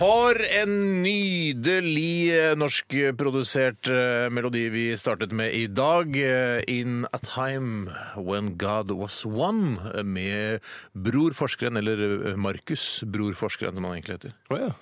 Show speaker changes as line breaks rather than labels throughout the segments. For en nydelig eh, norskprodusert eh, melodi vi startet med i dag. eh, In a time when God was one, eh, med Bror Forskeren, eller eh, Markus Bror Forskeren, som han egentlig heter.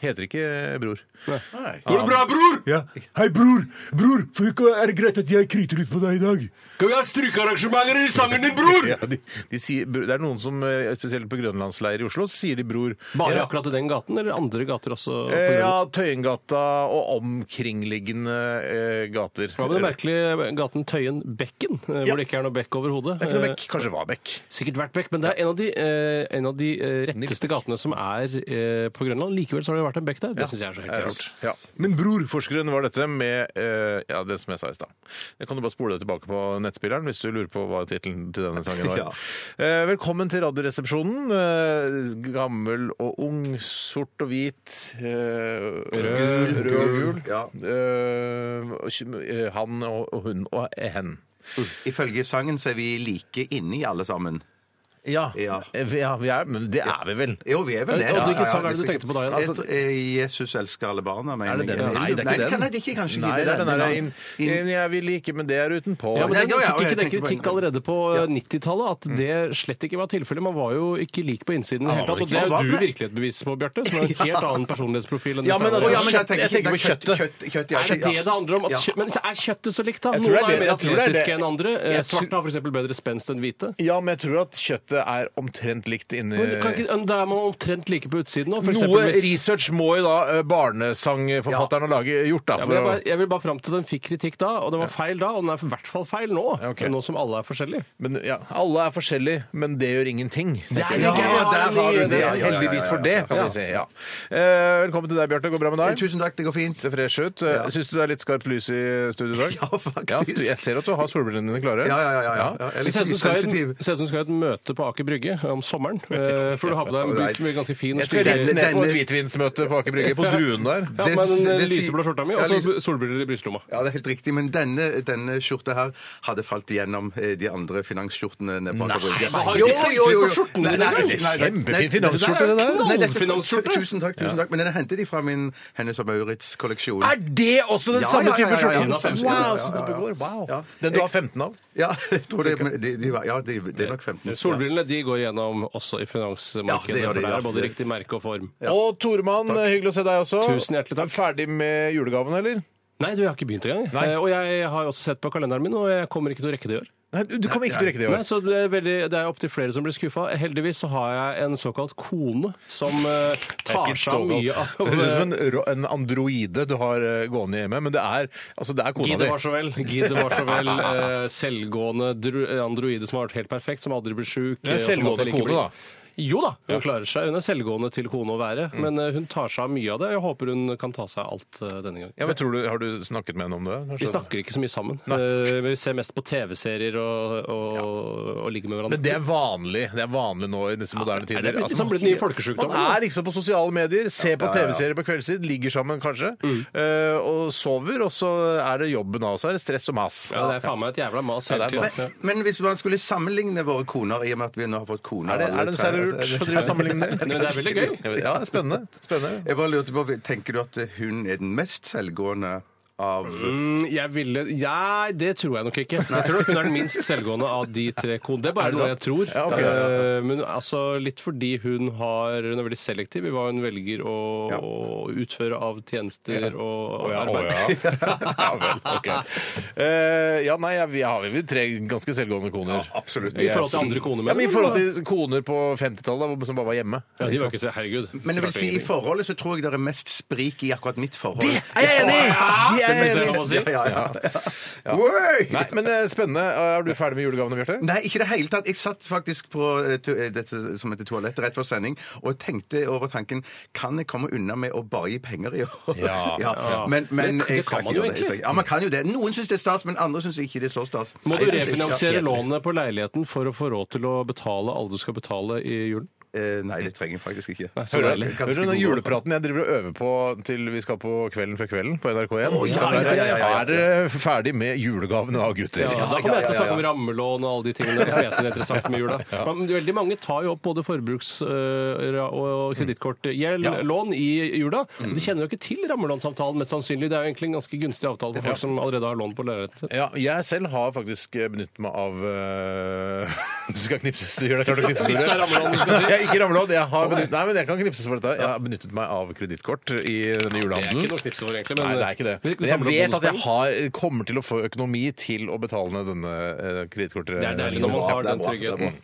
Heter ikke eh, Bror.
Går det bra, bror?
Ja. Hei, bror! Bror, for ikke er det greit at jeg kryter litt på deg i dag?
Skal vi ha strykearrangementer i sangen din, bror?
Ja, de, de sier, det er noen som, eh, spesielt på grønlandsleir i Oslo, sier de Bror.
Bare
Ja.
akkurat i den gaten, eller andre gater også? på
Eh,
Grønland?
Ja, Tøyengata og omkringliggende eh, gater.
Hva med den merkelige gaten Tøyen Bekken, eh,
Ja.
hvor det ikke er noe bekk overhodet?
Det er ikke noe
Eh,
bekk. Kanskje det var bekk.
Sikkert vært bekk, men det er en av de, eh, en av de eh, retteste gatene som er eh, på Grønland. Likevel så har det vært en bekk der. Det syns jeg er så helt rart.
Eh, Ja. Men bror, forskeren var dette med eh, ja, det som jeg sa i stad. Jeg kan du bare spole det tilbake på nettspilleren hvis du lurer på hva tittelen til denne sangen var. Eh, velkommen til Radioresepsjonen. Eh, gammel og ung, sort og hvit. eh, rød, rød og gul. Eh, og- han og, og hun og hen.
Ifølge sangen så er vi like inni alle sammen.
Ja,
Ja.
eh, vi- ja, vi er, men det er vi vel.
Jo, vi er vel det.
Og hvilken sang er det du
det skal-
tenkte på da igjen?
Jeg tror- eh, Jesus elsker alle barna, mener
Er det den?
jeg.
Nei, det er ikke den.
Nei, det er ikke, kanskje ikke
Nei, det er den der inn,
Inn-
inn, jeg vil ikke, men det er utenpå.
Ja, men
Nei,
Den
ja, ja,
fikk
jeg
ikke den
tenkte på
kritikk
den.
allerede på eh, 90-tallet, at det
Mm.
slett ikke var tilfellet. Man var jo ikke lik på innsiden i det hele tatt. Og det er
Hva
jo
var
du virkelig et bevis på, Bjarte, som har en helt annen personlighetsprofil enn
Ja, men
Steinar.
altså,
Å, ja, men jeg
kjøtt- jeg tenker på
kjøtt-
kjøttet.
kjøtt- kjøtt, ja,
Er det
ja.
det det handler om? At
Ja.
kjø- Men er kjøttet så likt, da?
Jeg tror
Noen
det er
er
det-
mer
jeg tror det er det.
atletiske enn andre. Eh,
Jeg tror-
Svarte har f.eks. bedre spenst enn hvite.
Ja, men jeg tror at kjøttet er omtrent likt inni
Men kan ikke, da er man omtrent like på utsiden nå. For
Eh. Noe
eksempel hvis-
research må jo da eh, barnesangforfatteren ha lage- gjort, da.
Ja,
For
men jeg,
å,
bare, jeg vil bare fram til den fikk kritikk da, og den var feil da, og den er i hvert fall feil nå.
Ja, ok.
Nå som alle er forskjellige.
men ja, alle er forskjellige, men det gjør ingenting. tenker jeg.
Ja,
tenker jeg,
der har du det. Ja, ja, ja, ja, ja.
Heldigvis for det, kan vi si. Ja. Eh, Velkommen til deg, Bjarte. Går det bra med
Eh,
deg?
Tusen takk, det går fint.
Ser fresh ut. Eh, Syns du det er litt skarpt lys i studio i dag?
Ja, faktisk.
Ja, du- jeg ser at du har solbrillene dine klare.
Ja, ja, ja. ja, ja. ja. Jeg er
Det
litt
ser ut som du skal i et-
sensitiv.
ser ut som du skal i et møte på Aker Brygge om sommeren. eh, For du har på deg en
Alright.
bruk med ganske fin og
Jeg skal
stilig-
rett ned på
Denne-
et hvitvinsmøte på Aker Brygge, på Druen der.
Ja,
det-
med den
det sier-
lyseblå skjorta mi, og
Ja,
så solbriller i brystlomma.
Ja, det er helt riktig, men denne, denne skjorta her hadde falt gjennom eh, de andre finansskjortene nede på Aker Brygge.
men har du
Ah, Jo,
ikke
jo, jo,
sett
jo.
på skjorten
Nei,
din
nei,
engang?
nei, nei, nei.
Kjempefin
Nei,
finansskjorte, det der.
Nei, dette-
Knallfinansskjorte.
Tusen takk, tusen takk. Men den hentet de fra min Hennes og Maurits kolleksjon.
Er det også den
Ja,
samme
ja, ja,
type
ja, ja,
skjorte?
ja, ja, ja, ja, ja,
Wow,
ja.
så du begår. Wow.
Ja.
Den du har 15 av?
Ja, jeg tror det, men de, de var, ja de, det er nok 15. Ja.
Solbrillene de går gjennom også i
Ja, det
finansmarkedet.
gjør
for
de,
det
ja.
er både riktig merke og form.
Og Toremann, hyggelig å se deg også.
Tusen hjertelig takk.
Er Ferdig med julegaven, eller?
Nei, du, jeg har ikke begynt engang.
Nei.
Eh, Og jeg har også sett på kalenderen min, og jeg kommer ikke til å rekke det i år.
Nei, du kommer ikke til å rekke det i
Nei,
år.
så det er, veldig, det er opptil flere som blir skuffa. Heldigvis så har jeg en såkalt kone som eh, tar seg av eh, mye
Det høres ut som
av
en, ro- en androide du har eh, gående hjemme, men det er, altså, det er kona
Gide var
di.
så vel. Gide var så vel eh, selvgående dru- eh, androide som har vært helt perfekt, som aldri blir sjuk.
Det er selvgående kone, da.
Jo da, hun klarer seg. Hun er selvgående til kone å være.
Mm.
Men eh, hun tar seg av mye av det. Jeg håper hun kan ta seg av alt eh, denne gangen.
Ja, men tror du, har du snakket med henne om det? Har
Vi
skjedd?
snakker ikke så mye sammen. Eh, vi ser mest på TV-serier og, og, og ligger med hverandre.
Men det er vanlig det er vanlig nå i disse moderne
det er
tider.
blitt-
Altså,
liksom blitt den nye folkesjukdommen,
Man
da.
er liksom på sosiale medier, ser på TV-serier på kveldstid, ligger sammen kanskje,
Mm.
eh, og sover, og så er det jobben av, så er det stress og mas.
ja, det er faen meg et jævla mas
Ja,
hele
det er
tiden.
mas.
Ja.
Men hvis man skulle sammenligne våre koner, i og med at vi nå har fått koner
Er det,
alle
er det
tre-
særlig lurt å drive og sammenligne det?
Men det er veldig gøy.
Ja, det er spennende. spennende.
Jeg bare lurte på, Tenker du at hun er den mest selvgående av
Mm, Jeg ville Ja, det tror jeg nok ikke. Jeg tror nok hun er den minst selvgående av de tre konene. Det er bare
det
noe
sant?
jeg tror.
Ja, ok, ja,
Eh, Men altså, litt fordi hun, har, hun er veldig selektiv i hva hun velger å, å utføre av tjenester og
Å ja, å
arbeid.
ja. ja vel, ok. Eh, ja, nei, jeg, jeg har vel tre ganske selvgående koner.
Absolutt.
I forhold til andre koner,
Ja, men I
mener
forhold
du, da?
til koner på 50-tallet da, som bare var hjemme.
ja, De var ikke så Herregud.
Men jeg vil si i forholdet så tror jeg det er mest sprik i akkurat mitt forhold. Det
jeg enig i! De er
Det er
enig i!
lov å si.
Ja, ja, ja. Word!
Nei, men eh, spennende. Er du ferdig med julegavene, Bjarte?
Nei, ikke i det hele tatt. Jeg satt faktisk på eh, to, eh, dette som heter toalettet rett før sending og tenkte over tanken kan jeg komme unna med å bare gi penger i år.
Ja.
Men, men
Men det
jeg skal
kan man
ikke
jo
gjøre det.
egentlig.
Ja, man kan jo det. Noen syns det er stas, men andre syns ikke det er så stas.
Må du
Jeg synes-
refinansiere lånet på leiligheten for å få råd til å betale alle du skal betale i julen?
Eh, nei, det trenger jeg faktisk ikke.
Nei, så
Det er
deilig.
ganske
Hører du den
god altså. råd.
julepraten jeg driver og øver på til vi skal på Kvelden før kvelden på NRK1?
Å, ja,
Så
ja, ja, ja, ja, ja.
Er dere ferdig med julegavene da, gutter?
Ja, da kommer jeg til å snakke om rammelån og alle de tingene der som jeg synes er interessant med jula. Men veldig mange tar jo opp både forbruks- øh, og kredittkortgjeld, lån i jula. Og de kjenner jo ikke til rammelånsavtalen, mest sannsynlig. Det er jo egentlig en ganske gunstig avtale for folk som allerede har lån på leiligheten sin.
Ja, jeg selv har faktisk eh, benyttet meg av øh, Du skal knipses, du gjør det klart å knipse.
Hvis det er rammelån, du skal si.
Nei, jeg, ikke rammelån. Jeg har benyttet, nei, men jeg kan knipses for dette. Jeg har benyttet meg av kredittkort i denne
Det er ikke noe
julehandelen.
knips over, egentlig. Men øh,
Nei, det er ikke det.
Hvis ikke
Men
du
jeg
samler
vet at jeg
bonuspoeng,
har, kommer til å få økonomi til å betale ned denne eh, kredittkortet.
Det er deilig når man har den tryggheten.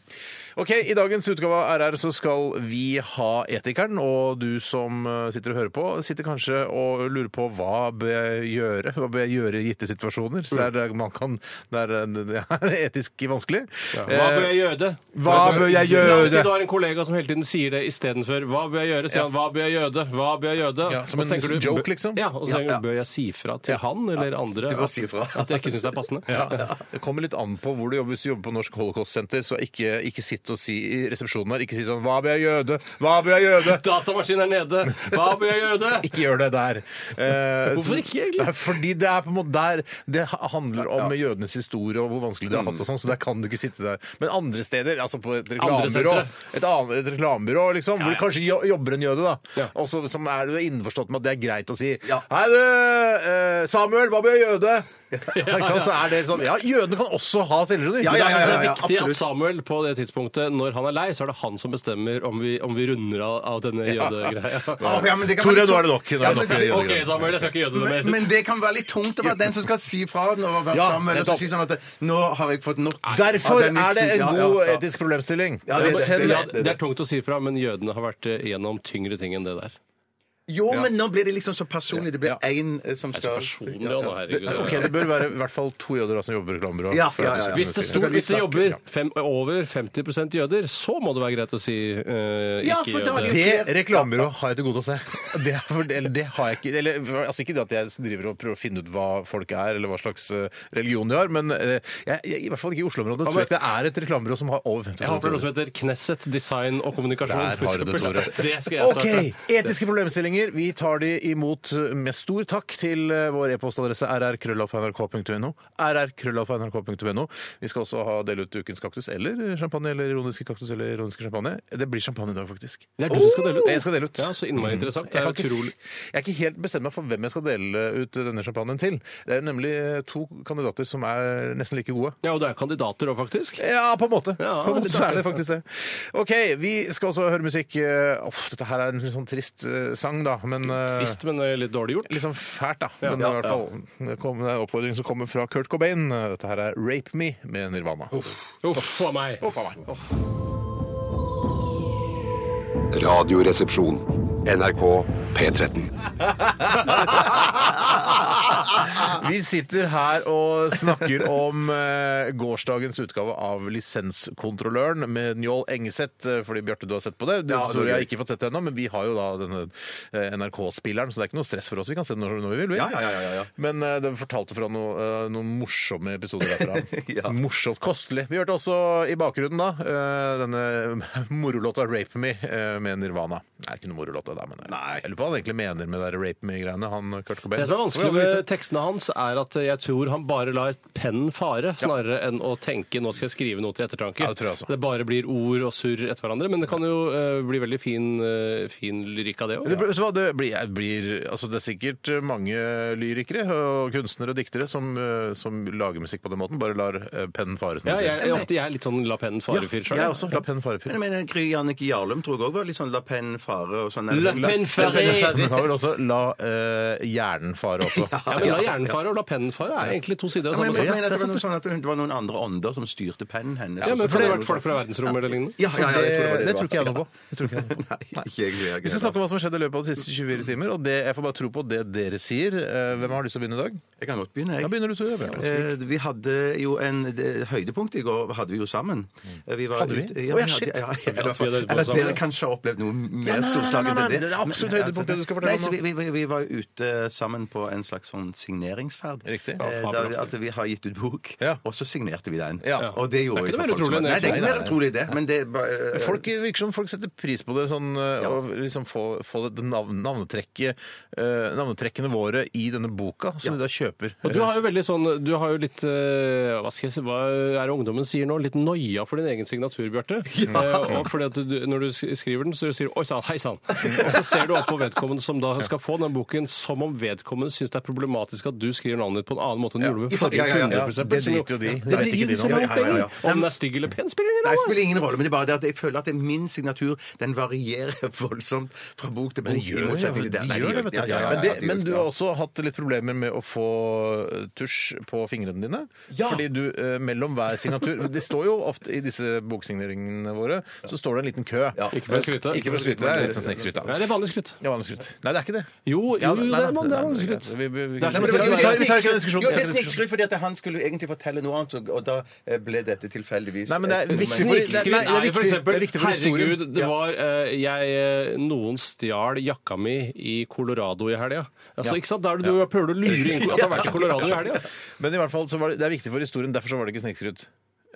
Ok, I dagens utgave av RR så skal vi ha Etikeren. Og du som eh, sitter og hører på, sitter kanskje og lurer på hva bør jeg gjøre Hva bør jeg gjøre i gitte situasjoner? Så det er der man kan Det er, eh, det er etisk vanskelig.
Hva bør jeg
Eh,
gjøre?
Hva bør jeg
La oss si du
gjøre?
har en kollega som hele tiden sier det istedenfor. Hva bør jeg gjøre? Sier han. Hva bør jeg gjøre? Hva bør jeg gjøre?
Ja, som
Og
en
så tenker
joke, liksom.
Ja, og så tenker du, bør jeg si fra til han eller andre
Du bør
at,
si fra.
at jeg ikke syns det er passende?
Eh, Ja. Det kommer litt an på hvor du jobber. Hvis du jobber på Norsk Holocaust-senter, så ikke, ikke sitt og si i resepsjonen her Ikke si sånn 'Hva bør jeg gjøre? Hva bør jeg gjøre?'
Datamaskinen er nede! Hva bør jeg gjøre?
Ikke gjør det der. Eh,
Hvorfor ikke, egentlig?
Nei, Fordi det er på en måte der Det handler om jødenes historie og hvor vanskelig de har hatt og sånn, så der kan du ikke sitte der. Men andre steder, altså på et reklamebyrå,
sentre.
et, annet- et reklamebyrå liksom, hvor det kanskje jo- jobber en jøde, da,
Ja.
og så som er du innforstått med at det er greit å si
Ja.
Hei, du, eh, Samuel, hva bør jeg jøde? Ikke sant? Så er det sånn Ja, jødene kan også ha selvironi.
Ja, ja, ja, ja,
det
ja,
er viktig at
absolutt.
Samuel på det tidspunktet, når han er lei, så er det han som bestemmer om vi, om vi runder av, av denne jødegreia.
Å, ja, men det kan
Tore,
være litt
nå er det
sånn-
nok. Nå
Ja,
er det
men
nok med
det-
jødegreier.
OK, Samuel, jeg skal ikke gjøre det
Men,
mer.
men det kan være litt tungt å være den som skal si fra den og være
Ja,
sammen og så
nettopp.
si sånn at nå har jeg fått nok
Derfor
av den
er det en
vitsen.
god
ja, ja, ja.
etisk problemstilling.
Ja, det- det-
Send-
Ja, det er tungt å si fra, men jødene har vært eh, gjennom tyngre ting enn det der.
Jo, men nå blir det liksom så personlig. Det blir én eh, som
Det er så
skal
personlig, Anna, herregud.
Ok, Det bør være i hvert fall to jøder da, som jobber i reklamebyrået.
Ja,
for at
ja,
du
ja, ja.
skal
Hvis det,
kunne si
stod,
kan vi
hvis det
snakke,
jobber
ja.
fem, over 50 jøder, så må det være greit å si eh,
Ja,
ikke
for da er
jøde.
det jo-
Det reklamebyrået har jeg til gode å se. Det, er, for- eller, det har jeg ikke eller, altså Ikke det at jeg driver og prøver å finne ut hva folk er, eller hva slags eh, religion de har, men eh, jeg, jeg, i hvert fall ikke i Oslo-området tror jeg ikke det er et reklamebyrå som har over 50
Jeg håper noe som heter Knesset design og kommunikasjon.
Der
for
har du det,
eksempel.
Tore.
Det skal jeg
Ok,
starte.
Etiske problemstillinger. Vi tar de imot eh, med stor takk til eh, vår e-postadresse rrkrøllalfa.nrk.no. rrkrøllalfa.nrk.no. Vi skal også ha dele ut ukens kaktus eller champagne eller ironiske kaktus eller ironiske champagne. Det blir champagne i dag, faktisk.
Det er du som skal dele ut.
Jeg skal dele ut. Mm.
Ja, så innmari interessant. Det
Jeg,
er
kan ikke,
utrolig.
s- jeg er ikke helt bestemt meg for hvem jeg skal dele ut denne champagnen til. Det er nemlig to kandidater som er nesten like gode.
Ja, og det er kandidater òg, faktisk.
Ja, på en måte.
Ja,
på en måte
litt
så er det
artig.
faktisk det. OK, vi skal også høre musikk. Eh, Uff, dette her er en sånn trist eh, sang, da. Men eh,
Trist, men eh, litt dårlig gjort.
Litt sånn fælt, da. Men i hvert fall, det kom- det er en oppfordring som kommer fra Kurt Cobain. Dette her er 'Rape Me' med Nirvana.
Uff a meg.
Å, faen meg.
Radioresepsjon. NRK P13.
Vi sitter her og snakker om eh, gårsdagens utgave av Lisenskontrolløren med Njål Engeseth. eh, Fordi Bjarte, du har sett på det. Du,
Ja, det
Tore,
er
jeg har
gøy.
ikke fått sett det ennå, men vi har jo da denne eh, NRK-spilleren, så det er ikke noe stress for oss. Vi kan se den når, når vi vil. vi.
Ja, ja, ja, ja, ja.
Men eh, den fortalte fra noe, eh, noen morsomme episoder derfra.
Ja.
Morsomt. Kostelig. Vi hørte også i bakgrunnen da eh, denne morolåta 'Rape Me' eh, med Nirvana. Nei, ikke noe morolåt det der, men eh,
Nei.
jeg lurer på hva han egentlig mener med det der 'Rape Me'-greiene, han Kurt Cobain.
Det som er vanskelig
Hvordan vil du
med tekstene hans, er at jeg tror han bare lar pennen fare, snarere enn å tenke 'nå skal jeg skrive noe til ettertanke'.
Ja, det tror jeg også.
det bare blir ord og surr etter hverandre. Men det kan jo eh, bli veldig fin, eh, fin lyrikk av det òg.
Det, blir- vet du hva, det, blir, jeg blir, altså det er sikkert mange lyrikere og kunstnere og diktere som, eh, som lager musikk på den måten. Bare lar eh, pennen fare. Som
Ja,
du
jeg,
sier.
jeg, ofte, jeg er litt sånn la pennen fare-fyr sjøl.
jeg også. La pennen fare.
Men jeg
fyr.
mener, Gry Jannicke Jarlum tror jeg òg var litt sånn la penn fare og sånn.
La pennen fare!
Men har vel også la eh, hjernen fare også.
Ja, men la hjernen fare og la pennen fare er egentlig to sider av
Ja, men
samme
jeg
sak.
mener at det var noe sånn at det var noen andre ånder som styrte pennen hennes.
Ja, men
Og så-
for det har vært folk fra verdensrommet eller lignende.
sånn- Ja, ja, ja, jeg tror det var
det,
det
det
det
tror
var.
ikke jeg noe på. Jeg tror ikke jeg noe på.
Nei, ikke jeg, jeg, jeg,
Vi skal snakke om hva som har skjedd i løpet av de siste 24 timer, og det, jeg får bare tro på det dere sier. Eh, Hvem har lyst til å begynne i dag?
Jeg kan godt begynne,
Da
jeg.
begynner du, Tore. Bjarte.
Eh, vi hadde jo en det, høydepunkt i går hadde vi jo sammen. Eh, Vi
Mm.
var
Hadde vi?
ute- Ja,
Å, ja,
vi hadde,
shit.
ja,
At
jeg
vi
vet
hadde høydepunkt
Eller at
sammen,
dere
ja.
kanskje har opplevd noe
Ja, nei,
mer
nei,
storslagent
nei,
enn det.
det er absolutt høydepunktet du skal fortelle
Nei,
om nå.
så vi, vi, vi- vi var jo ute sammen på en slags sånn signeringsferd.
Riktig.
Eh,
Ja,
da, at vi har gitt ut bok,
Ja.
og så signerte vi den.
Ja.
Og det gjorde
Det er
vi
ikke
for
noe mer
folk som-
utrolig enn det.
Nei, det er
Nei,
ikke
nei,
mer utrolig det, men det er bare, eh,
Folk, det virker som folk setter pris på det, sånn, øh,
Ja.
og liksom få, få det navn, navnetrekket, øh, navnetrekkene våre i denne boka som de da kjøper.
Og du har jo veldig sånn, du har jo litt eh, Hva skal jeg si, hva er det ungdommen sier nå? Litt noia for din egen signatur, Bjarte. Eh, og fordi at du, når du sk- skriver den, så sier du 'oi sann, hei sann'. Og så ser du opp på vedkommende som da skal få den boken, som om vedkommende syns det er problematisk at du skriver navnet ditt på en annen måte enn du gjorde med forrige
Ja, ja, ja, ja.
kunde, for eksempel.
Det driter jo de.
Det driter jo de som
Ja,
har
ja, ja, ja.
penger. Om den er stygg eller pen, spiller ingen
Nei, det
rolle.
spiller ingen rolle, men det er bare det at jeg føler at min signatur den varierer voldsomt fra bok til bok.
Men de gjør
i
det, ja.
motsetning
Eh, De
til det. Nei,
gjør det,
ikke.
vet du.
Ja, ja, ja,
Men
ja,
det-
de gjør
Men
ikke
du
det.
har også hatt litt problemer med å få eh, tusj på fingrene dine. Fordi du eh, mellom hver signatur Det står jo ofte i disse boksigneringene våre, så står det en liten kø.
Ikke for å skryte.
Ikke for å skryte, det er litt sånn snikskryt.
Nei,
da.
det er vanlig skryt.
Ja, vanlig skryt. Nei, det er ikke det.
Jo, jo,
Ja,
jo,
nei,
det
nei,
er vanlig det er vanlig
nei,
skryt.
nei, vi- vi- vi-
Det er som å
Nei, men det
si-
var jo-
Vi tar- vi tar ikke en diskusjon.
Jo,
Vi tar
det
ikke
er
en diskusjon.
snikskryt, fordi at han skulle jo egentlig fortelle noe annet, og- og da eh, ble dette tilfeldigvis
Nei, men det er-
et-
hvis
men-
snik-
Snikskryt
Nei, det er
er jo
viktig.
for
Det er
eksempel
viktig for historien.
Herregud, det var eh, jeg, eh, Noen stjal jakka mi i Colorado i helga. Altså, ikke sant? Da er det du prøver å lure inn at du har vært i Colorado i helga.
Men i hvert fall så var det, det er viktig for historien, derfor så var det ikke snikskryt.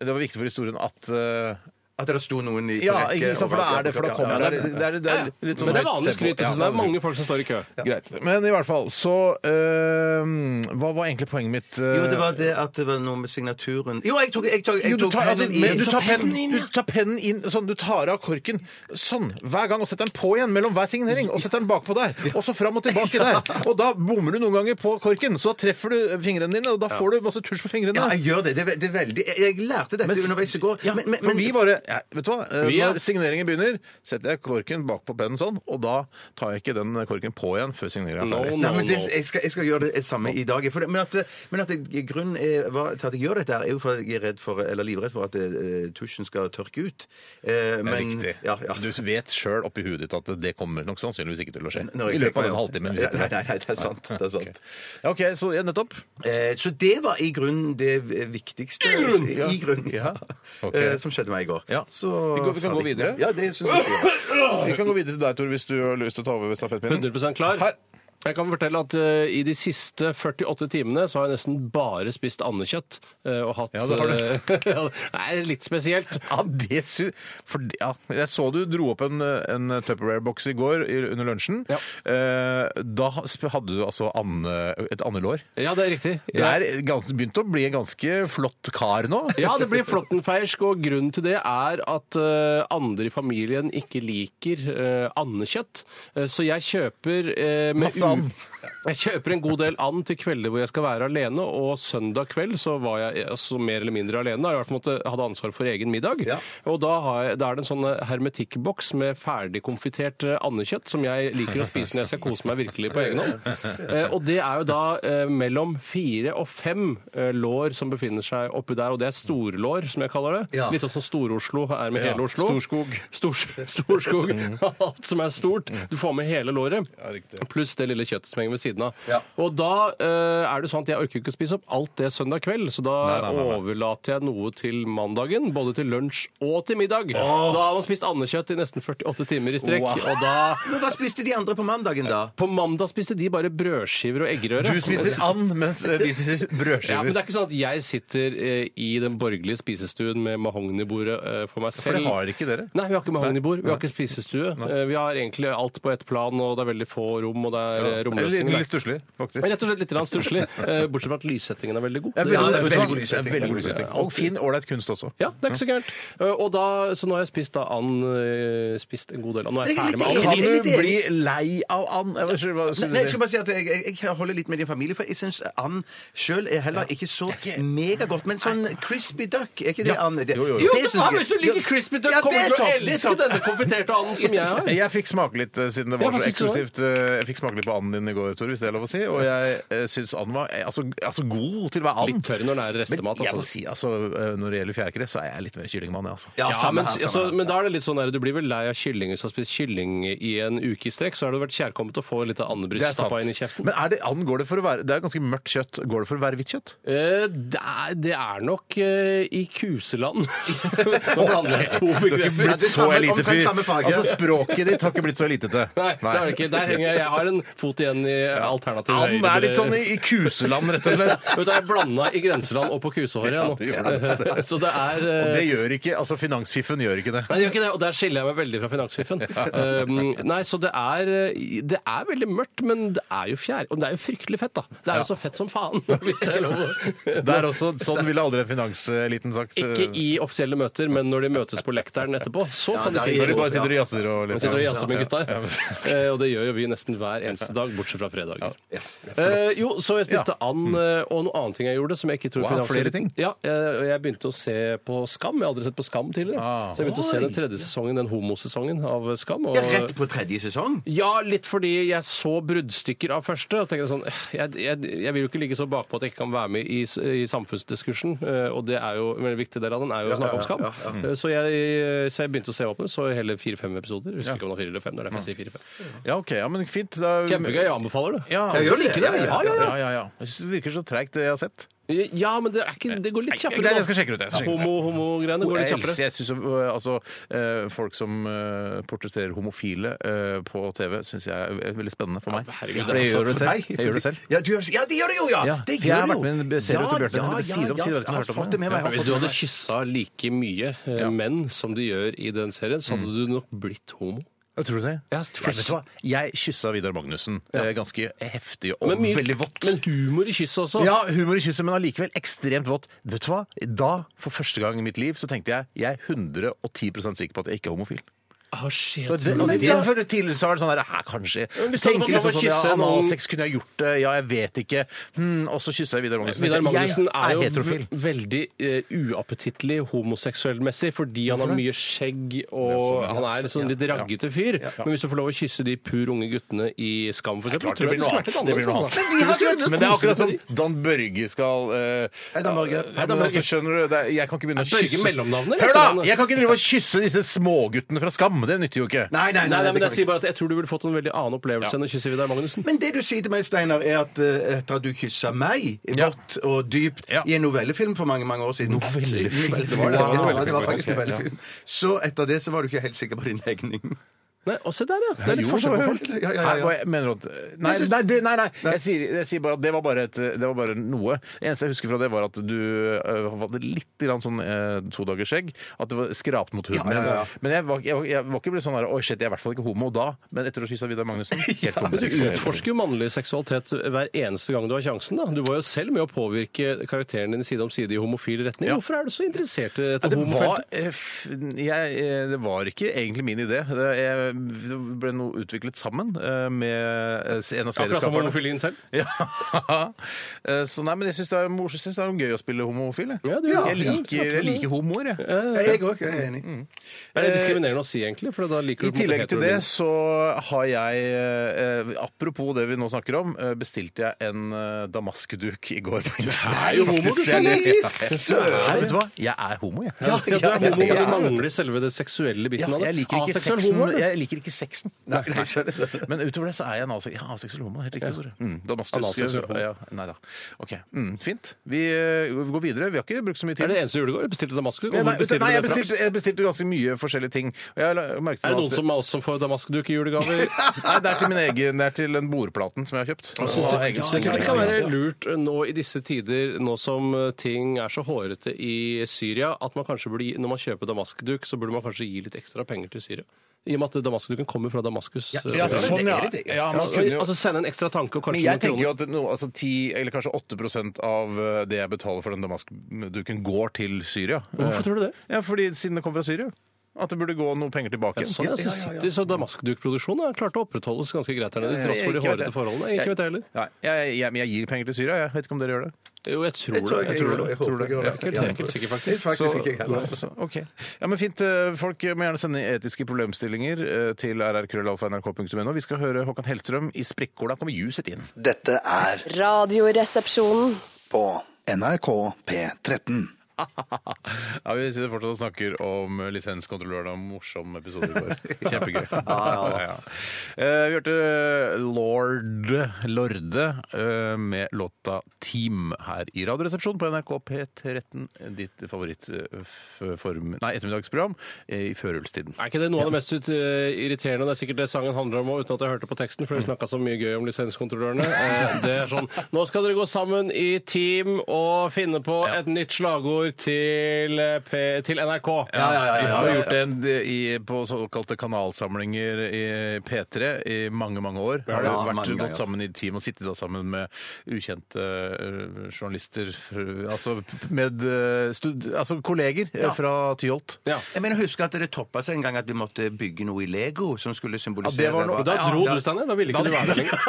Det var viktig for historien at eh,
At det sto noen i på
Ja,
rekke
ikke sant, for
over-
da er det, for da kommer
Ja, ja,
det, det, er, det er litt sånn
Men det er
høyt tempo.
vanlig skryt.
Ja,
Så det er mange folk som står i kø.
Greit. Men i hvert fall, så øhm, Hva var egentlig poenget mitt? øh,
Jo, det var det at det var noe med signaturen Jo, jeg tok, jeg tok, jeg
Jo, du
tok
tar, altså,
pennen i-
men du tar pennen inn, du tar pennen inn sånn, du tar av korken sånn hver gang og setter den på igjen mellom hver signering. Og setter den bakpå der, og så fram og tilbake der. Og da bommer du noen ganger på korken, så da treffer du fingrene dine, og da får du masse tusj på fingrene.
Ja, jeg gjør det. Det er, ve- det er veldig Jeg, jeg lærte dette underveis i går.
Ja,
men, men,
for
men-
vi bare ja, Vet du hva? Eh,
Vi, ja.
Når signeringen begynner, setter jeg korken bakpå pennen sånn, og da tar jeg ikke den korken på igjen før signeringen
No,
er ferdig.
no,
Nei, men det,
no.
jeg, skal, jeg skal gjøre det samme i dag. For det, men at, men at jeg, grunnen er, hva, til at jeg gjør dette, her, er jo for at jeg er redd for, eller livredd for at eh, tusjen skal tørke ut. Eh,
Det er
men-
riktig.
Ja, ja.
Du vet sjøl oppi huet ditt at det kommer nok sannsynligvis ikke til å skje.
Når jeg
I løpet
tenker
av
meg
den
om.
halvtimen vi
Ja, Nei,
sitter
nei,
her.
nei, det er sant. Det er sant.
Ja, OK, så ja, nettopp.
Eh, så det var i grunnen det viktigste I
grunnen! Ja.
I grunnen,
Ja.
ja.
Ok.
Eh, som skjedde meg i går.
Ja.
Så,
Vi går- vi kan gå videre.
Ja, det synes jeg. vi gjør.
Vi kan gå videre til deg, Tor, hvis du har lyst til å ta over stafettpinnen.
100 klar.
Her.
Jeg kan fortelle at eh, I de siste 48 timene så har jeg nesten bare spist andekjøtt. eh, og hatt
Ja, det har du.
eh, det er litt spesielt.
Ja, det sy... For, ja. Jeg så du dro opp en, en Tupperware-boks i går i- under lunsjen.
Ja.
Eh, da sp- hadde du altså ande, et andelår.
Ja, det er riktig.
Du er gans, begynt å bli en ganske flott kar nå.
Ja, det blir flottenfeirsk, og grunnen til det er at eh, andre i familien ikke liker eh, andekjøtt. Eh, så jeg kjøper eh, med
Masse and.
u- Jeg kjøper en god del and til kvelder hvor jeg skal være alene, og søndag kveld så var jeg altså, mer eller mindre alene. da. Jeg i hvert fall måtte, hadde ansvar for egen middag.
Ja.
Og da, har jeg, da er det en sånn eh, hermetikkboks med ferdigkonfitert eh, andekjøtt som jeg liker å spise når jeg skal kose meg virkelig på egen hånd. Eh, og det er jo da eh, mellom fire og fem eh, lår som befinner seg oppi der, og det er storlår, som jeg kaller det.
Ja.
Litt sånn som Stor-Oslo er med hele Oslo.
Storskog.
Stor, storskog.
Mm.
Alt som er stort. Du får med hele låret. pluss det lille kjøttet som henger ved siden av.
Ja.
Og da eh, er det sånn at jeg orker ikke å spise opp alt det søndag kveld, så da
Nei, nei, nei, nei.
overlater jeg noe til mandagen, både til lunsj og til middag. Da har man spist andekjøtt i nesten 48 timer i strekk,
Wow.
og da
Men hva spiste de andre på mandagen, da?
På mandag spiste de bare brødskiver og eggerøre.
Du spiser and, mens eh, de spiser
Ja, men
brødskiver.
det er ikke sånn at jeg sitter eh, i den borgerlige spisestuen med mahognibordet eh, for meg
For
selv.
det har ikke dere.
Nei, vi har ikke mahognibord, vi har ikke spisestue. Eh, vi har egentlig alt på ett plan, og det er veldig få rom, og det er eh,
Eller
romløsninger.
Litt stusslig, faktisk.
Men Rett og slett litt grann stusslig, eh, bortsett fra at lyssettingen er veldig god.
Det er
Ja,
veldig,
det er
vet du hva?
veldig god lyssetting.
Det er veldig god lyssetting. Og fin, ålreit kunst også.
Ja, det er ikke så gærent. Eh, Og da, så nå har jeg spist da and eh, Spist en god del. Og nå er jeg
Men
ferdig
jeg er
med
Kan
and.
litt enig.
du bli lei av and? Jeg vet ikke, hva
Nei,
skulle
nei, jeg
du si?
skal bare si at jeg, jeg, jeg holder litt med din familie, for jeg syns and sjøl er heller ikke så megagodt. Men sånn crispy duck, er ikke det and? Det,
Jo, jo, jo.
det
Jo,
synes jeg-
hvis du liker crispy duck,
Ja, det
kommer
er
du til å
topp, det er
elske
topp.
denne konfiterte anden som jeg har.
Jeg fikk smake litt eh, siden det var
Ja, hva
så
synes du da?
eksklusivt. eh, Jeg fikk smake litt på anden din i går, Tor, hvis det er lov å si. Og jeg eh, syns anden var eh, altså, altså god til å være and.
Litt tørr når det er restemat.
Men jeg må
Altså.
si, altså, eh, når det gjelder fjærkre, så er jeg litt mer kyllingmann, jeg, altså.
Ja,
Ja,
samme
men,
her,
altså,
samme her.
men da er det litt sånn der, Du blir vel lei av kylling hvis du har spist kylling i en uke i strekk. Så har det vært kjærkomment å få litt av andebryst stappa inn i kjeften.
Men er det, and går det for å være Det er ganske mørkt kjøtt. Går det for å være hvitt kjøtt?
Eh, det, er, det er nok eh, i kuseland. Nå blander jeg to begreper.
Ja, det er samme- omtrent samme farge.
Altså, språket ditt har ikke blitt så elitete.
Nei, det er det ikke. Der henger jeg. Jeg har en fot igjen i alternativ
And
høyre-
er litt sånn i, i kuseland, rett og slett.
Vet du, jeg blanda i grenseland og på kusehåret jeg,
Ja,
nå. Så det er eh,
Og det gjør ikke Altså, finansfiffen gjør ikke det.
Nei, det gjør ikke det, og der skiller jeg meg veldig fra finansfiffen. Um, nei, så det er, eh, det er veldig mørkt, men det er jo fjær... Og det er jo fryktelig fett, da. Det er jo så fett som faen, hvis det er lov å
Det er også, sånn ville aldri en finanseliten sagt. eh,
Ikke i offisielle møter, men når de møtes på lekteren etterpå, så kan de
det er
finne
Når de
på.
bare sitter og jazzer og
Vi
liksom.
sitter og jazzer med gutta.
Ja, ja.
Eh, Og det gjør jo vi nesten hver eneste dag, bortsett fra fredag. Eh, jo, så jeg spiste and, eh, og noe annet ting jeg gjorde som jeg ikke tror
Wow,
finansielle-
flere ting?
Ja, eh, og jeg begynte å se på Skam. Jeg har aldri sett på Skam tidligere.
Ah.
Så jeg begynte å se den tredje sesongen, den homosesongen av Skam. Og,
Ja, rett på tredje sesong?
ja, litt fordi jeg så bruddstykker av første. Og tenkte jeg sånn, eh, jeg, jeg, jeg vil jo ikke ligge så bakpå at jeg ikke kan være med i, s- i samfunnsdiskursen. eh, Og det er jo en veldig viktig del av den, er jo å snakke om skam. Eh, Så, jeg, så jeg begynte å se opp med det, så hele fire-fem episoder. Husker ikke om det var fire eller fem. det er derfor jeg sier fire-fem.
ja, OK. Ja, men fint. Da-
Mm. Kjempegøy. Jeg anbefaler det.
Ja,
Jeg gjør det, ja,
ja,
ja,
ja, ja. Jeg synes det virker så treigt, det jeg har sett.
Ja, men det, er ikke, det går litt kjappere.
Nei,
nå.
jeg skal sjekke det ut, jeg skal sjekke det ut.
Homo- Homo-greiene går litt
Jeg
kjappere.
elsker- jeg synes, jo, øh, altså, øh, folk som øh, portretterer homofile øh, på TV, syns jeg er veldig spennende for meg.
herregud,
For jeg
altså,
gjør det
For
selv.
deg?
Jeg gjør det selv.
Ja, du gjør, ja, det gjør det jo, ja!
Ja,
Det
for jeg
gjør
har
det
vært
jo.
med en serie til Bjørte, men side om side, jeg har ikke hørt om
fått
det.
det med
Ja,
meg. jeg har
hvis
fått
du
det
hadde
med meg.
kyssa like mye eh, menn som de gjør i den serien, så
Mm.
hadde du nok blitt homo.
Jeg tror det.
Ja,
Jeg, vet du hva? jeg kyssa Vidar Magnussen eh, ganske heftig og
Men mye-
veldig vått.
Men humor i kysset også.
ja, humor i kysset, men allikevel ekstremt vått. Vet du hva? Da, for første gang i mitt liv, så tenkte jeg jeg er 110 sikker på at jeg ikke er homofil.
Ah, shit,
Og det, og det, for tidligere så var det sånn der Hæ, kanskje.
hvis du hadde
Tenker liksom
fått lov å
sånn, ja,
kysse noen-
Analsex kunne jeg gjort det, ja, jeg vet ikke. Hm, og så kyssa jeg Vidar Magnussen.
Vidar Magnussen
jeg
er jo
heterofil.
ve- veldig eh, uappetittlig homoseksuell-messig, fordi han har mye skjegg og han er en sånn litt raggete fyr. Men hvis du får lov å kysse de pur unge guttene i Skam, for eksempel,
Klart, det blir noe annet. Det blir noe annet. Men det er akkurat
sånn-
som Dan Børge skal eh,
Dan Børge.
ja, men altså, skjønner du, det er, Jeg kan ikke begynne å
Er Børge
kysse
mellomnavnet,
Hør,
eller?
da! Jeg kan ikke drive og kysse disse småguttene fra Skam. Det nytter jo ikke.
Nei, nei,
Nei, nei, men jeg
det kan
sier bare at jeg tror du ville fått en veldig annen opplevelse enn å kysse Vidar Magnussen.
Men det du sier til meg, Steinar, er at eh, etter at du kyssa meg vått og dypt
Ja.
i en novellefilm for mange mange år siden
Novellefilm? Det
Novellefilm,
var det,
ja,
det var
det var faktisk
novellefilm, ok,
novellefilm. Så etter det så var du ikke helt sikker på din legning.
Nei, og se der, ja. Det er litt
Jo,
forskjell på folk.
Ja, ja, ja,
Hæ,
ja.
hva jeg mener du at Nei, nei, det- nei, nei. Jeg, sier, jeg sier bare at det var bare, et, det var bare noe. Det eneste jeg husker fra det, var at du øh, hadde litt grann sånn uh, todagersskjegg. At det var skrapt mot huden.
Ja, ja, ja.
Men jeg var, jeg, var- jeg var ikke blitt sånn der Oi, shit, jeg er i hvert fall ikke homo da. Men etter å kysse Vidar Magnussen helt
Men du
homoseksuell.
utforsker jo mannlig seksualitet hver eneste gang du har sjansen. da. Du var jo selv med å påvirke karakteren din side om side i homofil retning.
Ja.
Hvorfor er du så interessert i
Ja,
dette
det, var,
homofeltet?
eh, f- jeg, eh, det var ikke egentlig min idé. Det jeg- det ble noe utviklet sammen eh, med eh, en av
altså
Akkurat som
serieskaperne.
homofilien selv?
Ja. Eh, Så nei, men jeg syns det, er mor- jeg synes det er gøy å spille homofil. Jeg,
Ja, det gjør
jeg, liker, jeg liker homoer, jeg.
Jeg òg, jeg er enig.
Mm.
Er det diskriminerende å si, egentlig? For da liker
Eh, I
du på en måte
tillegg til det
heterofile.
så har jeg, eh, apropos det vi nå snakker om, eh, bestilte jeg en eh, damaskduk i går. Du er
jo homo, du,
Ja,
Steinar.
ja, ja. Nei, vet du hva? Jeg er homo, jeg.
ja, ja, du er homo,
jeg-
men du mangler selve det seksuelle biten
Ja,
av det.
jeg, liker ikke
Aseksuell
sexen,
homo, eller?
jeg liker ikke sexen. Nei. Men utover det så er jeg en asek ja, aseksuell homo. Helt riktig. Tore. Mm,
Analseksuell
Damaskus.
homo.
Ja, nei da. OK. Mm, fint. Vi, eh, vi går videre. Vi har ikke brukt så mye
Er
tid.
det eneste julegård? Bestilte damaskduk?
Nei,
Hvor
nei,
bestiller
nei,
du
jeg,
det fra?
bestilte, jeg bestilte ganske mye forskjellige ting. Og jeg la- merket
Er det
meg
noen
at-
som er oss som får damaskduk i julegaver?
Nei, det er til min egen, det er til den bordplaten som jeg har kjøpt.
Jeg synes
Og
det,
egen-
jeg synes det kan være lurt eh, nå i disse tider, nå som eh, ting er så hårete i Syria, at man kanskje burde, gi- når man kjøper damaskduk, så burde man kanskje gi litt ekstra penger til Syria. I og med at damaskduken kommer fra Damaskus. eh,
Ja, sånn, ja. ja man kunne jo...
altså Sende en ekstra tanke og
Men
kanskje
jeg
noen
tenker
kroner.
jo at no, altså 10, eller kanskje 8 av eh, det jeg betaler for den damaskduken, går til Syria. Eh,
Hvorfor tror du det?
Ja, fordi siden det kom fra Syria. At det burde gå noe penger tilbake.
Sånn, ja, så sitter, så Damaskduk-produksjonen har klart å opprettholdes ganske greit her nede, til tross for de
Ikke vet
hårete
jeg.
forholdene. Ikke vet jeg heller.
Nei, jeg, jeg, men jeg gir penger til Syria. Jeg vet ikke om dere gjør det.
Jo, jeg tror det. Jeg tror det.
Jeg håper jeg gjør
Jeg er ikke
det.
helt- jeg er ikke helt sikker,
Det er
faktisk.
faktisk ikke jeg heller.
Så, ok. Ja, men fint. Eh, Folk må gjerne sende etiske problemstillinger eh, til rrkrøllalfa.nrk.no. Vi skal høre Håkan Hellstrøm i Sprikkåla kommer ljuset inn.
Dette er
Radioresepsjonen.
på NRK P13.
ja, vi sitter fortsatt og snakker om lisenskontrolløren og en morsom episode i går. Kjempegøy. Ja, ja. Eh, Vi hørte Lord Lorde eh, med låta 'Team' her i Radioresepsjonen på NRK P13. Ditt favorittform... Nei, ettermiddagsprogram eh, i førjulstiden.
Er ikke det noe av det mest ut, eh, irriterende? Det er sikkert det sangen handler om òg, uten at jeg hørte på teksten, for vi snakka så mye gøy om lisenskontrollørene. Eh, Det er sånn Nå skal dere gå sammen i team og finne på et nytt slagord til, eh, P til NRK.
Vi har gjort det en- i, på såkalte kanalsamlinger i P3 i mange, mange år. Har det
Ja, mange
vært
ganger.
gått sammen i team og sittet da sammen med ukjente eh, journalister fr- Altså med eh, stud, altså kolleger eh, fra Tyholt.
Ja.
Jeg mener, husker at det toppa seg en gang at vi måtte bygge noe i Lego som skulle
Ja,
symbolisere
det var noe-
hva-
Da dro
Ja,
du, Steinar. Da ville ikke du være med lenger.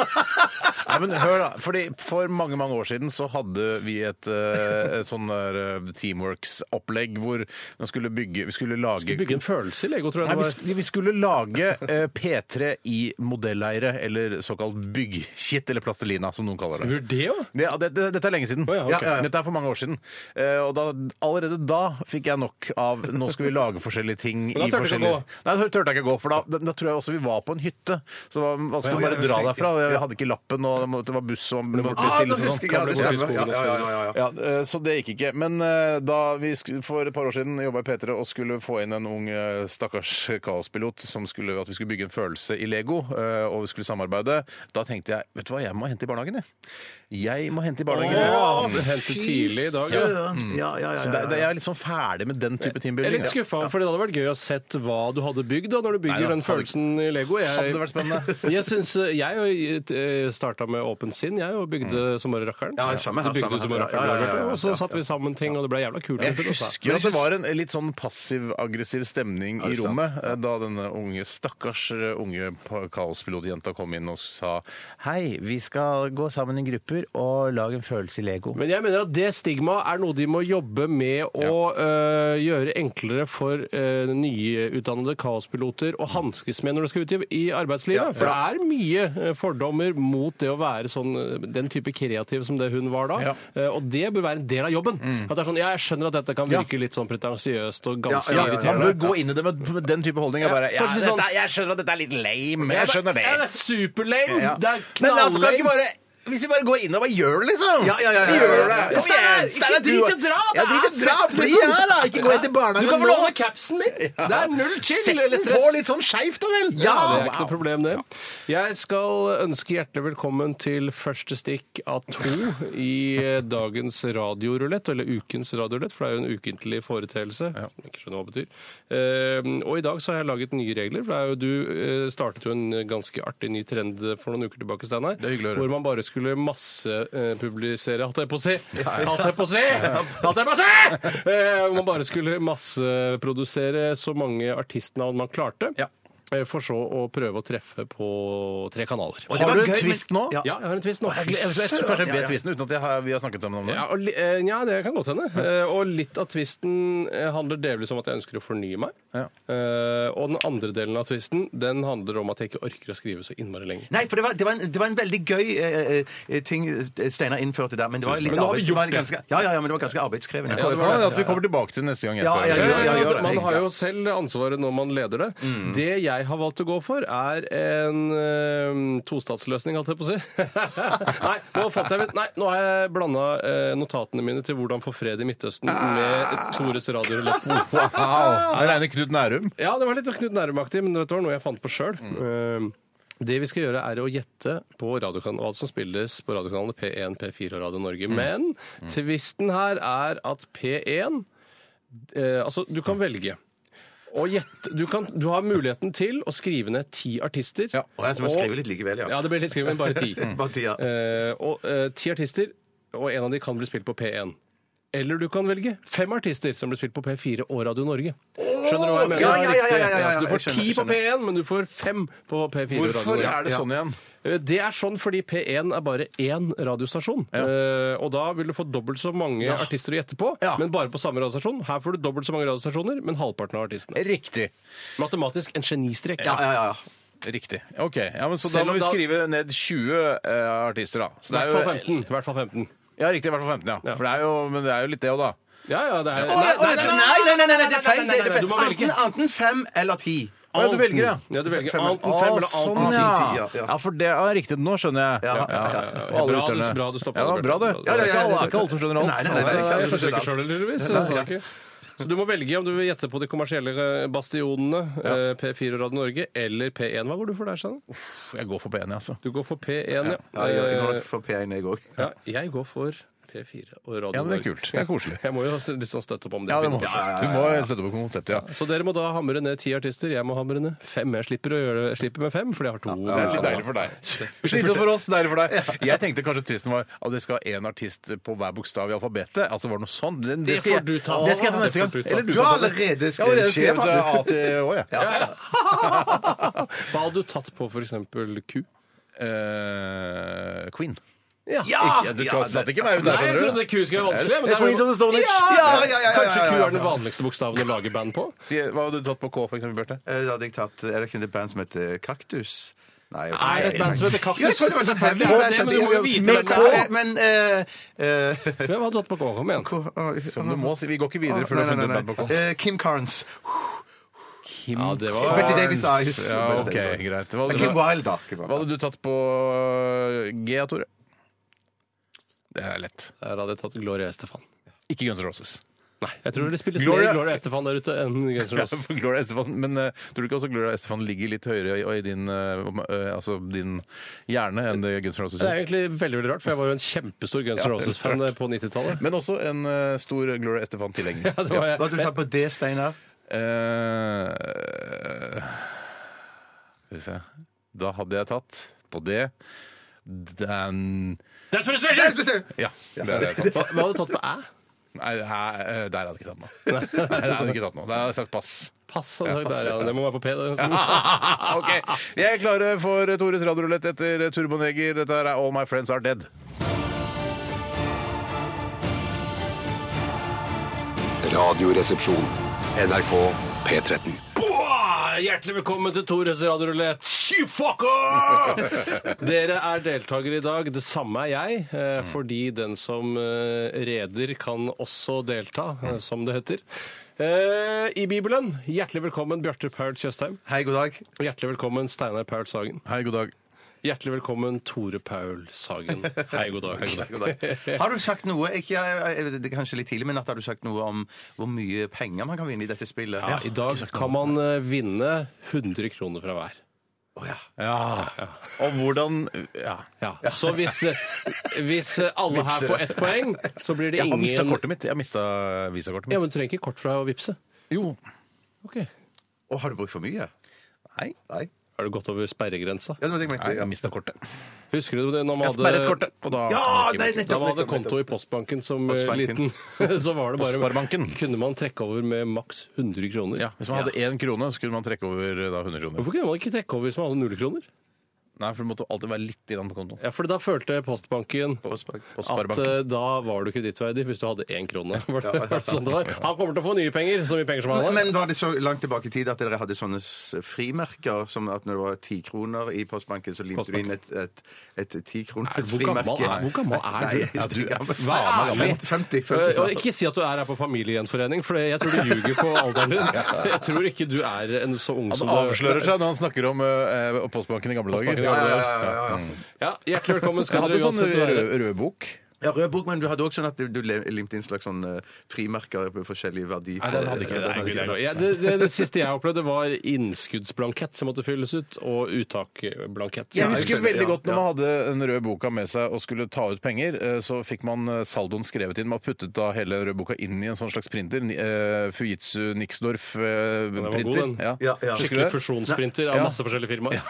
Nei, men hør da, fordi For mange mange år siden så hadde vi et, eh, et sånn der eh, Teamworks-opplegg hvor man skulle bygge Vi skulle lage
Bygge en følelse i Lego, tror jeg
Nei,
det
vi,
var.
sk- vi skulle lage eh, P3 i modelleire, eller såkalt byggkitt, eller plastelina, som noen kaller det.
Gjorde det òg?
Det, ja, det, det, dette er lenge siden.
Å ja, ok.
Ja, ja, ja. Dette er for mange år siden. Eh, og da, allerede da fikk jeg nok av Nå skal vi lage forskjellige ting
da
i
turte du ikke å
forskjellige Nei, da turte jeg ikke å gå, for da, da, da tror jeg også vi var på en hytte. Så hva- hva skulle man bare dra derfra? Jeg hadde ikke lappen, og det må- det var buss og det måtte
Ah, da
bestilles og
husker
sånn.
jeg, ja, det
Kan bli
stemmer. Ja, ja, ja, ja, ja.
ja, eh, Så det gikk ikke. Men eh, da vi sk- for et par år siden jobba i P3 og skulle få inn en ung eh, stakkars kaospilot som skulle, at vi skulle bygge en følelse i Lego, eh, og vi skulle samarbeide, da tenkte jeg vet du hva, jeg må hente i barnehagen, jeg. Jeg må hente i barnehagen.
Ja,
Mm.
men hentet tidlig i dag,
Ja,
ja.
ja, ja, ja,
Så
ja,
det, det, jeg er litt sånn ferdig med den type
Jeg er
teambuilding.
litt
ja.
skuffa, for det hadde vært gøy å sett hva du hadde bygd da, når du
Nei,
bygger
da,
den
hadde-
følelsen i Lego. Jeg,
Hadde det vært spennende.
Jeg syns Jeg starta med åpent sinn, jeg, og bygde som bare rakkeren.
Mm. Ja, samme her,
Så bygde
samme
du som
her,
bare rakkeren,
ja, ja, ja, ja, ja.
og så satte vi sammen ting, og det ble jævla kult.
Jeg
vet du, altså.
husker at det var en litt sånn passiv-aggressiv stemning i
det sant?
rommet eh, da denne unge, stakkars eh, unge pa- kaospilotjenta kom inn og sa Hei, vi skal gå sammen i grupper og lage en følelse i Lego.
Men jeg mener at det stigmaet er noe de må jobbe med å øh, gjøre enklere for øh, nyutdannede kaospiloter å hanskes med når de skal ut i, i arbeidslivet. For det er mye øh, fordommer mot det å være sånn, øh, den type kreativ som det hun var da.
Ja. Mm.
Eh, og det bør være en del av jobben. At det er sånn, ja, jeg skjønner at dette kan virke litt sånn pretensiøst og ganske
Ja, ja, ja, ja.
Man
irriterende.
bør gå inn i det med med den type holdning. Jeg, bare, ja,
kanskje
dette,
sånn-
jeg skjønner at dette er litt lame. Jeg skjønner det.
Ja, det er superlame!
Ja.
Det er
Men altså, kan vi ikke
knallame!
bare hvis vi bare går inn og bare gjør det, liksom.
Ja, ja, ja, ja,
Vi gjør
ja,
det.
ja, ja.
Kom igjen, Steinar, du-
drit i å dra,
Ja,
det
drit i å
er
dra!
fett,
Bli
liksom.
her, da! Ikke gå inn til
Du
barnehagen
kan få
nå.
låne capsen min! Det er null chill
Sett
eller
den
stress.
på litt sånn skeivt, da vel?
Ja, det er ikke noe problem, det. Jeg skal ønske hjertelig velkommen til første stikk av to i eh, dagens radiorulett, eller ukens radiorulett, for det er jo en ukentlig foreteelse. som jeg Ikke skjønner hva det betyr. Eh, Og i dag så har jeg laget nye regler, for det er jo du eh, startet jo en ganske artig ny trend for noen uker tilbake, Steinar.
Det er hyggelig å høre.
Hvor man bare skulle massepublisere, holdt jeg på å si! Holdt jeg på å si! Holdt jeg på å si! Eh, Hvor man bare skulle masseprodusere så mange artistnavn man klarte.
Ja.
Eh, For så å prøve å treffe på tre kanaler.
det
Har
var
du en
gøy, men-
twist nå?
Ja, jeg har en twist nå.
Jeg, jeg, jeg tror kanskje jeg vet twisten uten at jeg har, vi har snakket sammen om det.
Ja, og li, eh, nja, det kan godt hende. Eh, Og litt av twisten eh, handler delvis om at jeg ønsker å fornye meg.
Ja.
Eh, Og den andre delen av twisten den handler om at jeg ikke orker å skrive så innmari lenge.
Nei, for det var, det var, en, det var en veldig gøy eh, eh, ting Steinar innførte der, men det var litt
Men nå har vi
arbeids-
gjort
var ganske, ja, ja, ja, men det var ganske arbeidskrevende.
Det kan være at vi kommer tilbake til neste gang. jeg
Ja,
spør.
ja, ja, ja, ja.
Man har jo selv ansvaret når man leder det. Det jeg har valgt å gå for, er en eh, tostatsløsning, holdt jeg på å si. nei, nå fant jeg ut Nei, nå har jeg blanda eh, notatene mine til hvordan få fred i Midtøsten med Tores radiorulett.
Wow. Jeg regner Knut Nærum.
Ja, det var litt Knut Nærum-aktig, men det var noe jeg fant på sjøl.
Mm.
Det vi skal gjøre, er å gjette på radiokan- hva som spilles på radiokanalene P1, P4 og Radio Norge.
Mm.
Men tvisten her er at P1 eh, Altså, du kan velge. å gjette, du, kan, du har muligheten til å skrive ned ti artister.
Ja,
Og jeg må skrive litt likevel, ja.
Ja, det blir litt skriving, men bare ti.
Bare ti, ja.
Eh, og eh, ti artister, og en av de kan bli spilt på P1. Eller du kan velge fem artister som ble spilt på P4 og Radio Norge. Skjønner du hva jeg mener?
ja, ja, ja, ja, ja, ja,
Riktig. Altså, du
jeg
får
skjønner,
ti
jeg
på P1, men du får fem på P4 og Radio
Hvorfor
Norge.
er det sånn igjen?
Eh, Det er sånn fordi P1 er bare én radiostasjon. Eh, og da vil du få dobbelt så mange artister å gjette på,
Ja.
men bare på samme radiostasjon. Her får du dobbelt så mange radiostasjoner, men halvparten av artistene.
Riktig.
Matematisk en genistrek.
Ja, ja, ja.
Riktig. Ok, ja, men Så da
Selv
må
om
vi
da-
skrive ned 20 eh, artister, da. Så
I
det
hvert
er jo-
fall 15. I hvert fall 15.
Ja, riktig. I hvert fall 15, ja.
Ja.
For det er jo, men det er jo litt det òg, da.
Ja, ja, det er
nei, nei, nei, det er feil.
det er feil.
Enten, enten fem eller ti.
Å, ja, du velger, ja.
Ja, du velger
Fem-
anten fem eller
Å, sånn,
anten ti.
ti,
ja.
ja, ja.
ja, for det er riktig. Nå skjønner jeg.
Ja, ja, ja.
Og alle
Bra du-
lytterne.
bra du stoppet
Ja,
det,
bra det.
Bjarte.
Det er
Ja, ja, ja,
ikke alle- det er
det-
ikke alle som skjønner alt.
Nei, nei, nei, det er ikke alle
Jeg
som
skjønner ikke
skjønner alt.
selv, heldigvis. jeg sa ikke. Så du må velge om du vil gjette på de kommersielle eh, bastionene, eh, P4 og Radio Norge, eller P1. Hva går du for der, Sanne?
Uff, Jeg går for P1, altså.
Du går for P1, ja. Eh,
Ja, jeg jeg går nok for P1, jeg òg.
Ja, jeg går for P4 og Radio
Ja, men det er
Norge.
kult. Det er koselig.
Jeg må jo s- litt sånn støtte opp om det.
Ja, det må.
Ja, ja, ja.
Du må støtte på konseptet, ja.
Så dere må da hamre ned ti artister. Jeg må hamre ned fem. Jeg slipper å gjøre det. Jeg slipper med fem, fordi jeg har to.
Det er litt deilig for deg. Slitsomt for oss, deilig for deg. Jeg tenkte kanskje tvisten var at det skal ha én artist på hver bokstav i alfabetet. Altså var det noe sånn. Det,
Det
skal
får du ta.
Det skal jeg ta
Det
neste
får du
gang.
ta.
kan
Du har
ta det.
allerede
Jeg har allerede
skrevet skjema.
skrevet eh, A til Å, jeg.
Hva hadde du tatt på for eksempel Q?
Eh, Queen.
Ja!
Ikke- du satt ikke meg ut der,
Nei, jeg
skjønner
trodde
du.
Q skulle være vanskelig. Men
Det er
liksom
Queens of the Stone Age.
Ja, ja, ja, ja,
Kanskje
ja,
Q
ja.
er den vanligste bokstaven å lage band på?
Si, Hva hadde du tatt på K, for eksempel, Bjarte?
Eh, Da hadde jeg tatt Er det ikke et band som heter Kaktus? Nei, jeg vet
Nei,
ikke.
et band som heter Kaktus.
Jo, jeg tror det var sånn heavy
Ja,
band,
det,
sånn-
men du må jo vite
Men
hvem det
K-
er.
Men eh, eh,
Hvem hadde du hatt på K? Kom igjen.
K- å,
Som du må si. Vi går ikke
å,
videre før du
nei,
har
nei,
funnet
nei,
et band på K.
nei. Eh, Kim Carnes.
Ja, det var
Betty Davis Eyes.
Ja, ok, greit. Hva
Men
hadde
Eh, Kim
du,
Wilde, da. Kim
hva
Wilde.
hadde du tatt på G, Tore? Det er lett.
Der hadde jeg tatt Gloria Estefan.
Ikke Guns N' Roses.
Jeg tror det spilles
Gloria-
mer Gloria Estefan der ute enn Guns N' Roses.
Gloria Estefan, men eh, tror du ikke også Gloria Estefan ligger litt høyere i, i din, eh, om- eh, altså din hjerne enn det Guns N' Roses
Det er
gjør?
egentlig veldig veldig rart, for jeg var jo en kjempestor Guns N' Roses-fan på 90-tallet.
Men også en eh, stor Gloria Estefan-tilhenger.
Ja, det var
Hva
jeg.
hadde du tatt på det, Steinar?
Eh, Skal vi se Da hadde jeg tatt på det den Ja, det hadde jeg tatt.
Hva, hva hadde du tatt på æ?
Nei, her, eh, der hadde jeg ikke tatt noe. Nei, der hadde jeg ikke tatt noe. Der hadde jeg sagt pass.
Pass, hadde jeg sagt der, ja. Det må være på P. det, nesten.
OK. Vi er klare for Tores radiorulett etter Turboneger. Dette her er All My Friends Are Dead.
Radioresepsjon. NRK P13.
Boah! Hjertelig velkommen til Tores radiorulett. Skifucker! Dere er deltakere i dag. Det samme er jeg, eh, fordi den som eh, reder kan også delta, eh, som det heter. Eh, I Bibelen, hjertelig velkommen Bjarte Paul Tjøstheim.
Hei, god dag.
Og Hjertelig velkommen Steinar Paul Sagen.
Hei, god dag.
Hjertelig velkommen Tore Paul Sagen. Hei, god dag.
God dag. Har du sagt noe ikke, jeg, jeg, vet, Det er kanskje litt tidlig, men at har du sagt noe om hvor mye penger man kan vinne i dette spillet?
Ja, I dag kan man eh, vinne 100 kroner fra hver.
Å, ja.
Ja. Og hvordan Ja.
Ja, Så hvis, eh, hvis eh, alle her får ett poeng, så blir det
Jeg har mista
ingen
kortet mitt. Jeg har mista visakortet
Ja,
mitt.
men Du trenger ikke kort fra å vippse.
Jo.
Og har du brukt for mye?
Nei.
Nei.
Har du gått over sperregrensa?
Ja, det var det jeg mente.
Nei, jeg
Ja.
har mista kortet.
Husker du det når man
Jeg sperret
hadde,
kortet. Og da
Ja, nei,
da
nettopp,
man hadde
nettopp,
konto i
nettopp.
Postbanken som eh, liten?
Postbanken.
Så var det bare
Sparebanken.
Kunne man trekke over med maks 100 kroner?
Ja, Hvis man hadde én krone, så kunne man trekke over eh, da 100 kroner.
Hvorfor kunne man ikke trekke over hvis man hadde null kroner?
Nei, for det måtte alltid være litt grann på kontoen.
Ja, for da følte Postbanken
På
at
sparebanken.
eh, da var du kredittverdig hvis du hadde én krone. Var det, var det sånn det var? Han kommer til å få nye penger, så mye penger som han har.
Men var det så langt tilbake i tid at dere hadde sånne s- frimerker? Som at når det var ti kroner i postbanken, så limte du inn et, et, et tikroners
Hvor gammel,
frimerke?
er, hvor gammel er
Nei,
du?
jeg er ikke gammel.
Hva er
Nei,
gammel?
50, 50
Eh, og
snart.
Ikke si at du er her på familiegjenforening, for jeg tror du ljuger på alderen din. Jeg tror ikke du er en så ung
Han
som
avslører seg når han snakker om eh, Postbanken i gamle dager.
Ja, ja,
ja, ja.
Ja, Hjertelig velkommen
Jeg
skal
hadde
dere
sånn
uansett være.
rød, rød bok.
Ja, rød bok, men du hadde også sånn at du, du le- limte inn slags sånn eh, frimerker på forskjellig verdi.
Nei, den hadde ikke jeg.
Den hadde ikke jeg.
Ja, det, det, det siste jeg opplevde, var innskuddsblankett som måtte fylles ut, og uttakblankett.
Jeg
Ja, jeg
husker
skjønner,
veldig
ja,
godt når man hadde den røde boka med seg og skulle ta ut penger, eh, så fikk man eh, saldoen skrevet inn. Man puttet da hele røde boka inn i en sånn slags printer. ni- eh, Fujitsu Nixdorf-printer.
Den var god, den.
Ja.
Ja, ja.
Husker du
Skikkelig
det?
fusjonsprinter av
Ja.
masse forskjellige firmaer.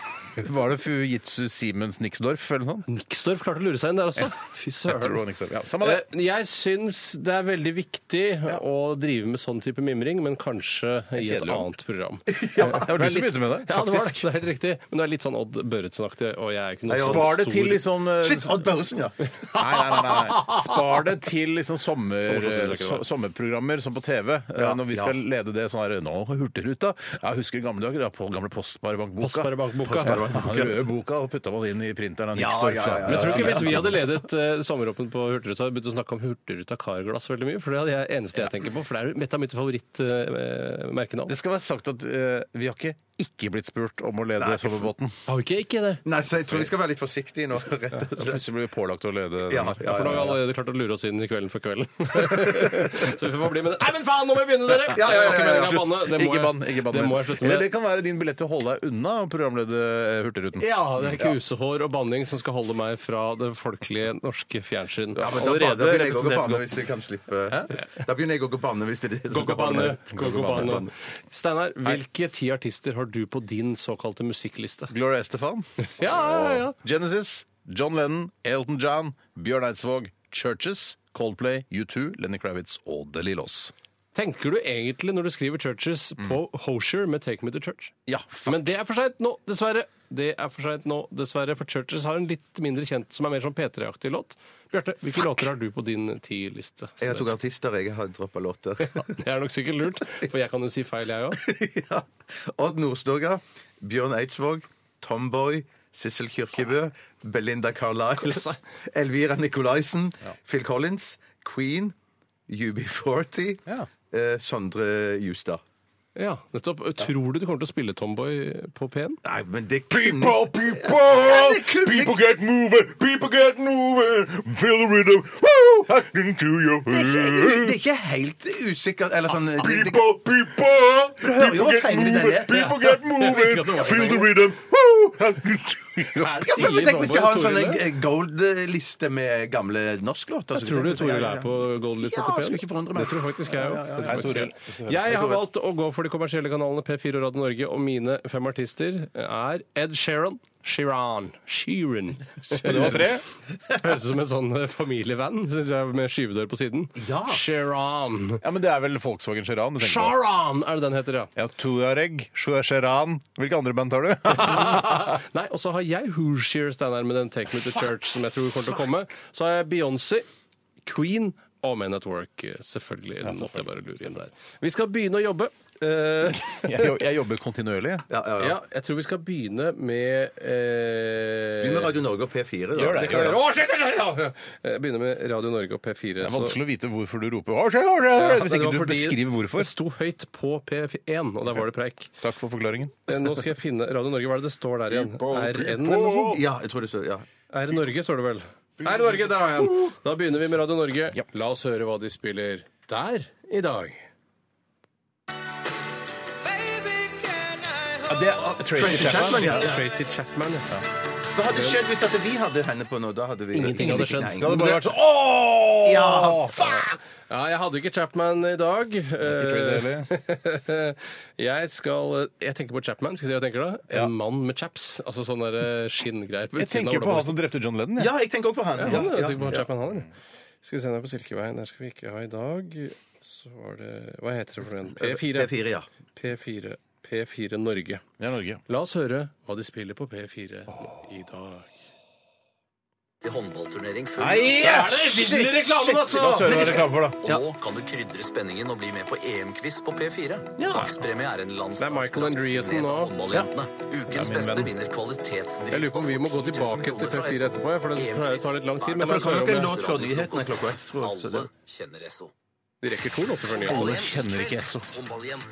Var det Fujitsu Siemens Nixdorf eller noe sånt?
Nixdorf klarte å lure seg inn der også. Fy
Jeg tror det
søren.
var Nixdorf. Ja, samme det.
Eh, Jeg syns det er veldig viktig å drive med sånn type mimring, men kanskje i et
Kjedelig.
annet program.
det var du som begynte med det,
Ja, det var det.
faktisk.
Det er helt riktig. Men det er litt sånn Odd Børretzen-aktig, og jeg er ikke noe
Spar det til liksom eh,
Shit, Odd Børresen, ja.
Nei, nei, nei, nei. nei. Spar det til liksom sommer,
Sommerforsøksprogrammer.
so, sommerprogrammer som på TV. eh, når vi skal lede det sånn her Nå Hurtigruta. Jeg husker i gamle dager, da, på gamle Postsparebankboka.
Postsparebankboka.
Ja, den røde boka, og putta man inn i printeren. av Nixdorf,
ja,
så.
ja, ja, ja.
Men jeg tror ikke Hvis vi hadde ledet eh, sommeråpen på Hurtigruta, hadde vi begynt å snakke om Hurtigruta Carglass veldig mye. For det er det eneste jeg tenker på, for det er et av mitt eh, favorittmerkenavn.
Det skal være sagt at eh, vi har ikke ikke blitt spurt om å lede sovebåten.
har vi ikke, ikke det?
Nei, så jeg tror vi skal være litt forsiktige nå. Rett og
Så
slett.
plutselig blir vi pålagt å lede den
Ja,
her.
Ja, for da har vi allerede klart å lure oss inn i Kvelden for kvelden. så vi får bare bli med det. Nei, men faen, nå må jeg begynne, dere!
Ja, ja, ja, ja,
Det var
ja.
ikke meningen å banne. Det må
Ikke
jeg-
bann. ikke bann
Det
mer.
må jeg slutte
Eller det
med.
kan være din billett til å holde deg unna å programlede eh, Hurtigruten.
Ja, det er kusehår og banning som skal holde meg fra det folkelige norske fjernsyn.
Ja, men da,
Allerede sånn
da begynner jeg også å
representert
banne hvis jeg kan slippe. Da begynner jeg også å banne hvis det er det som skal
Gogobanne.
banne.
Gogobanne. Steinar, hvilke ti artister har du på din såkalte musikkliste?
Gloria Estefan.
Ja, ja, ja.
Genesis, John Lennon, Elton John, Bjørn Eidsvåg, Churches, Coldplay, U2, Lenny Kravitz og The Lillos.
Tenker du egentlig når du skriver Churches
Mm.
på Hosher med Take Me to Church?
Ja,
Men det er for seint nå, dessverre. Det er for sent nå, dessverre, for Churches har en litt mindre kjent som er mer sånn P3-aktig låt. Bjarte, hvilke låter har du på din ti-liste?
Jeg har to artister, jeg har droppa låter.
Det er nok sikkert lurt, for jeg kan jo si feil, jeg òg.
ja. Odd Nordstoga, Bjørn Eidsvåg, Tomboy, Sissel Kyrkjebø, Belinda Carlisle, Elvira Nicolaisen, Phil Collins, Queen, UB40,
Ja.
eh, Sondre Justad.
Ja, nettopp. Tror du du kommer til å spille Tomboy på P1?
Nei, men det
People, people,
det kunne-
people get moving, people get moving. Feel the rhythm. Woo! I can do your
Det er ikke, det er ikke helt usikkert eller sånn det, det,
People, people,
hører jo
people
hvor
get
feilig den
moving,
er.
people get moving. Feel the rhythm. Woo! I can do your
ja, men
Silje
Tenk hvis jeg har en
Tomboy,
sånn
Tore?
eh, gold-liste med gamle norsklåter. så
Tror du Toril
tenker jeg- ja, ja,
er
ja.
på goldlista
Ja,
til P1?
skulle ikke forundre meg.
Det tror faktisk jeg
Ja, ja, ja.
òg.
Toril.
Jeg har valgt å gå for de kommersielle kanalene P4 og Radio Norge, og mine fem artister er Ed Sheeran. Sheeran. Sheeran. Det var tre. Høres ut som en sånn eh, familievan synes jeg, med skyvedør på siden.
Ja.
Sheeran.
Ja, men det er vel Volkswagen Cheran du tenker på?
Sharan er det den heter, ja.
Ja, Tuareg, Cheran Hvilke andre band tar du?
Nei, og så har jeg Hooshear Steinar med den Take Me to Church som jeg tror kommer til å komme. Så har jeg Beyoncé, Queen og Men at Work. Selvfølgelig. Den måtte jeg bare lure inn der. Vi skal begynne å jobbe. Eh,
jeg, jo- jeg jobber kontinuerlig.
Ja, ja, ja.
ja, jeg tror vi skal begynne med eh,
Begynn med Radio Norge og P4. da.
det kan vi gjøre. Å, shit, shit, shit, ja. Eh, Begynne med Radio Norge og P4.
Det er
så-
vanskelig å vite hvorfor du roper «Hva skjer, hva skjer?»
Ja,
hvis
det
ikke
var
du
fordi
beskriver
Det
hvorfor.
sto høyt på P1, og der var det preik.
Takk for forklaringen.
Eh, Nå skal jeg finne Radio Norge, hva er det det står der igjen? RN eller noe sånt?
Ja, jeg tror det står ja.
Er i Norge, står det vel. Er i Norge, der har jeg den. Da begynner vi med Radio Norge. La oss høre hva de spiller der i dag. Ja, det er Tracy Chapman.
Chapman, ja.
Tracy Chapman, ja.
Hva hadde skjedd hvis at vi hadde henne på nå? Da hadde vi
Ingenting hadde skjedd.
Nei.
Det hadde bare vært sånn
Åh!
Ja,
Ja, jeg hadde ikke Chapman i dag.
Tracy
Eh, Jeg skal Jeg tenker på Chapman. Skal jeg si hva jeg tenker da? En mann med chaps. Altså sånne der, eh, skinngreier.
Jeg tenker på han som drepte John Lennon. jeg.
Ja, jeg tenker også på han.
Ja,
Ja,
jeg
ja.
tenker på Chapman han, eller? Skal vi se, den er på Silkeveien. Den skal vi ikke ha i dag. Så var det Hva heter det for den? P4.
P4, ja.
P4, P4 Norge.
Det er Norge.
La oss høre hva de spiller på P4 i dag.
Til håndballturnering før
Ja,
altså!
La oss høre hva det er reklame for, da.
Og nå kan du krydre spenningen og bli med på EM-quiz på P4. Dagspremie er en
Det er Michael Andreassen nå.
håndballjentene. Ukens beste vinner kvalitetsdrift.
Jeg lurer på om vi må gå tilbake til P4 etterpå, ja, for den pleier å ta litt lang tid. Men la oss
kan
høre
jo
om
ikke
det.
låt før nyhetene klokka ett, tror jeg. Så
Alle
det-
kjenner Esso.
de rekker to låter før nyhetene.
Kjenner ikke Esso.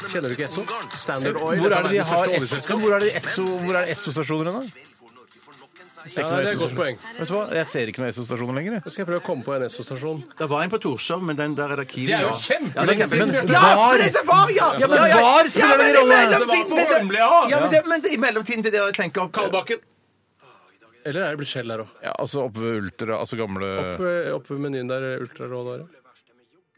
Kjenner du ikke Esso? Standard Oil.
Hvor er det de har Esso? Hvor er det Esso- hvor er det Esso-stasjoner hen, da?
Ja, det er et godt poeng.
Vet du hva? Jeg ser ikke noen Esso-stasjoner lenger. jeg.
Nå skal jeg prøve å komme på en Esso-stasjon.
Det var en på Torshov, men den der er det Kiwi.
Det er jo
ja.
kjempe-
Ja, det er kjempe-
Men-
Ja, for dette var, ja! Ja, men
var spiller
men
det
i
en rolle.
Det
mellomtiden
var på
til-
Holmlia.
Ja, men, det, men det- i mellomtiden til det jeg tenker opp
Kalbakken. Eller er det blitt skjell der òg?
Ja, altså oppe ved Ultra, altså gamle
Oppe ved eh, menyen der, ultrarå der.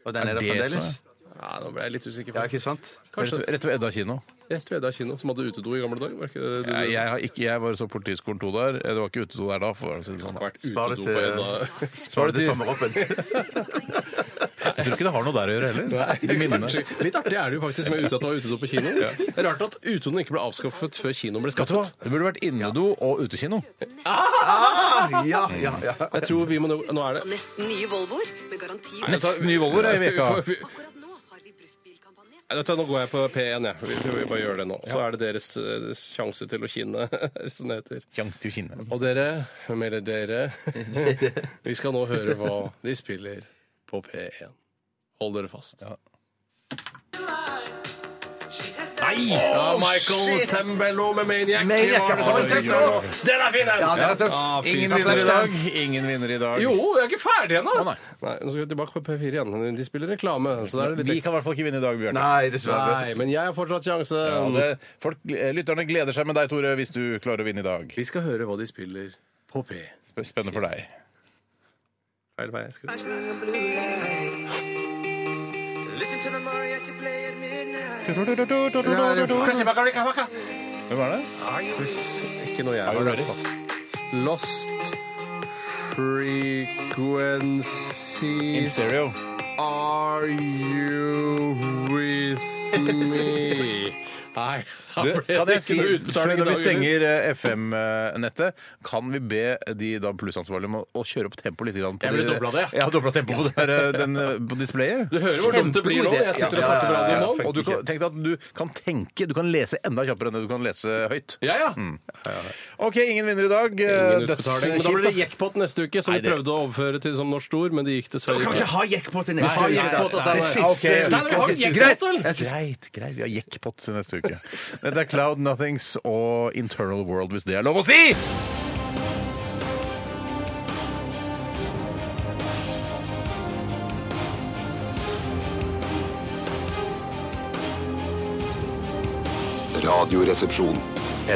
Og den er det
det
fremdeles?
Ja, nå ble jeg litt usikker.
Ja,
faktisk.
ikke sant?
Rett,
Kanskje.
rett ved Edda kino.
Rett ved Eda kino, som hadde utedo i gamle dager. Var ikke det, det,
Nei, jeg, har ikke, jeg var så politiskolen 2 der. Det var ikke utedo der da. for å si det sånn.
vært
Spar det
utedo
til-
på Eda.
Spar det til sommeråpent.
Jeg tror ikke det har noe der å gjøre heller. De minnene.
Kanskje. Litt artig er det jo faktisk med ute at det var utedo på kino. Det er Rart at utedoen ikke ble avskaffet før kinoen ble
Vet du hva?
skaffet.
Det burde vært innedo og utekino.
Ja, ja, ja.
Jeg tror vi må nå Nå er det
Nesten nye Volvoer med garanti
Nett- Ny Volvo er i veka.
Vi- vi-
Akkurat nå har vi bruktbilkampanje.
Vet du hva, Nå går jeg på P1, jeg. Vi, vi bare gjør det nå. Så er det deres, eh, deres sjanse til å kinne, som det heter. Og dere, eller dere Vi skal nå høre hva de spiller på P1. Hold dere fast. Nei! Ja, Michael Sembello med Maniac.
Maniac,
Hva er det som er tøft nå? Den er fin, den!
Ja, den er tøff.
Ah, fy
Ingen
søren.
vinner i dag. Ingen vinner i dag.
Jo, jeg er ikke ferdig ennå!
nei.
nei. nå skal vi tilbake på P4 igjen. De spiller reklame. Så da er det litt
Vi kan i hvert fall ikke vinne i dag, Bjørn.
Nei, dessverre.
Nei, men jeg har fortsatt sjanse.
Ja, det- folk, eh, lytterne gleder seg med deg, Tore, hvis du klarer å vinne i dag.
Vi skal høre hva de spiller på P.
Sp- Spennende for deg.
Feil vei. jeg skulle-
Hvem er det?
Ikke noe jeg har hørt. Lost
In
frequencies
stereo.
Are you with me? Nei.
Du,
her ble
kan
det
jeg
ikke
si,
noe
før
utbetaling i dag,
vi
eller?
stenger eh, FM-nettet, kan vi be de da plussansvarlige om å- å kjøre opp tempoet litt? Grann på
Jeg ville
de-
dobla det, jeg.
Ja, dobla tempoet på, det her, eh, den, eh, på displayet.
Du hører hvor dumt det blir nå? Jeg sitter og snakker på radioen nå.
Og du kan, tenk deg at du kan tenke, du kan lese enda kjappere enn det du kan lese høyt.
Ja, ja.
OK, ingen vinner i dag.
Mm. Ingen
Eh,
utbetaling. Men da blir det jackpot neste uke, som
Nei,
vi
det-
prøvde å overføre til som norsk ord, men det gikk dessverre
Kan vi
ikke.
ikke ha jackpot til neste
Nei, jackpot,
Det
altså,
er
nei.
siste-
Ok, Stein,
vi har
siste uke.
jackpot, eller?
Jeg synes-
Greit, greit. Vi har jackpot til neste uke. Dette er Cloud Nothings og Internal World, hvis det er lov å si!
Radioresepsjon.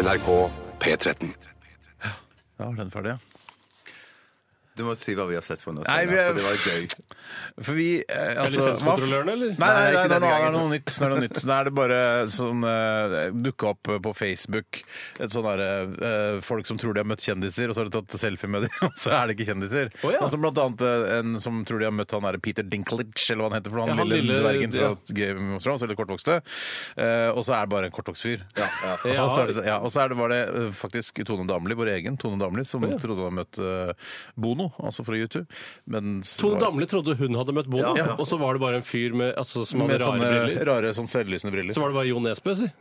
NRK P13.
Da var den ferdig, ja.
Du må si hva vi har sett for nå.
Nei,
Steinar,
vi-
for det var gøy.
For vi eh,
Er det
altså, hva f-
lisenskontrollørene, eller?
Nei, nei,
Nei,
nei,
ikke
nei,
denne
nå er det
gangen.
noe nytt. Nå er det noe nytt. Nå er det bare sånn uh, dukka opp på Facebook et sånn derre eh, folk som tror de har møtt kjendiser, og så har de tatt selfie med dem, og så er det ikke kjendiser.
Å, ja.
Og så blant annet eh, en som tror de har møtt han derre Peter Dinklage, eller hva han heter, for han,
Ja, han
lille,
lille-
dvergen fra
ja.
Game of Thrones, eller kortvokste. Eh, og så er det bare en kortvokst fyr.
Ja.
Og så er det, ja, og så er det, var det eh, faktisk Tone Damli, vår egen Tone Damli, som trodde hun hadde møtt eh, Bono, altså fra YouTube. mens det
Tone
var-
Damli trodde hun hadde møtt Bono,
Ja.
og så var det bare en fyr med, altså, som hadde
Med
rare
sånne
briller.
rare sånn selvlysende briller.
Så var det bare Jo Nesbø, si.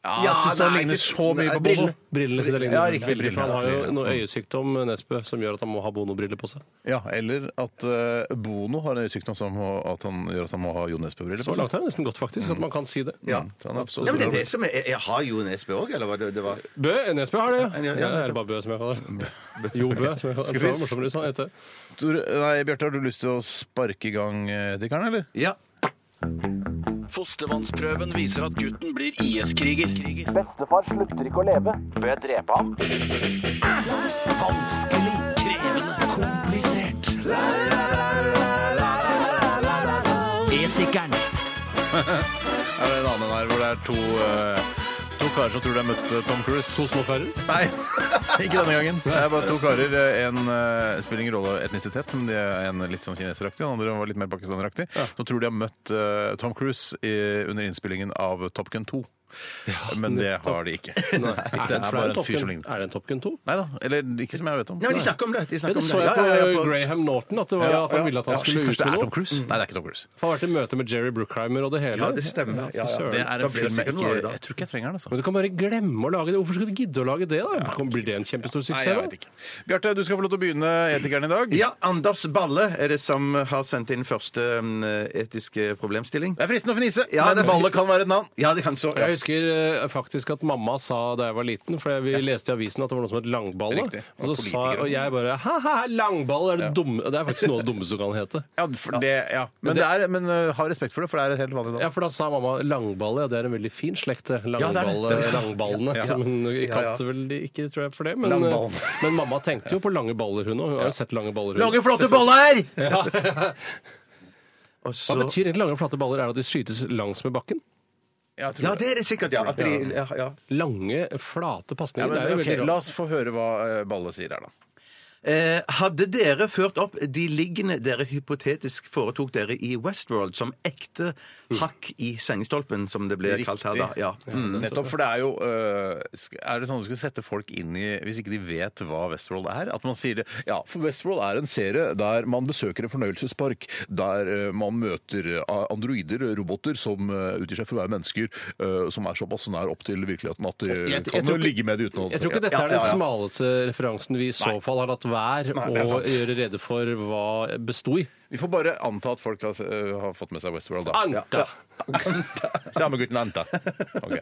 Ja, jeg syns han ligner så mye på Bono.
Brillene. Brillene synes jeg ligner.
Ja, riktig,
Veldig,
brillene,
for Han har
brillene.
jo noe øyesykdom, Nesbø, som gjør at han må ha Bono-briller på seg.
Ja, Eller at eh, Bono har en sykdom som må- at han gjør at han må ha Jo Nesbø-briller
Så
på seg.
langt er det nesten godt, faktisk, at man kan si det.
Ja.
Så han er absolutt-
Ja, men det er det som er, jeg har Jo Nesbø òg, eller hva det, det var?
Bø, Nesbø har det, ja.
Ja, ja,
ja det er bare Bø som jeg kaller det. Jo Bø. som jeg kaller det.
Skal
Det
vi-
var morsommere hvis han het det.
Tore- Nei, Bjarte, har du lyst til å sparke i gang eh, dikkeren, eller?
Ja.
Fostervannsprøven viser at gutten blir IS-kriger.
Bestefar slutter ikke å leve. Bør jeg drepe ham?
Vanskelig, krevende, komplisert. Etikeren.
Er det en annen her hvor det er to, eh, to karer som tror de har møtt eh, Tom Cruise?
To små karer.
Nei, ikke denne gangen. Det er bare to karer. En eh, spiller ingen rolle etnisitet, men de er en litt sånn kineseraktig. Den andre var litt mer pakistaneraktig. Nå tror de har møtt eh, Tom Cruise i, under innspillingen av Top Gun 2. men det har de ikke.
Nei,
er
er det en
bare
flau
en fyr som
Top Gun-
ligner.
er det en Top Gun 2?
Nei da. Eller ikke som jeg vet om.
Nei, men de snakker om det. De
Ja,
snakker
det
om
så jeg
Ja, ja, ja,
på Graham Norton, at, det var, at han ville at han
Ja,
skulle
shit,
ut
kanskje det
med
er
noe.
Tom Cruise? Nei, det er ikke Tom Cruise.
Han har vært i møte med Jerry Bruckheimer og det hele.
Ja, det stemmer. Ja, ja.
søren.
Det er
Da
en
blir det
film jeg
sikkert noe
ikke
av det da.
Jeg tror ikke jeg trenger den, altså.
Men du kan bare glemme å lage det. Hvorfor skal du gidde å lage det? da? Blir det en
Nei,
kjempestor suksess?
jeg
da?
vet ikke. Bjarte, du skal få lov til å begynne Etikeren i dag.
Ja, Anders Balle er det som har sendt inn første mm, etiske problemstilling.
Det er fristende å fnise,
Ja, det
men
er-
ballet kan være et navn.
Ja, det kan så ja.
Jeg husker eh, faktisk at mamma sa da jeg var liten, for vi leste i avisen at det var noe som het langballe.
Riktig.
Og så sa
Politikere.
og jeg bare ha-ha, langballe er det dumme Det er faktisk noe av det dummeste du kan hete.
Ja, for det, ja. Men, det er, men
uh,
eh, ha respekt for det, for det er et helt vanlig navn.
Ja, for da sa mamma langballe, ja det er en veldig fin slekt, det.
det er det.
langballe,
Det er det.
langballene. Som hun kalte vel de ikke, tror jeg, for det. Men, eh,
Langballen.
men mamma tenkte jo på lange baller, hun òg. Hun har jo sett lange baller, hun.
Lange, flotte baller!
Ja. Hva
Og så
betyr egentlig lange, flate baller? Er det at de skytes langs med bakken?
Jeg tror
Ja, det er det sikkert, ja. At de, ja, ja.
Lange, flate
Ja,
pasninger.
men,
det er jo
ok,
veldig
La
rart.
oss få høre hva eh, Balle sier her, da.
Eh, hadde dere ført opp de liggende dere hypotetisk foretok dere i Westworld som ekte
Mm.
hakk i sengestolpen, som det ble kalt her da? Ja. Mm.
Nettopp, for det er jo eh, sk- Er det sånn du skal sette folk inn i Hvis ikke de vet hva Westworld er? At man sier det Ja, for Westworld er en serie der man besøker en fornøyelsespark, der eh, man møter eh, androider, roboter, som eh, utgir seg for å være mennesker, eh, som er såpass nær opp til virkeligheten at de
Jeg- jeg
Eh, kan
tror
jo
ikke-
ligge med det uten å
Jeg tror ikke dette
Ja,
er den
ja, ja.
smaleste referansen vi i så fall har latt være
Nei, det er
å
sant.
gjøre rede for hva besto i.
Vi får bare anta at folk har, s- eh, har fått med seg Westworld, da.
Anta!
Samme gutten Anta. Ok.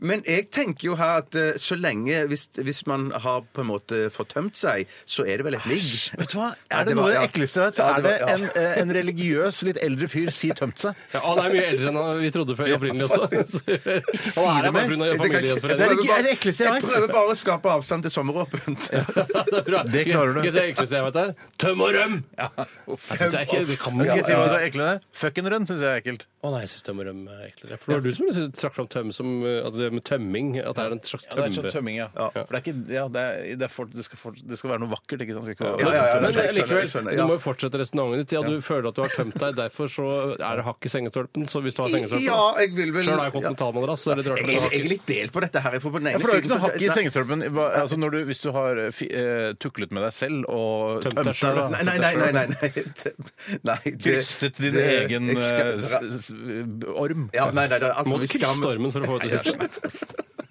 Men jeg tenker jo her at eh, så lenge hvis, hvis man har på en måte fortømt seg, så er det vel et ligg.
Vet du hva?
Ja,
Er det
det
noe av
var-
det
ja.
ekleste jeg vet, så
Ja,
er
det
det
var- ja.
en, eh, en religiøs, litt eldre fyr si tømt seg.
Ja, han er mye eldre enn han- vi trodde før opprinnelig også. Han er her
mer.
bare pga.
Det er
familiegjenforening.
ikke- er det ekleste jeg vet.
prøver bare å skape avstand til sommeråpent.
Det klarer du.
Skal jeg si det ekleste jeg vet her? Tøm og røm! Jeg synes det er ikke, det kan man
Skal
ikke
jeg si hva som er eklere? Fucken run syns jeg er ekkelt.
Å nei, jeg syns tøm og røm er eklere. For det var du som synes- trakk fram tøm som eh, at det med tømming. At det er en slags
Det er sånn
tømme.
tømming, ja. For det, er ikke, ja, det, er, det, er for, det, skal for, det skal være noe vakkert, ikke sant? Det Skal ikke være,
Ja, ja, ja,
Men
jeg skjønner,
likevel,
jeg skjønner,
du
ja.
må jo fortsette resonnementet ditt. Ja, du føler at du har tømt deg, derfor så er det hakk i sengetolpen. Så hvis du har sengetolpen
Ja, jeg vil vel
Sjøl har jeg kontinentalmadrass. så er det rart at
Jeg,
det er
jeg er
hakk i.
litt delt på dette her. For på den
Ja,
ene
for det er jo ikke
siden
noe
så-
hakk i sengestrømpen. Hva- Altså når du, hvis du har eh, fi- eh, tuklet med deg selv og
Tømt
tømt
deg
deg
selv,
selv
Nei, nei, nei. nei, nei, nei, det- nei det-
Brystet din
det-
egen
jeg skal-
eh, s- s- orm.
Ja, nei, nei, det er alt
Må
for mye
krysse
skam.
stormen for å få ut det siste.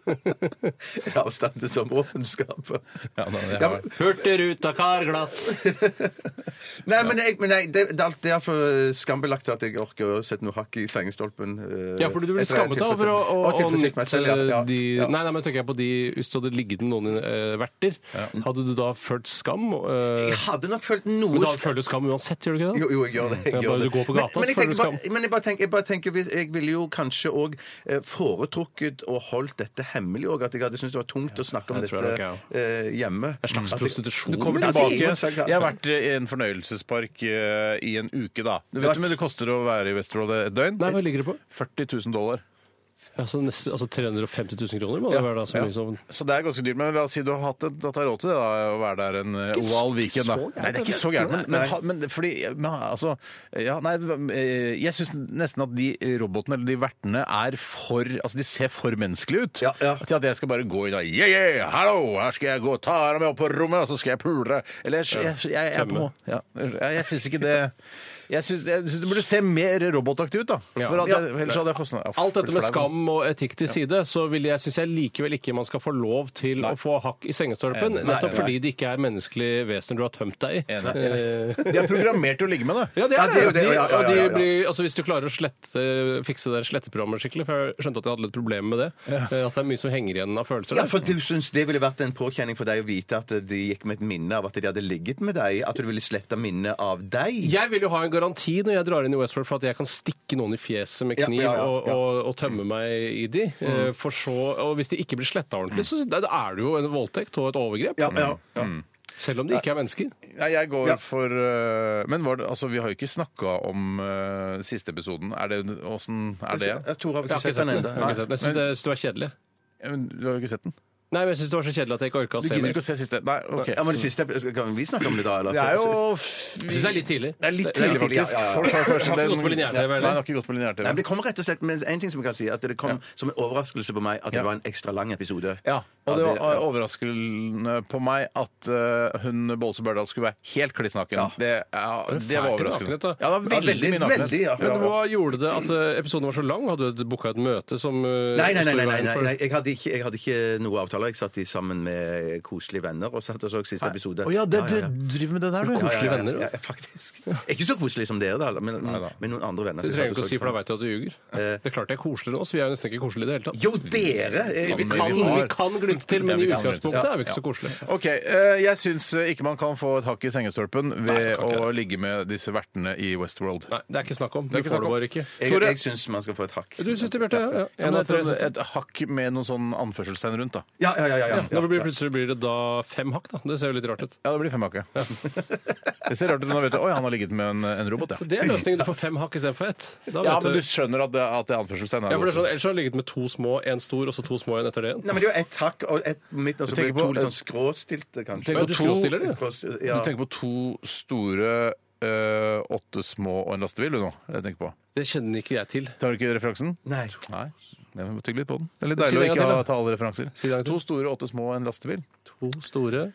Det er Avstand til sommeråpenskapet.
Ja, nei, det er-
Ja, men-
Hurtigruta, karglass!
Nei, men, jeg, men nei, det, det er alt- det er for eh, skambelagt at jeg orker å sette noe hakk i sengestolpen. eh,
Ja, for du blir
etter at jeg
skammet av
tilfredsstiller-
for å, å,
og
å
tilfredsstille meg
nytte
selv, ja. ja,
de
ja.
Nei, nei, men tenker jeg på de Hvis du hadde ligget med noen eh, verter, hadde du da følt skam?
Jeg
Eh,
hadde nok følt
men
noe
da
skam.
føler du skam uansett, gjør du ikke Mm. det?
Jo, jo, jeg gjør det. Jeg
Ja,
gjør
bare
det.
du går på gata,
men, men, jeg
så føler
tenker,
du
bare- men jeg bare tenker, jeg, bare tenker hvis- jeg ville jo kanskje òg foretrukket og holdt dette hemmelig òg. At jeg hadde syntes det var tungt å snakke om
det
dette
tror jeg nok
eh, hjemme. En slags
prostitusjon.
Du kommer
Ja,
tilbake.
sier jo seg klart,
Jeg har
ja.
vært eh, i en fornøyelsespark eh, i en uke, da. Du vet
var-
hvor mye det koster å være i Westworld et døgn?
Nei, hva ligger det på?
40 000 dollar.
Altså, nesten, altså 350 000 kroner må det være da, så
Ja.
mye som sånn-
Så det er ganske dyrt. Men la oss si du har hatt et at det er råd til det, da, å være der en eh, oval weekend. Da.
så gærent,
Nei, det er ikke så gærent. Men, men, ha- men det- fordi men, altså ja, nei, eh, Jeg syns nesten at de robotene eller de vertene er for Altså, de ser for menneskelige ut.
Ja, ja.
Til at jeg skal bare gå inn og Yeah, yeah, hallo! Her skal jeg gå og ta deg med opp på rommet, og så skal jeg pule deg. Eller jeg, jeg, jeg, jeg, er på
Tømme.
ja, jeg, jeg syns ikke det Jeg syns jeg syns det burde se mer robotaktig ut, da.
Ja.
For at
Ja.
jeg, ellers hadde jeg fått sånn ja,
Alt dette med
flau.
skam og etikk til side, så vil jeg, syns jeg likevel ikke man skal få lov til å få hakk i sengestolpen.
Enig. Nei,
Nettopp
nei.
fordi det ikke er menneskelige vesener du har tømt deg i.
Enig. De er programmert til å ligge med deg.
Ja, det
Ja,
er
det er jo det,
De-
ja, ja,
og de
ja, ja.
blir- Altså, hvis du klarer å slette, fikse det sletteprogrammet skikkelig, for jeg skjønte at jeg hadde litt problemer med det. eh, At det er mye som henger igjen av følelser.
Ja,
der.
for du syns det ville vært en påkjenning for deg å vite at de gikk med et minne av at de hadde ligget med deg? At du ville sletta minnet av deg?
Jeg vil jo ha en garanti når jeg drar inn i Westworld for at jeg kan stikke noen i fjeset med
Ja,
kniv
ja, ja,
og,
ja. Mm.
og, og tømme meg i de. eh, For så, og hvis de ikke blir sletta ordentlig, så da er det jo en voldtekt og et overgrep.
Ja, ja, ja.
Mm. Selv om de ikke er mennesker.
Nei, jeg går
Ja.
for øh, Men var det, altså, vi har jo ikke snakka om øh, siste episoden. Er det, åssen er det?
Jeg tror
Jeg
jeg har ikke
har ikke
sett
sett
den
den.
ennå.
Jeg har ikke sett den. Jeg syns det, jeg synes det var kjedelig.
Ja, men Du har jo ikke sett den?
Nei, men jeg syns det var så kjedelig at jeg ikke orka å
Du
se
gidder
mer.
ikke å se siste? Nei, OK.
Ja, men det siste, Kan vi snakke om det da, eller?
Det er jo
Jeg syns det er litt tidlig.
Det er litt tidlig,
tidlig, ja,
faktisk.
ja, ja.
Folk har kanskje
Har ikke
den-
gått på linjær-TV,
Nei,
eller?
det har ikke gått på
Nei, men
linjær-TV.
Det kommer rett og slett med en ting som jeg kan si, at det kom som en overraskelse på meg at
Ja.
det var en ekstra lang episode.
Ja, og det
Ja,
var
det- ja.
overraskende på meg at øh, hun Bolse Berdal skulle være helt kliss naken.
Ja.
Det, ja, det var
fælt med
overraskende.
nakenhet, da?
Ja, det var veldig,
veldig,
mye nakenhet.
veldig, ja.
Men hva gjorde det at eh, episoden var så lang? Hadde du booka et møte som eh,
Nei, nei, nei,
sto i
nei, nei,
veien
nei,
for-
nei. Jeg, hadde ikke, jeg hadde ikke noe avtaler. Jeg satt i sammen med koselige venner og satt og så siste episode.
Å ja, det,
Ja, ja, ja.
du driver med det der, du.
Ja, ja, ja,
Koselige venner,
Ja, ja, faktisk. Ikke så koselige som dere, da, men, men noen andre venner.
Du
som
trenger ikke
satt og
å
så
si, for da
sammen.
veit jeg at du ljuger. Det er klart jeg er koselig nå, så vi er jo nesten ikke koselige i det hele tatt.
Jo, dere! eh, Vi
men
kan
Kan,
har-
vi kan glynte til, men
Ja, vi
i
kan glynte.
utgangspunktet
Ja.
er vi ikke så koselige.
Ok, eh, Jeg syns ikke man kan få et hakk i sengestolpen ved
Nei, man kan ikke
å ligge med disse vertene i Westworld.
Nei, det er ikke snakk om. Du
er ikke
får
snakk
det
om.
bare ikke.
Jeg, jeg syns man skal få et hakk.
Du syns det, Bjarte? Ja, ja.
Ja,
En
men
av
et,
tre syns
et,
det.
hakk med noen sånn anførselstegn rundt, da.
Ja, ja, ja. ja, ja.
Når det blir, plutselig blir det da fem hakk, da. Det ser jo litt rart ut.
Ja, det blir fem hakk. ja. Det ser rart ut når du vet Oi, han har ligget med en, en robot,
Så det er løsningen. Du får fem hakk istedenfor ett. Da
Ja,
vet
men
du-
du skjønner at det, at det er anførselstegn her.
ja, for det er
også.
sånn, Ellers har det ligget med to små, en stor og så to små igjen etter det. igjen.
Nei, men det er jo ett hakk og ett på midten, og så
Jeg
blir
tenker
det to
på-
litt sånn skråstilte, kanskje.
tenker på
Du skråstiller, du.
Skrås-
Du
sånn-
Ja.
tenker på to store, eh, åtte små og en lastebil, du nå. Jeg tenker på.
Det kjenner ikke jeg til.
Tar du ikke referansen?
Nei.
Nei. Jeg må tygge litt på den. Det er litt deilig
Si
å
det en
ikke
gang til,
ha,
da.
ta alle referanser.
Si det en gang til.
To store, åtte små og en lastebil.
To store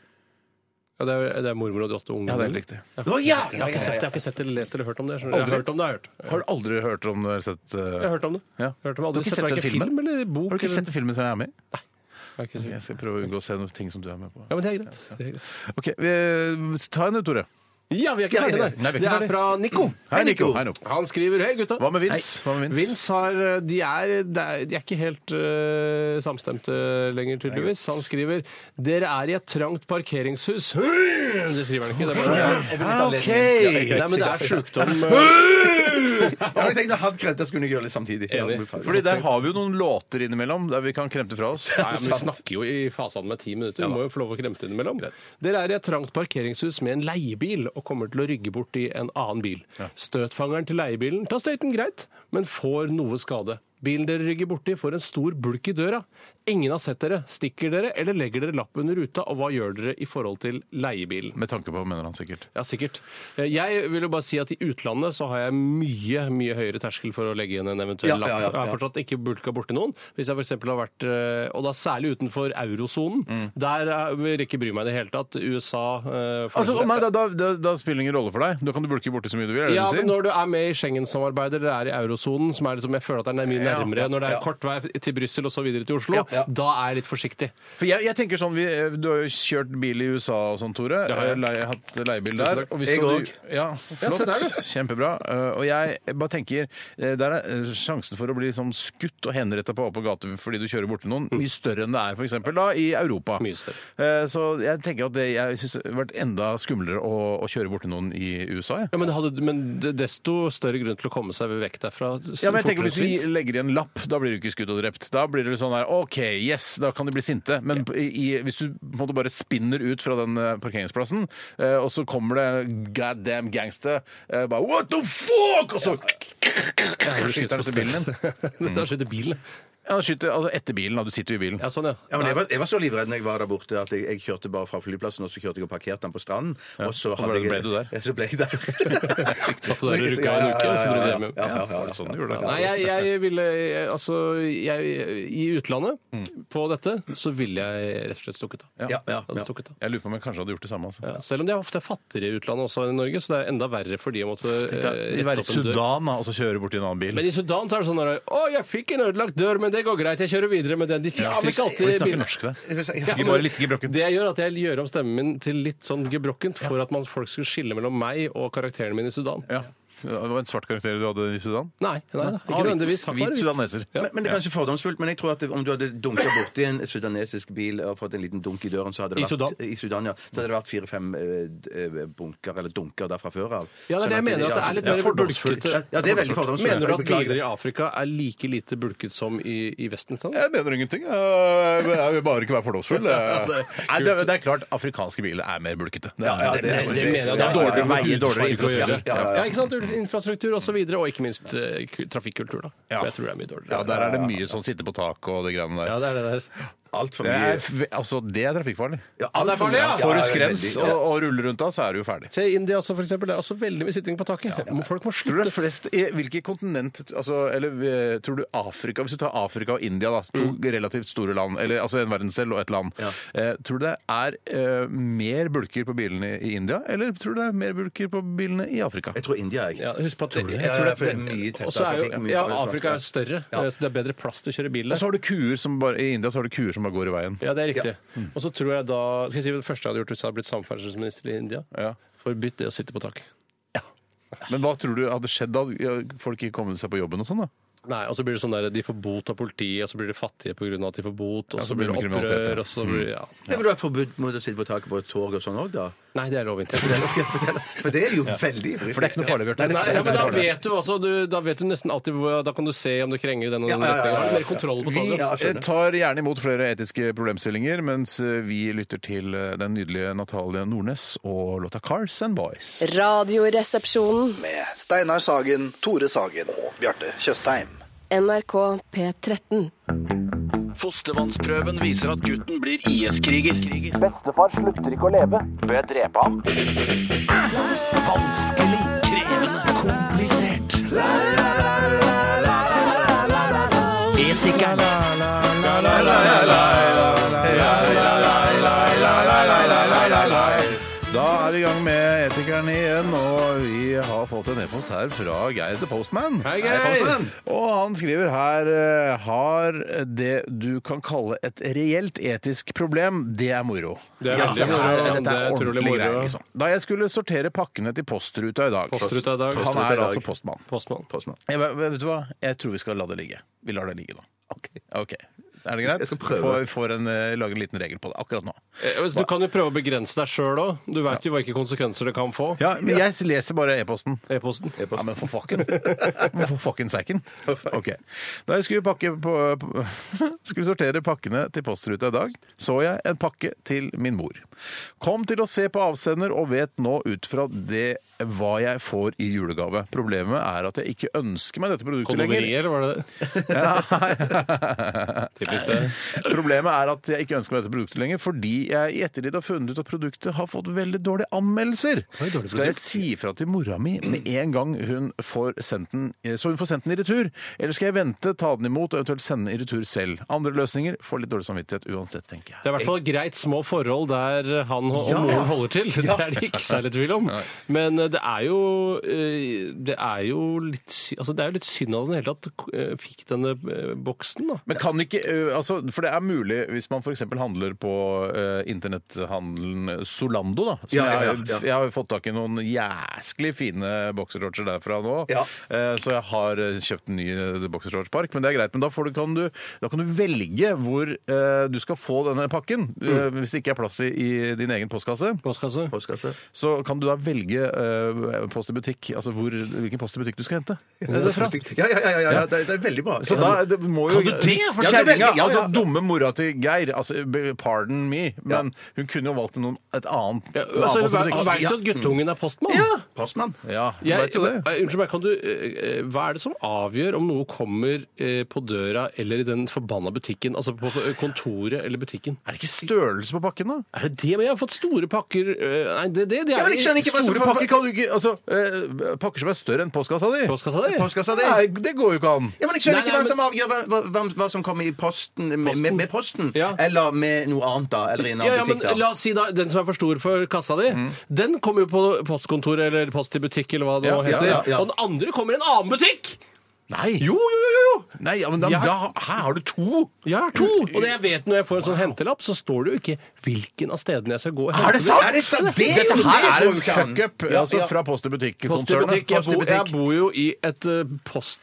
ja, det, er, det er mormor og de åtte ungene.
Ja, det er helt riktig.
Å, ja!
Jeg har ikke sett, jeg har ikke sett eller lest eller hørt om det. skjønner du. Jeg
Aldri.
har hørt om det. Jeg har hørt.
Har du aldri hørt om det? eller Sett, eh,
Jeg har hørt om det.
Ja.
Jeg har hørt om det.
Du har
Aldri
ikke
sett
sett den
verken
filmen?
film eller bok.
Har du ikke sett filmen som jeg er med i?
eller... Jeg har ikke
Jeg
sett-
skal prøve å unngå å se noen ting som du er med på.
Ja, men det er greit. Det er greit.
Ok, vi, eh, Ta en, du, Tore.
Ja, vi er ikke
Nei,
ferdige
vi
der.
er ikke
Det er
ferdig.
fra Nico.
Hei, Nico. Hei, Nico.
Han skriver Hei, gutta.
Hva med Vince? Hva med Vince?
Vince har eh, De er, de er de er ikke helt eh, samstemte lenger, tydeligvis. Han skriver Dere er i et trangt parkeringshus. Det skriver han ikke. Det er bare Ah,
OK!
Nei, men det er sjukdom. eh.
Ja, men jeg tenkte han krevde jeg skulle gjøre det samtidig. Ja,
Enig.
ferdig.
Fordi der har vi jo noen låter innimellom der vi kan kremte fra oss.
Nei, men Vi snakker jo i fasene med ti minutter. Vi må jo få lov å kremte innimellom. Dere er i et trangt parkeringshus med en leiebil og kommer til å rygge bort i en annen bil. Støtfangeren til leiebilen tar støyten greit, men får noe skade. Bilen dere rygger borti, får en stor bulk i døra. Ingen har sett dere. Stikker dere, eller legger dere lapp under ruta, og hva gjør dere i forhold til leiebilen?
Med tanke på, mener han sikkert.
Ja, sikkert. Eh, Jeg vil jo bare si at i utlandet så har jeg mye mye høyere terskel for å legge igjen en eventuell
Ja, ja, ja,
lapp. Jeg har
ja.
fortsatt ikke bulka borti noen. Hvis jeg f.eks. har vært eh, Og da særlig utenfor eurosonen.
Mm.
Der eh, vil jeg ikke bry meg i det hele tatt. USA eh, for
Altså,
eksempel-
nei, da, da, da, da spiller det ingen rolle for deg. Da kan du bulke borti så mye du vil. Er det
ja,
du
men
sier?
når du er med i Schengen-samarbeidet eller er i eurosonen, som er liksom, jeg føler at det er nær- mye nærmere når det er kort vei til Brussel og så videre til Oslo, da er jeg litt forsiktig.
For jeg, jeg tenker sånn, vi, Du har jo kjørt bil i USA og sånn, Tore.
Det har jeg.
Lei, hatt leiebil der.
takk.
Og hvis
Jeg
du-
òg.
Ja, flott.
se der, du.
Kjempebra. Eh, Og jeg bare tenker eh, Der er eh, sjansen for å bli sånn skutt og henretta på åpen gate fordi du kjører borti noen, mye større enn det er for eksempel, da, i Europa.
Mm. Mye større.
Eh, Så jeg tenker at det jeg synes det har vært enda skumlere å, å kjøre borti noen i USA. Jeg.
Ja, men, det hadde, men det- desto større grunn til å komme seg vekk derfra.
Ja, men jeg tenker
fortere
Hvis vi
enn svint.
legger igjen lapp, da blir du ikke skutt og drept. Da blir det litt sånn der, OK, yes, da kan de bli sinte. Men i, i- hvis du på en måte bare spinner ut fra den eh, parkeringsplassen, eh, og så kommer det god damn gangster eh, bare What the fuck?! Og så skyter han til bilen din.
Da skyter bilen.
Ja, han skyter altså etter bilen. Da. Du sitter jo i bilen.
Ja, sånn, ja.
Ja, men jeg, var, jeg var så livredd når jeg var der borte at jeg, jeg kjørte bare fra flyplassen og så kjørte jeg og parkerte den på stranden. Og så
Og ble- ble du der?
Ja, så ble jeg der.
Satt du der og rukka en uke, og så dro du hjem igjen?
Ja, ja, ja,
Var det sånn du gjorde det?
Nei, jeg, jeg ville jeg- Altså, jeg, i utlandet,
Mm.
på dette, så ville jeg rett og slett stukket av.
ja, ja,
Jeg hadde
ja.
stukket av.
Jeg lurer på om jeg kanskje hadde gjort det samme. Altså.
Ja, selv om de er ofte fattigere i utlandet også enn i Norge, så det er enda verre for de å måtte eh,
I
rette
være i
opp en dør.
Sudan da, og så kjøre bort i en annen bil.
Men i Sudan så er det sånn der, Å, jeg fikk en ødelagt dør, men det går greit, jeg kjører videre med den. De fikser
men-
ikke
Vi
alltid
snakker
bilen.
norsk der.
Jeg vil si-
Ikke bare litt gebrokkent.
Det jeg gjør, er at jeg gjør om stemmen min til litt sånn gebrokkent for at man, folk skulle skille mellom meg og karakteren min i Sudan.
Ja. Det var en svart karakter du hadde i Sudan?
Nei, nei,
Ah,
nei, ikke nødvendigvis. Han var
Hvit
hvit.
sudaneser.
Men, men det er kanskje fordomsfullt, men jeg tror at det- om du hadde dunka borti en sudanesisk bil og fått en liten dunk i døren, så hadde
I
det vært,
Sudan?
I Sudan ja, så hadde det vært fire-fem eh, d- eh, bunker eller dunker der fra før av.
Ja, det er det jeg mener, at det er litt
ja,
mer
fordomsfullt.
bulkete.
Ja, det er veldig fordomsfullt.
Mener du at
Jeg beklager
biler
det.
i Afrika er like lite bulket som i, i Vesten? Sånn?
Jeg mener ingenting. Jeg jeg vil bare ikke være fordomsfull.
det er
Nei, det, er- det er klart, afrikanske biler er mer bulkete. Det er-
Ja,
det- det-
det-
det-
mener
det
jeg
er
det er
dårligere
dårligere
veier, dårligere
hudfarge å gjøre.
infrastruktur.
Ja,
Ja, ja, ja.
ikke sant? Infrastruktur osv., og, og ikke minst eh, ku- trafikkultur. da.
Ja.
Jeg tror det er mye
Ja,
dårligere.
der er det mye sånn sitte på tak og det greiene der.
Ja, det er det der.
Altfor
Det
mye.
er, f- altså, det er trafikkfarlig.
Ja,
det er farlig, ja.
altfor mye.
Får du
ja,
skrens
veldig,
og,
ja.
og ruller rundt da, så er du jo ferdig.
Se India også, for eksempel. Det er også veldig mye sitting på taket. Men Folk må
Tror du det
slutte.
er flest i hvilket kontinent altså, Eller eh, tror du Afrika Hvis du tar Afrika og India, da, to
Mm.
relativt store land, eller altså en verdensdel og et land, eh, tror du det er eh, mer bulker på bilene i India, eller tror du det er mer bulker på bilene i Afrika?
Jeg tror India, jeg.
Ja, husk på at jeg,
Ja,
tror
ja, for
det
det er mye tettere
Og så er
trafikk,
jo
mye
ja,
større
Afrika er
transport.
større,
Ja.
så det er bedre plass til å kjøre bil
Og
der.
så har du kuer som bare, I India så har du kuer som bare går i veien.
Ja, det er riktig. Og så tror jeg da Skal jeg si hva det første jeg hadde gjort hvis jeg hadde blitt samferdselsminister i India?
Ja.
Forbytt det å sitte på taket.
Men hva tror du hadde skjedd da? Ja, Folk ikke kommet seg på jobben og sånn, da?
Nei, og så blir det sånn der, De får bot av politiet, og så blir de fattige pga. at de får bot, og
Ja,
så blir det
kriminalitet, ja.
opprør og så blir, ja.
Det ville vært forbudt mot å sitte på taket på et tog og sånn òg, da.
Nei, det er lovinntekt.
For det er jo veldig
For det er ikke noe farlig, Bjarte.
Nei, ja, men da vet du altså, du, da vet du nesten alltid hvor- Da kan du se om du krenger den og den
Ja, ja, ja, ja,
retningen. Har du
ja,
mer kontroll på
Vi
toget?
eh, tar gjerne imot flere etiske problemstillinger, mens eh, vi lytter til eh, den nydelige Natalie Nordnes og låta 'Cars and Boys'.
Radioresepsjonen.
Med Steinar Sagen, Tore Sagen og Bjarte Tjøstheim.
NRK P13.
Fostervannsprøven viser at gutten blir IS-kriger.
Bestefar slutter ikke å leve. Bør jeg drepe ham?
Vanskelig, krevende, komplisert. Etikerne.
Da er vi i gang med Etikerne igjen, og vi har fått en e-post her fra Geir the Postman.
Hei, Geir! Hei, Postman!
Og han skriver her eh, har det du kan kalle et reelt etisk problem. Det er moro.
Det er veldig
det her-
moro, ja.
dette
Det er utrolig
ordentlig
moro.
greier, liksom. Da jeg skulle sortere pakkene til Postruta i dag
Postruta i dag.
Han
Postruta
er
i dag.
altså postmann.
Postmann.
Jeg, bare- vet du hva? Jeg tror vi skal la det ligge. Vi lar det ligge nå. Ok. Er det greit?
Jeg skal prøve.
Får, vi får en, eh, lage en liten regel på det akkurat nå.
Eh, Du kan jo prøve å begrense deg sjøl òg. Du veit jo hvilke konsekvenser det kan få.
Ja, men jeg leser bare e-posten.
E-posten.
Ja, men for fucken. Men For fucken seiken. Ok. Da jeg skulle, pakke på, på, skulle sortere pakkene til Postruta i dag, så jeg en pakke til min mor. Kom til å se på avsender og vet nå ut fra det hva jeg får i julegave. Problemet er at jeg ikke ønsker meg dette produktet lenger.
Kondomerier, var det det?
Ja.
Typisk det.
Problemet er at jeg ikke ønsker meg dette produktet lenger, fordi jeg i ettertid har funnet ut at produktet har fått veldig dårlige anmeldelser. Skal jeg si fra til mora mi med en gang hun får sendt den, så hun får sendt den i retur? Eller skal jeg vente, ta den imot og eventuelt sende den i retur selv? Andre løsninger får litt dårlig samvittighet uansett, tenker jeg.
Det er i hvert fall greit små forhold der han og og moren holder til. Det er det ikke særlig tvil om. Men eh, det er jo eh, Det er jo litt, sy- altså, det er jo litt synd at han i det hele tatt eh, fikk denne eh, boksen, da.
Men kan ikke, ø, altså, For det er mulig hvis man f.eks. handler på ø, internetthandelen Solando. da, som
Ja, ja, ja,
Jeg,
ja.
har- jeg har fått tak i noen jæsklig fine boksershortser derfra nå.
Ja.
Eh, Så jeg har eh, kjøpt en ny eh, boksershortspark, men det er greit. Men da, får du, kan, du, da kan du velge hvor eh, du skal få denne pakken.
Mm.
Eh, Hvis det ikke er plass i, i din egen postkasse,
Postkasse.
Postkasse.
så kan du da velge eh, post i butikk, altså hvor, hvilken post i butikk du skal hente.
Ja, ja, ja, ja, ja, ja. Det, det er veldig bra.
Så da det må jo
Kan du det? For
Ja,
kjerringa!
kjerringa,
Ja,
altså dumme mora til Geir. Altså, be- pardon me, men hun kunne jo valgt noen, et annet
Ja,
en
altså,
annen
Veit
postbutikk.
jo at guttungen er postmann?
Postmann.
Ja, du
Jeg,
vet jo det.
Eh, unnskyld meg, kan du, eh, eh, hva er det som avgjør om noe kommer eh, på døra eller i den forbanna butikken? Altså på eh, kontoret eller butikken?
Er det ikke størrelse på pakken, da?
Er det det? Men jeg har fått store pakker eh, Nei, det, det, det er
men jeg skjønner ikke hva som-
Store pakker kan du ikke altså, eh, Pakker som er større enn postkassa di?
Postkassa di?
Postkassa di?
Nei, det går jo ikke an.
Ja, men
Nei,
Jeg skjønner ikke
nei,
hva som avgjør hva, hva, hva, hva som kommer i posten, Med, med, med posten
Ja.
eller med noe annet, da. Eller i en
Ja, ja,
annen
men
butikk. da.
La oss si da, den som er for stor for kassa di, den kommer jo på postkontoret eller post i butikk eller hva det nå
Ja, ja,
heter.
ja, ja.
Og den andre kommer i en annen butikk!
Nei.
Jo, jo, jo! jo.
Nei, ja, men da,
Jeg-
da, her har du to!
Jeg har to! Og det jeg vet når jeg får en sånn hentelapp, så står det jo ikke hvilken av stedene jeg skal gå. og hente den.
Er det sant? Det,
Dette her er en
går jo ikke an.
fuck-up
Ja,
altså,
ja.
fra Post i
Post i butikk.
butikk-konsernet.
Jeg,
Post i
bor- jeg
butikk.
bor jo i et eh,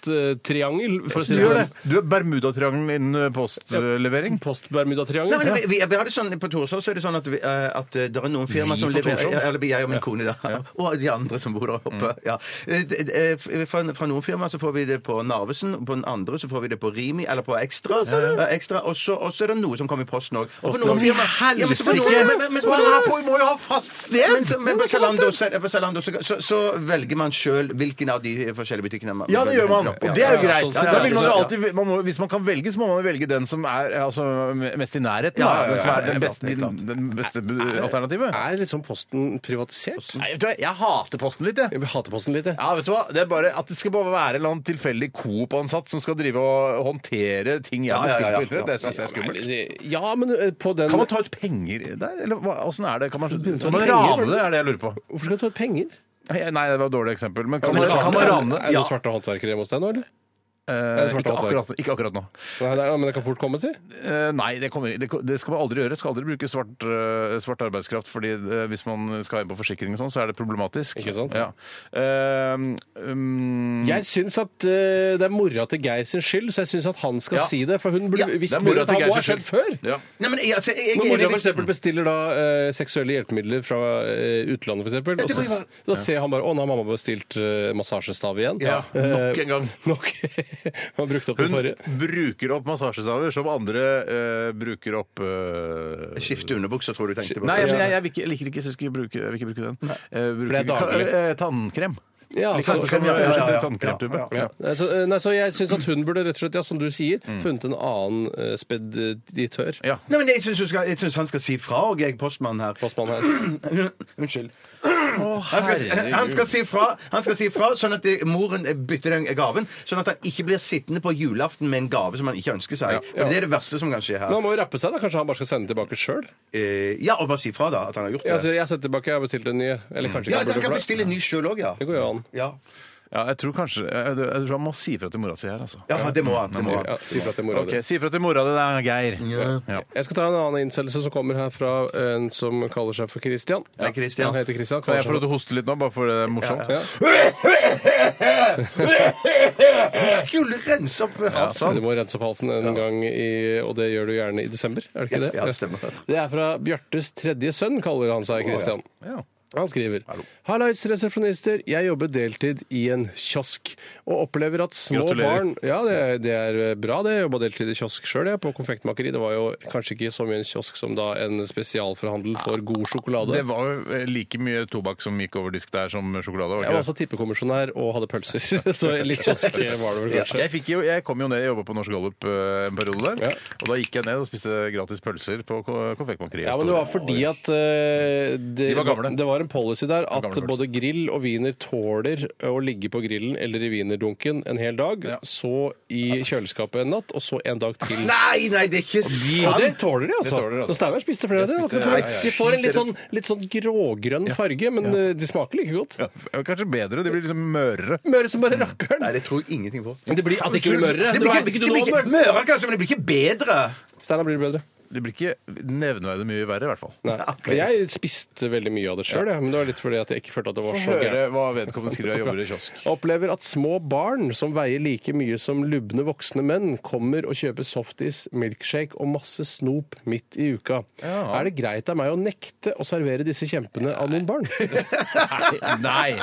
posttriangel, for å si
Du
det
gjør det.
sånn.
Du er Bermudatriangelen innen postlevering.
Nei,
Post-Bermuda-triangel.
men vi, vi, vi hadde sånn På Torshov så er det sånn at, vi, eh, at det er noen firma
Vi
som
på
leverer
Torshov?
Eller jeg og min kone, da. Og de andre som bor der
Mm.
oppe. Ja. Eh, d- d- eh, f- Fra, fra noen firma så får vi det på Narvesen, og på den andre så får vi det på Rimi eller på Ekstra. Ja, Ekstra. Og så og så er det noe som kommer i posten òg. Og på noen firma Ja, men så på noen- men- men- men-
må jo ha fast
men så- men på Zalando, så- på Zalando så, så, så velger man sjøl hvilken av de forskjellige butikkene man
Ja, det gjør man. Og det er jo
Ja,
greit.
sånn
Så
sett,
da vil
ja.
man jo alltid, man må, hvis man kan velge, så må man jo velge den som er altså, mest i nærheten.
Ja,
da.
ja, ja,
Den som er
ja,
den
ja,
beste,
helt klart.
den beste bu- alternativet.
Er liksom Posten privatisert?
Nei, vet du hva, jeg hater Posten litt, jeg.
Jeg hater Posten litt, jeg.
Ja, vet du hva? Det er bare At det skal bare være en eller annen tilfeldig Coop-ansatt som skal drive og håndtere ting jeg har
ja,
bestilt
ja,
på internett, det syns jeg er skummelt.
Ja, men eh, på den
Kan man ta ut penger der, eller hva- åssen er det? Kan man,
ta
Sånn
kan man
penger,
rane
vel?
det, er det jeg lurer på.
Hvorfor skal du ta ut penger?
Nei, nei, det var et dårlig eksempel. Men kan
Er
man,
det svarte-
kan man rane
Er det noen svarte håndverkere hjemme hos deg nå, eller?
Eh,
det svarte
ikke,
håndverk?
akkurat, ikke akkurat nå.
Nei, nei, men det kan fort komme, si.
Eh, nei, det, kommer, det, det skal man aldri gjøre. Skal aldri bruke svart, eh, svart arbeidskraft. fordi eh, hvis man skal inn på forsikring og sånn, så er det problematisk.
Ikke sant?
Ja. Eh, um,
Jeg syns at eh, det er mora til Geir sin skyld, så jeg syns at han skal
Ja.
si det. For hun burde
Ja, det er
visst burde
mora til
ha
Geir
hva har
sin
skjedd før.
Nei, men jeg, altså, jeg, jeg,
Når mora for
jeg-
eksempel bestiller da eh, seksuelle hjelpemidler fra eh, utlandet, for eksempel,
Ja, det
og så,
kan
da ser han bare 'Å, nå har mamma bestilt eh, massasjestav igjen'.
Ja, nok en
gang. Nok. Han brukte opp den
Hun
forrige.
bruker opp massasjestaver som andre eh, bruker opp eh,
Skifte underbukser, tror du tenkte på.
Nei, jeg, jeg, jeg, vil ikke- jeg liker ikke, så jeg skal ikke bruke, jeg vil ikke bruke den. Eh, bruker,
det er daglig.
Ka- eh, tannkrem.
Ja,
Liksom,
altså-
som,
Ja, ja, ja, ja.
Tannkremtube.
Ja. Nei, så, eh, nei, så jeg syns at hun burde rett og slett, ja, som du sier, funnet en annen eh, speditør.
Mm. Ja.
Nei, men jeg syns hun skal- jeg syns han skal si fra òg, jeg, postmannen her. Unnskyld. Han skal, han, skal si fra, han skal si fra, sånn at det- moren bytter den gaven. Sånn at han ikke blir sittende på julaften med en gave som han ikke ønsker seg. For Det er det verste som kan skje her.
Men han må jo rappe seg, da. Kanskje han bare skal sende tilbake sjøl?
Eh, ja, og bare si fra, da, at han har gjort
Ja, altså,
det.
jeg sender tilbake, jeg har bestilt en ny. Eller kanskje ikke
Ja,
han burde
han kan
for det.
bestille en ny sjøl òg, ja.
Det går jo an.
ja.
Ja, jeg tror kanskje jeg, jeg, jeg tror han må si ifra til mora si her, altså.
Ja, det må han. Det må
Ja, altså,
han.
si fra til mora
Ok, Si ifra til mora di, det er Geir. Ja.
Jeg skal ta en annen innsendelse som kommer her fra en som kaller seg for Christian.
Ja, Christian.
Han heter Christian.
Kan jeg få lov
kaller
til å hoste litt nå, bare for det er morsomt?
seg for-
Skulle rense opp
Ja, altså,
halsen.
Du må rense opp halsen en gang, i, og det gjør du gjerne i desember, er det ikke det?
Ja, det stemmer.
Det er fra Bjartes tredje sønn, kaller han seg Christian.
Ja.
Han skriver Hallais, resepsjonister. Jeg jobber deltid i en kiosk og opplever at små
Gratulerer.
barn Ja, det, er- det er eh, bra, det. Jeg jobba deltid i kiosk sjøl, jeg, på konfektmakeri. Det var jo kanskje ikke så mye en kiosk som da en spesialforhandel for god sjokolade.
Det var jo eh, like mye tobakk som gikk over disk der, som sjokolade. var
Jeg var
ikke det?
også tippekommisjonær og hadde pølser, så litt kiosk var det vel
Ja,
kanskje.
Jeg, fikk jo, jeg kom jo ned, jeg jobba på Norsk Gallup eh, en periode der. Og da gikk jeg ned og spiste gratis pølser på ko- konfektmakeriet.
Ja, men det var fordi at eh, det,
De var gamle.
det var en policy der
gamle
at
pølser.
både grill og wiener tåler å ligge på grillen eller i wienerdunken en hel dag, så i kjøleskapet en natt, og så en dag til.
Nei, nei, det er ikke
Og det
sant!
tåler de, altså.
Det tåler de, altså.
Så Steinar spiste flere av dem.
spiste-
akkurat.
Nei,
De får en litt sånn, litt sånn grågrønn farge, men eh, de smaker like godt.
Ja, Mm. Kanskje bedre. De blir liksom mørere.
Møre som bare rakkeren.
Nei, det tror jeg ingenting på.
Det blir at det ikke blir mørere.
Det blir ikke, det blir ikke møre, kanskje, men det blir ikke bedre.
Steinar blir det bedre.
Det blir ikke nevneverdig mye verre, i hvert fall.
Nei. Men jeg spiste veldig mye av det sjøl, men det var litt fordi at jeg ikke følte at det var så gærent.
hva vedkommende skriver. Jeg jobber i kiosk.
Opplever at små barn som veier like mye som lubne voksne menn, kommer og kjøper softis, milkshake og masse snop midt i uka.
Ja.
Er det greit av meg å nekte å servere disse kjempene av noen barn?
Nei!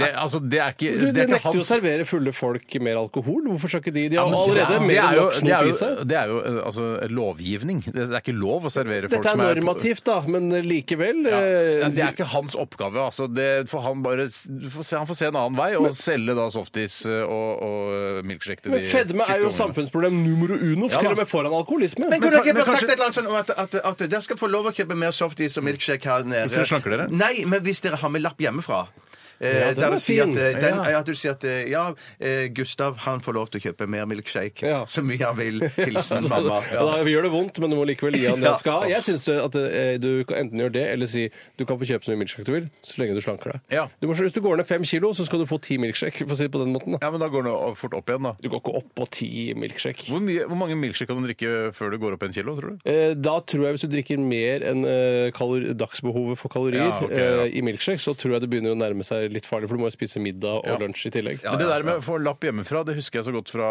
Det, altså, det er ikke
Du,
det
de
er ikke
nekter jo å
hans-
servere fulle folk mer alkohol. Hvorfor skal ikke de De
Ja,
har
men
allerede
det
mer
er
enn
jo,
nok
det er
snop i
jo,
seg.
det er jo eh, altså, lovgivning. Det er ikke lov å servere folk
Dette er
som er på-
normativt, da, men likevel
Ja.
eh,
Ja, Det er ikke hans oppgave. Altså, det får han, bare, du får se, han får se en annen vei og selge da softis eh, og, og milkshake til
men
de
fedme er
tjukke
jo
ungene.
samfunnsproblem numero uno,
Ja, da.
til og med foran alkoholisme.
Men kunne dere
men
ikke bare
kanskje-
sagt et eller annet sånn om at, at, at dere skal få lov å kjøpe mer softis og milkshake her nede?
Hvis dere slanker dere?
Nei, men hvis dere har med lapp hjemmefra. Eh,
Ja, den
der
var
du sier at,
fin.
eh, den,
Ja.
ja, at du sier at eh, ja, eh, Gustav han får lov til å kjøpe mer milkshake
Ja.
så mye han vil. Hilsen mamma.
Ja, da, vi gjør det vondt, men du må likevel gi han det
Ja.
han skal ha. Jeg syns at eh, du kan enten gjør det, eller si du kan få kjøpe så mye milkshake du vil, så lenge du slanker deg.
Ja.
Du må, hvis du går ned fem kilo, så skal du få ti milkshake, for å si det på den måten. Da.
Ja, men da går det fort opp igjen, da.
Du går ikke opp på ti milkshake.
Hvor, mye, hvor mange milkshake kan du drikke før du går opp en kilo, tror du?
Eh, Da tror jeg hvis du drikker mer enn eh, kalor- dagsbehovet for kalorier
Ja, ok, ja.
eh, i milkshake, så tror jeg det begynner å nærme seg litt farlig, for du må jo spise middag og
Ja.
lunsj i tillegg.
Men det der med å få lapp hjemmefra, det husker jeg så godt fra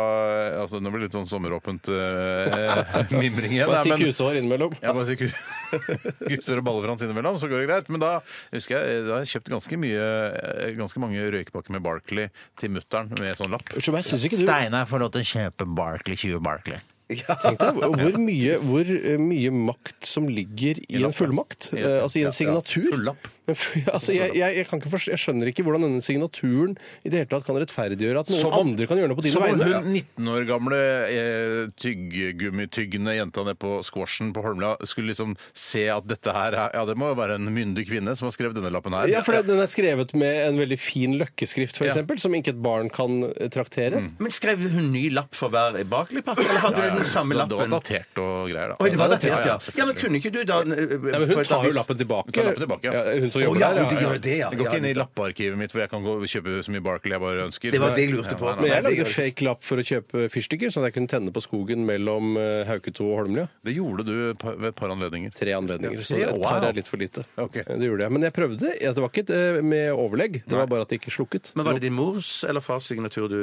eh, altså, Nå blir det litt sånn sommeråpent eh, mimring igjen.
Bare
da,
si
men-
kusehår innimellom.
Ja, bare si ku- kuser og baller hans innimellom, så går det greit. Men da husker jeg eh, da har jeg kjøpt ganske mye eh, ganske mange røykepakker med Barkley til mutter'n med sånn lapp.
Unnskyld meg, syns ikke du
får lov til å kjøpe Barkley 20 Barkley.
Tenk deg hvor mye, hvor eh, mye makt som ligger i en fullmakt. eh, Altså i en signatur.
Fullapp.
En fu- Altså, jeg, jeg, jeg, kan ikke forstå, jeg skjønner ikke hvordan denne signaturen i det hele tatt kan rettferdiggjøre at noen
Som om-
andre kan gjøre noe på dine
Som om
vegne.
hun 19 år gamle eh, tyggegummityggende jenta nede på squashen på Holmlia skulle liksom se at dette her er- Ja, det må jo være en myndig kvinne som har skrevet denne lappen her.
Ja, for det- Den er skrevet med en veldig fin løkkeskrift,
Ja. Mm.
f.eks., som ikke et barn kan eh, traktere.
Men skrev hun ny lapp for hver Barkley-pakke? Eller hadde hun den samme
Så Det var
lappen.
datert og greier, da.
Oi, det var datert, ja.
selvfølgelig.
Ja, men kunne ikke du da eh,
Nei, men
på
hun
et
tar jo
vis-
lappen tilbake.
Hun tar lappen tilbake, ja.
Ja, hun som
Å,
jobber
ja,
der,
hun gjør det, ja.
Jeg går
Ja,
ikke inn i
nettopp.
lappearkivet mitt hvor jeg kan gå og kjøpe så mye Barkley jeg bare ønsker.
Det var det jeg lurte på.
Nei, nei,
Men
nei.
jeg lagde fake lapp for å kjøpe fyrstikker, sånn at jeg kunne tenne på skogen mellom eh, Hauketo og Holmlia.
Det gjorde du et par- ved et par anledninger.
Tre anledninger, så
tre,
et par
wow.
er litt for lite. Eh,
Ok.
Det gjorde jeg. Men jeg prøvde. Ja, Det var ikke eh, med overlegg, det var bare at det ikke slukket.
Men var det din mors eller fars signatur du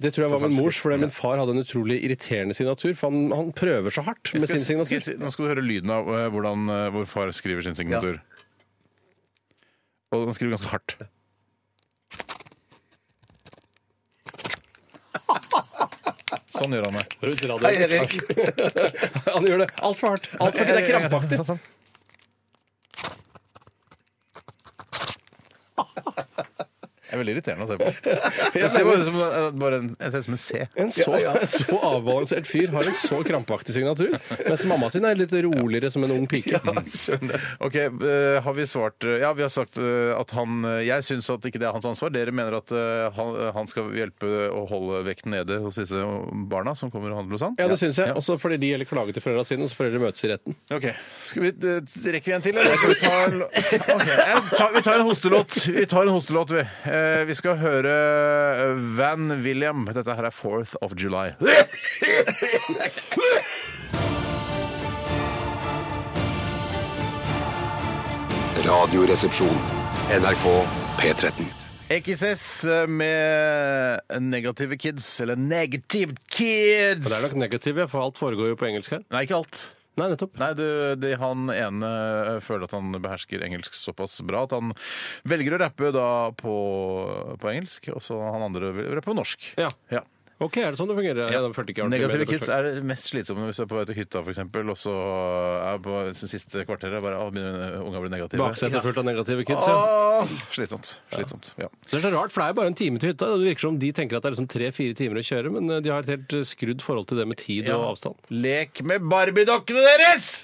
Det tror jeg var min mors, for min far hadde en utrolig irriterende signatur. For han, han prøver så hardt med
Skal
sin
jeg- skal jeg
signatur.
si- Nå skal du høre lyden av eh, hvordan eh, hvor far skriver sin signatur. Og han skriver ganske hardt. Sånn gjør han det.
Hei, Erik.
Han gjør det altfor hardt. Alt for, det er krampaktig.
Sånn, sånn. Det er veldig irriterende å se på. Jeg ser bare ut som, eh, bare en, jeg ser ut som en C.
En så, en så avbalansert fyr har en så krampaktig signatur. Mens mamma sin er litt roligere som en ung pike.
Ok, eh, har vi svart eh, Ja, vi har sagt eh, at han eh, Jeg syns at ikke det er hans ansvar. Dere mener at eh, han, han skal hjelpe å holde vekten nede hos disse barna som kommer og handler hos han?
Ja, det syns jeg. Også fordi de gjelder klage til foreldra sine, og så foreldre møtes i retten.
Ok. Skal vi, eh, rekker vi en til, eller? Skal vi, ta en, Ok, jeg tar, vi tar en hostelåt. Vi tar en hostelåt, vi. Eh, vi skal høre eh, Van William. Dette her er 4th of July.
Radioresepsjon. NRK P13.
XS eh, med Negative Kids, eller Negative Kids.
Og det er nok negativt, ja, for alt foregår jo på engelsk her.
Nei, ikke alt.
Nei, nettopp.
Nei, du, det, han ene eh, føler at han behersker engelsk såpass bra at han velger å rappe da på, på engelsk, og så han andre vil rappe på norsk.
Ja. OK, er det sånn det fungerer? Jeg følte ikke jeg var
Negative
med i det
kids er det mest slitsomme hvis du er på vei til hytta, for eksempel, og så er på siste kvarteret bare å, begynner unga å bli negative.
Baksetet fullt av negative kids, ja.
Åh, slitsomt. Slitsomt. Ja.
Det er så rart, for det er bare en time til hytta. og Det virker som de tenker at det er liksom tre-fire timer å kjøre, men eh, de har et helt eh, skrudd forhold til det med tid og
Ja.
avstand.
Lek med Barbie-dokkene deres!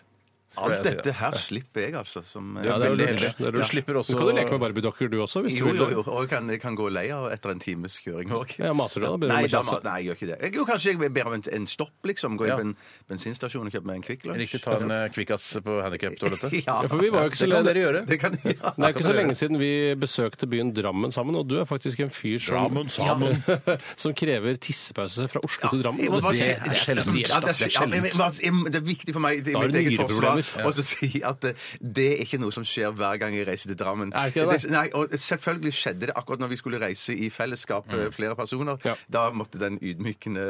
Skal jeg
Alt
si,
dette her slipper jeg, altså. Som,
Ja, det er
veldig
lurt.
heldig.
Det er
Du
lurt.
slipper også-
Du kan jo leke med Barbie-dokker du også, hvis du
jo,
vil.
jo, jo. Og jeg kan, jeg kan gå lei av etter en times kjøring òg.
Ja, maser du da? Ber du om
Nei,
en
da
sjanse?
ma- nei, jeg gjør ikke det. Jeg, jo, kanskje jeg ber om en, en stopp, liksom. Gå inn
Ja.
på en bensinstasjon og kjøpe meg en Kvikk Lunsj.
Riktig, ta en eh, kvikkas på handikap-toalettet.
Ja.
Ja, for vi var jo ikke
Det
så
kan
lenge-
dere gjøre.
Det kan ja.
Det er ikke så lenge siden vi besøkte byen Drammen sammen, og du er faktisk en fyr som,
Drammen sammen.
som krever tissepause fra Oslo til Drammen.
Jeg må bare si-
Det er spesielt,
Ja, det,
ass.
er, ja, men jeg må bare si- jeg må- det er viktig for meg i
Da har
mitt
du
eget forsvar
nyreproblemer. Ja.
å så si at eh, det er ikke noe som skjer hver gang jeg reiser til Drammen.
Er ikke det det?
Nei, og Selvfølgelig skjedde det akkurat når vi skulle reise i fellesskap, eh, flere personer.
Ja.
Da måtte den ydmykende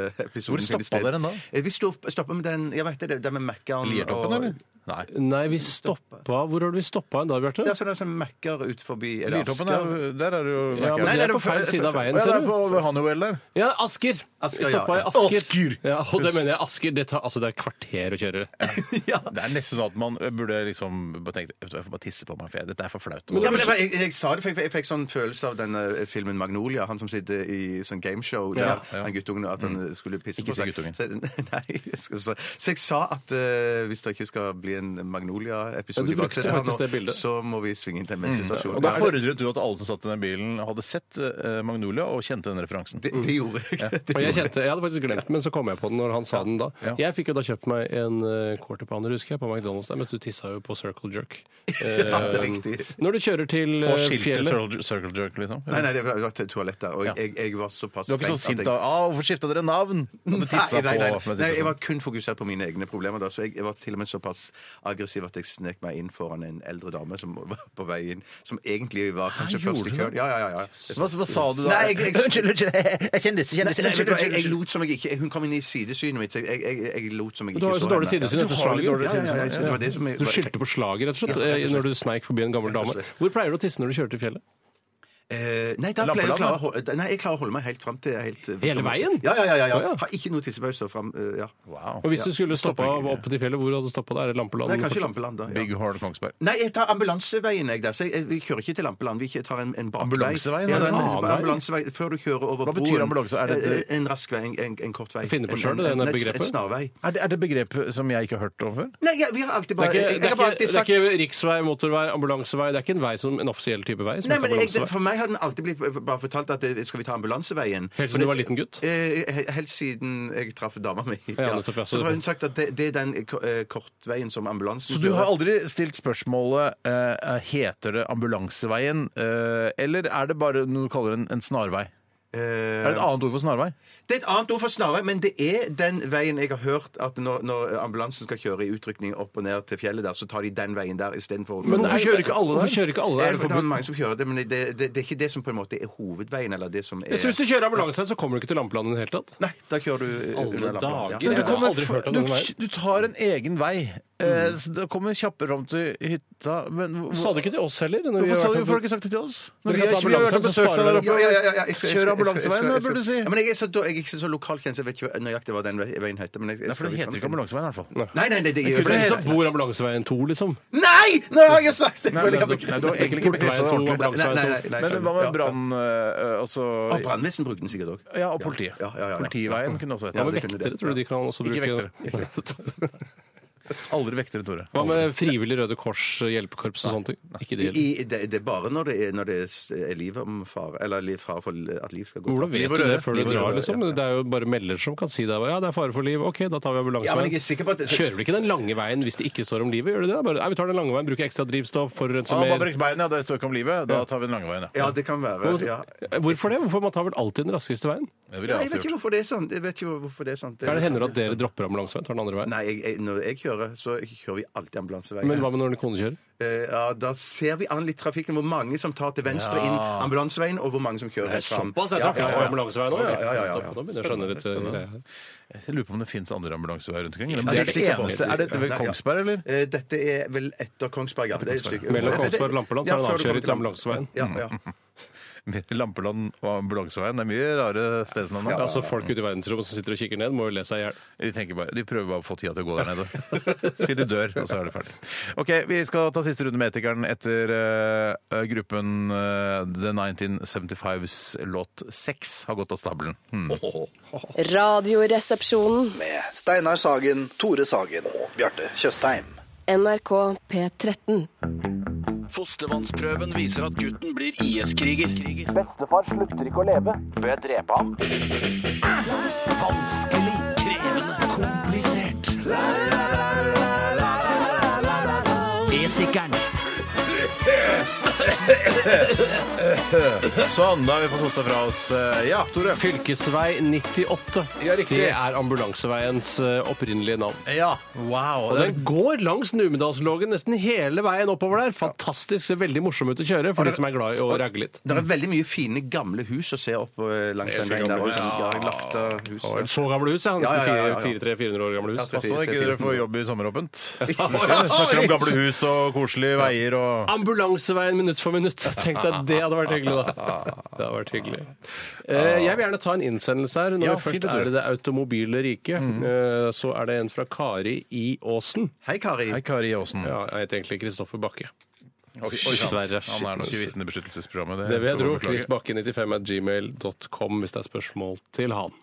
Hvor
episoden finne sted.
stoppa dere da?
Eh, Vi stopp- stoppa med den jeg vet det, det er med Mækkern
Liertoppen, eller? Nei.
Nei, vi stoppa Hvor har vi stoppa en dag, Bjarte?
Det er sånn som Mækkar ut forbi eller
Liertoppen, er,
Asker.
der er det jo
Ja, men
Nei,
det
nei,
er på
det er
feil
for-
side av
for-
Ja,
veien,
det
ser
er
du.
på Honeywell der.
Ja, Asker!
Asker,
Vi stoppa
ja.
i Asker.
Asker!
Ja, og det mener jeg Asker. Det, tar, altså, det er kvarter å kjøre.
Det er nesten sånn at man burde liksom bare tenke Vet du hva, jeg får bare tisse på meg, for jeg- dette er for flaut.
Ja, men jeg, jeg, jeg sa det, for jeg, jeg fikk sånn følelse av denne filmen Magnolia, han som sitter i sånn gameshow der
Ja, ja. Mm.
han guttungen at han eh, skulle pisse
Ikke
på seg.
si guttungen.
Så, nei, jeg skal, så, så jeg sa at eh, hvis det ikke skal bli en Magnolia-episode
Ja, du
i
brukte
baksetet her
faktisk
nå,
det bildet.
så må vi svinge inn til en bensinstasjon.
Mm. Og da fordret du at alle som satt i den bilen, hadde sett eh, Magnolia og kjente den referansen.
det, det gjorde jeg. Det
Og jeg,
gjorde jeg.
kjente, jeg hadde faktisk glemt den, men så kom jeg på den når han sa den da.
Ja.
Jeg fikk jo da kjøpt meg en eh, quarter pounder, husker jeg, på McDonald's der, men du tissa jo på Circle Jerk.
Ja, det er
Eh,
riktig.
når du kjører til
På
eh,
skiltet
fjellet
Circle- Circle Jerk, liksom.
Nei, nei, det var var til toalettet, og
Ja.
jeg, jeg var såpass
Du var ikke så
strengt
sint
at jeg-
da? Ah, hvorfor skifta dere navn? Og du sånn. tissa
Nei, nei, nei.
på
nei,
sånn.
jeg var kun fokusert på mine egne problemer da, så jeg, jeg var til og med såpass aggressiv at jeg snek meg inn foran en eldre dame som var på vei inn, som egentlig var kanskje
gjorde
først i
du
køen.
det?
Ja, ja, ja. ja.
hva, hva sa du da?
Nei, jeg- jeg-
Unnskyld, unnskyld. Jeg kjendis, kjendis.
Nei, vet du hva, jeg, jeg lot som jeg ikke Hun kom inn i sidesynet mitt, så jeg, jeg, jeg, jeg lot som jeg
Men
ikke
du har jo så dårlig sidesyn
Ja,
etter
du har litt
slaget.
dårlig
Ja, ja,
sidesyn.
ja,
Jeg- Det var det som jeg,
Du skyldte på slaget, rett og slett, eh, når du sneik forbi en gammel dame. Hvor pleier du å tisse når du kjører til fjellet?
Eh, Nei, da pleier
Lappeland,
jeg å klare å
da?
holde, nei, jeg klarer å holde meg helt fram til helt
Hele veien?
Ja, ja, ja. ja,
Å, ja.
ja. Har ikke noe tissepause fram eh, ja.
Wow.
Og hvis du skulle
Stopper
stoppa
ikke.
opp til fjellet, hvor hadde du stoppa da? Er det Lampeland?
Nei, kanskje Lampeland, da. Ja.
Big Horn Kongsberg.
Nei, jeg tar ambulanseveien. Jeg, der. Så jeg, vi kjører ikke til Lampeland. Vi kjører- tar en, en bakvei.
Ambulanseveien?
Ja,
Er det
en,
en
annen vei?
ambulansevei før du kjører over
Hva betyr ambulanse? Er det-
Eh, En rask vei, en, en, en kort vei.
Jeg finner på
En-
selv, det
en-
der
en-
begrepet.
En snarvei.
Er det, er det begrep som jeg ikke har hørt om før?
Nei, jeg, vi har alltid
Det er,
bare
ikke,
jeg- jeg
det,
har
er
bare
ikke,
alltid
det er
sagt-
ikke riksvei, motorvei, ambulansevei. Det er ikke en vei som en offisiell type vei. Som
Nei,
heter
men jeg,
ambulansevei.
For meg har den alltid blitt bare fortalt at eh, skal vi ta ambulanseveien.
Helt siden
For
du
det-
var liten gutt?
Eh, he- helt siden jeg traff dama mi.
Ja, nettopp, ja.
Så har hun sagt at det, det er den eh, ko- eh, kortveien som ambulansen
Så du har
kjører.
aldri stilt spørsmålet eh, heter det ambulanseveien, eh, eller er det bare noe du kaller en, en snarvei?
Eh,
er det et annet ord for snarvei?
Det er et annet ord for snarvei, men det er den veien jeg har hørt at når, når ambulansen skal kjøre i utrykning opp og ned til fjellet der, så tar de den veien der istedenfor
Men hvorfor kjører ikke alle der?
Hvorfor kjører ikke alle der?
Er det
Eh, Det
forbudt?
er mange som kjører det, men det, det, det er ikke det som på en måte er hovedveien, eller det som er
Jeg synes Hvis du kjører ambulanse, så kommer du ikke til Lampeland i det hele tatt.
Nei, da kjører du eh,
Alle
under lampen, ja.
dager. Jeg har aldri hørt om
du,
den veien.
du tar en egen vei. Eh, så det kommer kjappere om til hytta. Men, hvor-
Sa du ikke til oss heller? når vi
Hvorfor sa
har vært
du
oppe-
hvorfor har du ikke sagt det til oss? Når
Dere
vi
kan
har vi
ta
har vært
ambulansen,
og
så
besøkt deg
sparer
der
dere-
oppe.
Ja, ja, ja, ja. Jeg skal- jeg skal-
Kjør ambulanseveien, da, burde du si.
Ja, men jeg er så, da- jeg er ikke så lokalt kjent, så jeg vet ikke, når jeg ikke hva den ve- veien heter. Men jeg, jeg
Nei, for
skal
det heter ikke
visst anbefale-
ambulanseveien, i hvert fall.
Nei, nei, nei, det
Det er
gjør det
ingen
ikke.
som bor ambulanseveien 2, liksom.
Nei! Nå har jeg sagt det!
Nei,
Føler
nei,
jeg
nei,
meg-
nei, du har egentlig ikke
Portveien
bekreftet det
to,
ordentlig.
ambulanseveien
Nei, nei,
to.
nei, nei,
Men
skjønner.
hva med
Ja.
brann... eh, Altså
Og brannvesen brukte den sikkert òg.
Ja, og politiet.
Ja, ja, ja, ja.
Politiveien kunne også
Hva
Ja,
hete det.
med
det kunne
vektere?
det.
Tror du de kan også
Ikke
bruke
Aldri vektere, Tore.
Hva med frivillig Røde Kors, hjelpekorps og sånne ting? Ikke det heller.
I, det, det er bare når det er, når det er liv om fare, eller liv, fare for at liv skal gå
Hvordan
tapt.
vet
Liv og
du det
røre.
før du
Liv og
drar,
røre,
liksom?
ja, ja.
Det er jo bare melder som kan si deg ja, det er fare for liv, OK, da tar vi
Ja, men jeg er
ambulanseveien.
sikker på at
Kjører vel ikke den lange veien hvis det ikke står om livet? Gjør du det? Bare, nei, vi tar den lange veien, bruker ekstra drivstoff,
Ah,
forurenser
bare
mer.
brekt beina, det står ikke om livet. Da tar vi den lange veien, ja.
Ja, det kan være. Ja.
Hvorfor det? Hvorfor man tar vel alltid den raskeste veien?
Det ville
Ja,
jeg
jeg vet
alltid
ikke
gjort.
hvorfor det er sånn. Jeg vet ikke hvorfor det er sånn.
Er det hender at dere dropper ambulanseveien, tar den andre veien?
Nei, jeg, jeg, når jeg kjører, så kjører vi alltid ambulanseveien.
Men hva med når din kone kjører?
Eh, ja, da ser vi an litt trafikken, hvor mange som tar til venstre inn ambulanseveien, og hvor mange som kjører rett fram.
Såpass, jeg tar
Ja,
flere
ja, ja.
ambulanseveien òg,
Ja, ja, ja, ja.
Nå begynner jeg å skjønne litt eh, greier.
Jeg lurer på om det fins andre ambulanseveier rundt omkring. eller?
Nei,
Det
jeg
er det
sikker på
eneste.
det.
Er det vel
Nei, ja.
Kongsberg, eller?
Eh, Dette er vel etter Kongsberg, ja. Det er et stykke-
Mellom Kongsberg og Lampeland, så er det en
før du kommer
avkjøring til ambulanseveien.
Ja, ja.
Lampeland og ambulanseveien. Det er mye rare stedsnavn.
Ja,
da.
altså Folk ute i verdensrommet som sitter og kikker ned, må jo le seg i hjel.
De, tenker bare, de prøver bare å få tida til å gå der nede. Til de dør, og så er det ferdig. Ok, Vi skal ta siste runde med Etikeren etter eh, gruppen eh, The 1975s låt 6 har gått av stabelen. Hmm.
Radioresepsjonen.
Med Steinar Sagen, Tore Sagen og Bjarte Tjøstheim.
NRK P13.
Fostervannsprøven viser at gutten blir IS-kriger.
Bestefar slutter ikke å leve. Bør jeg drepe ham?
Vanskelig, krevende, komplisert. Etikeren.
Sånn, da har vi fått hosta fra oss. eh, Ja, Tore.
Fylkesvei 98.
Ja, riktig.
Det er ambulanseveiens eh, opprinnelige navn.
Ja, wow.
Og
Det
den
er-
går langs Numedalslågen nesten hele veien oppover der. Fantastisk. Ser veldig morsom ut å kjøre for de som er glad i å ragge litt.
Det er veldig mye fine, gamle hus å se opp eh, langs den veien der. Ja, Lafta-hus.
Og en så gamle hus, ja. Nesten
Ja, ja, ja, ja, ja.
400-400 år gamle
Ja,
hus.
det-
Pass på ikke dere får jobb i sommeråpent. Vi
Snakker
Snakker om gamle hus og koselige veier og
Ambulanseveien minutt for minutt. Tenk deg, det hadde vært hyggelig, da. Det hadde vært hyggelig. Eh, Jeg vil gjerne ta en innsendelse her. Når
Ja,
vi først
fint,
er
Tore.
i det automobile riket, eh, så er det en fra Kari i Åsen.
Hei, Kari.
Hei, Kari Aasen.
Ja, jeg heter egentlig Kristoffer Bakke.
Dessverre.
Dessverre.
Han er nok i vitnebeskyttelsesprogrammet.
Det vil jeg
får
tro.
man beklage.
Chris Bakke 95 at gmail.com hvis det er spørsmål til han.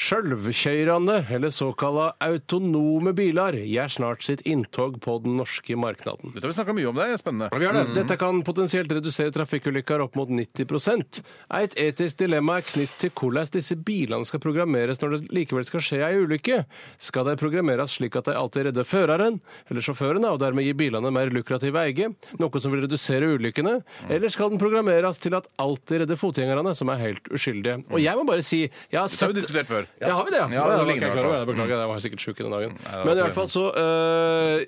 Sjølvkjørende, eller såkalla autonome biler, gjør snart sitt inntog på den norske marknaden.
Dette har vi snakka mye om, det er spennende.
Dette kan potensielt redusere trafikkulykker opp mot 90 Et etisk dilemma er knytt til hvordan disse bilene skal programmeres når det likevel skal skje ei ulykke. Skal de programmeres slik at de alltid redder føreren, eller sjåføren, og dermed gir bilene mer lukrative eie, noe som vil redusere ulykkene? Eller skal den programmeres til at alltid redder fotgjengerne, som er helt uskyldige? Og jeg må bare si jeg har
Dette har vi
sett-
diskutert før.
ja, har vi det? Ja,
Ja,
ja,
det
ok,
ligner i hvert
klar over
fall. Mm.
det. Beklager, jeg var sikkert sjuk den dagen.
det var
Men i
problemet.
hvert fall så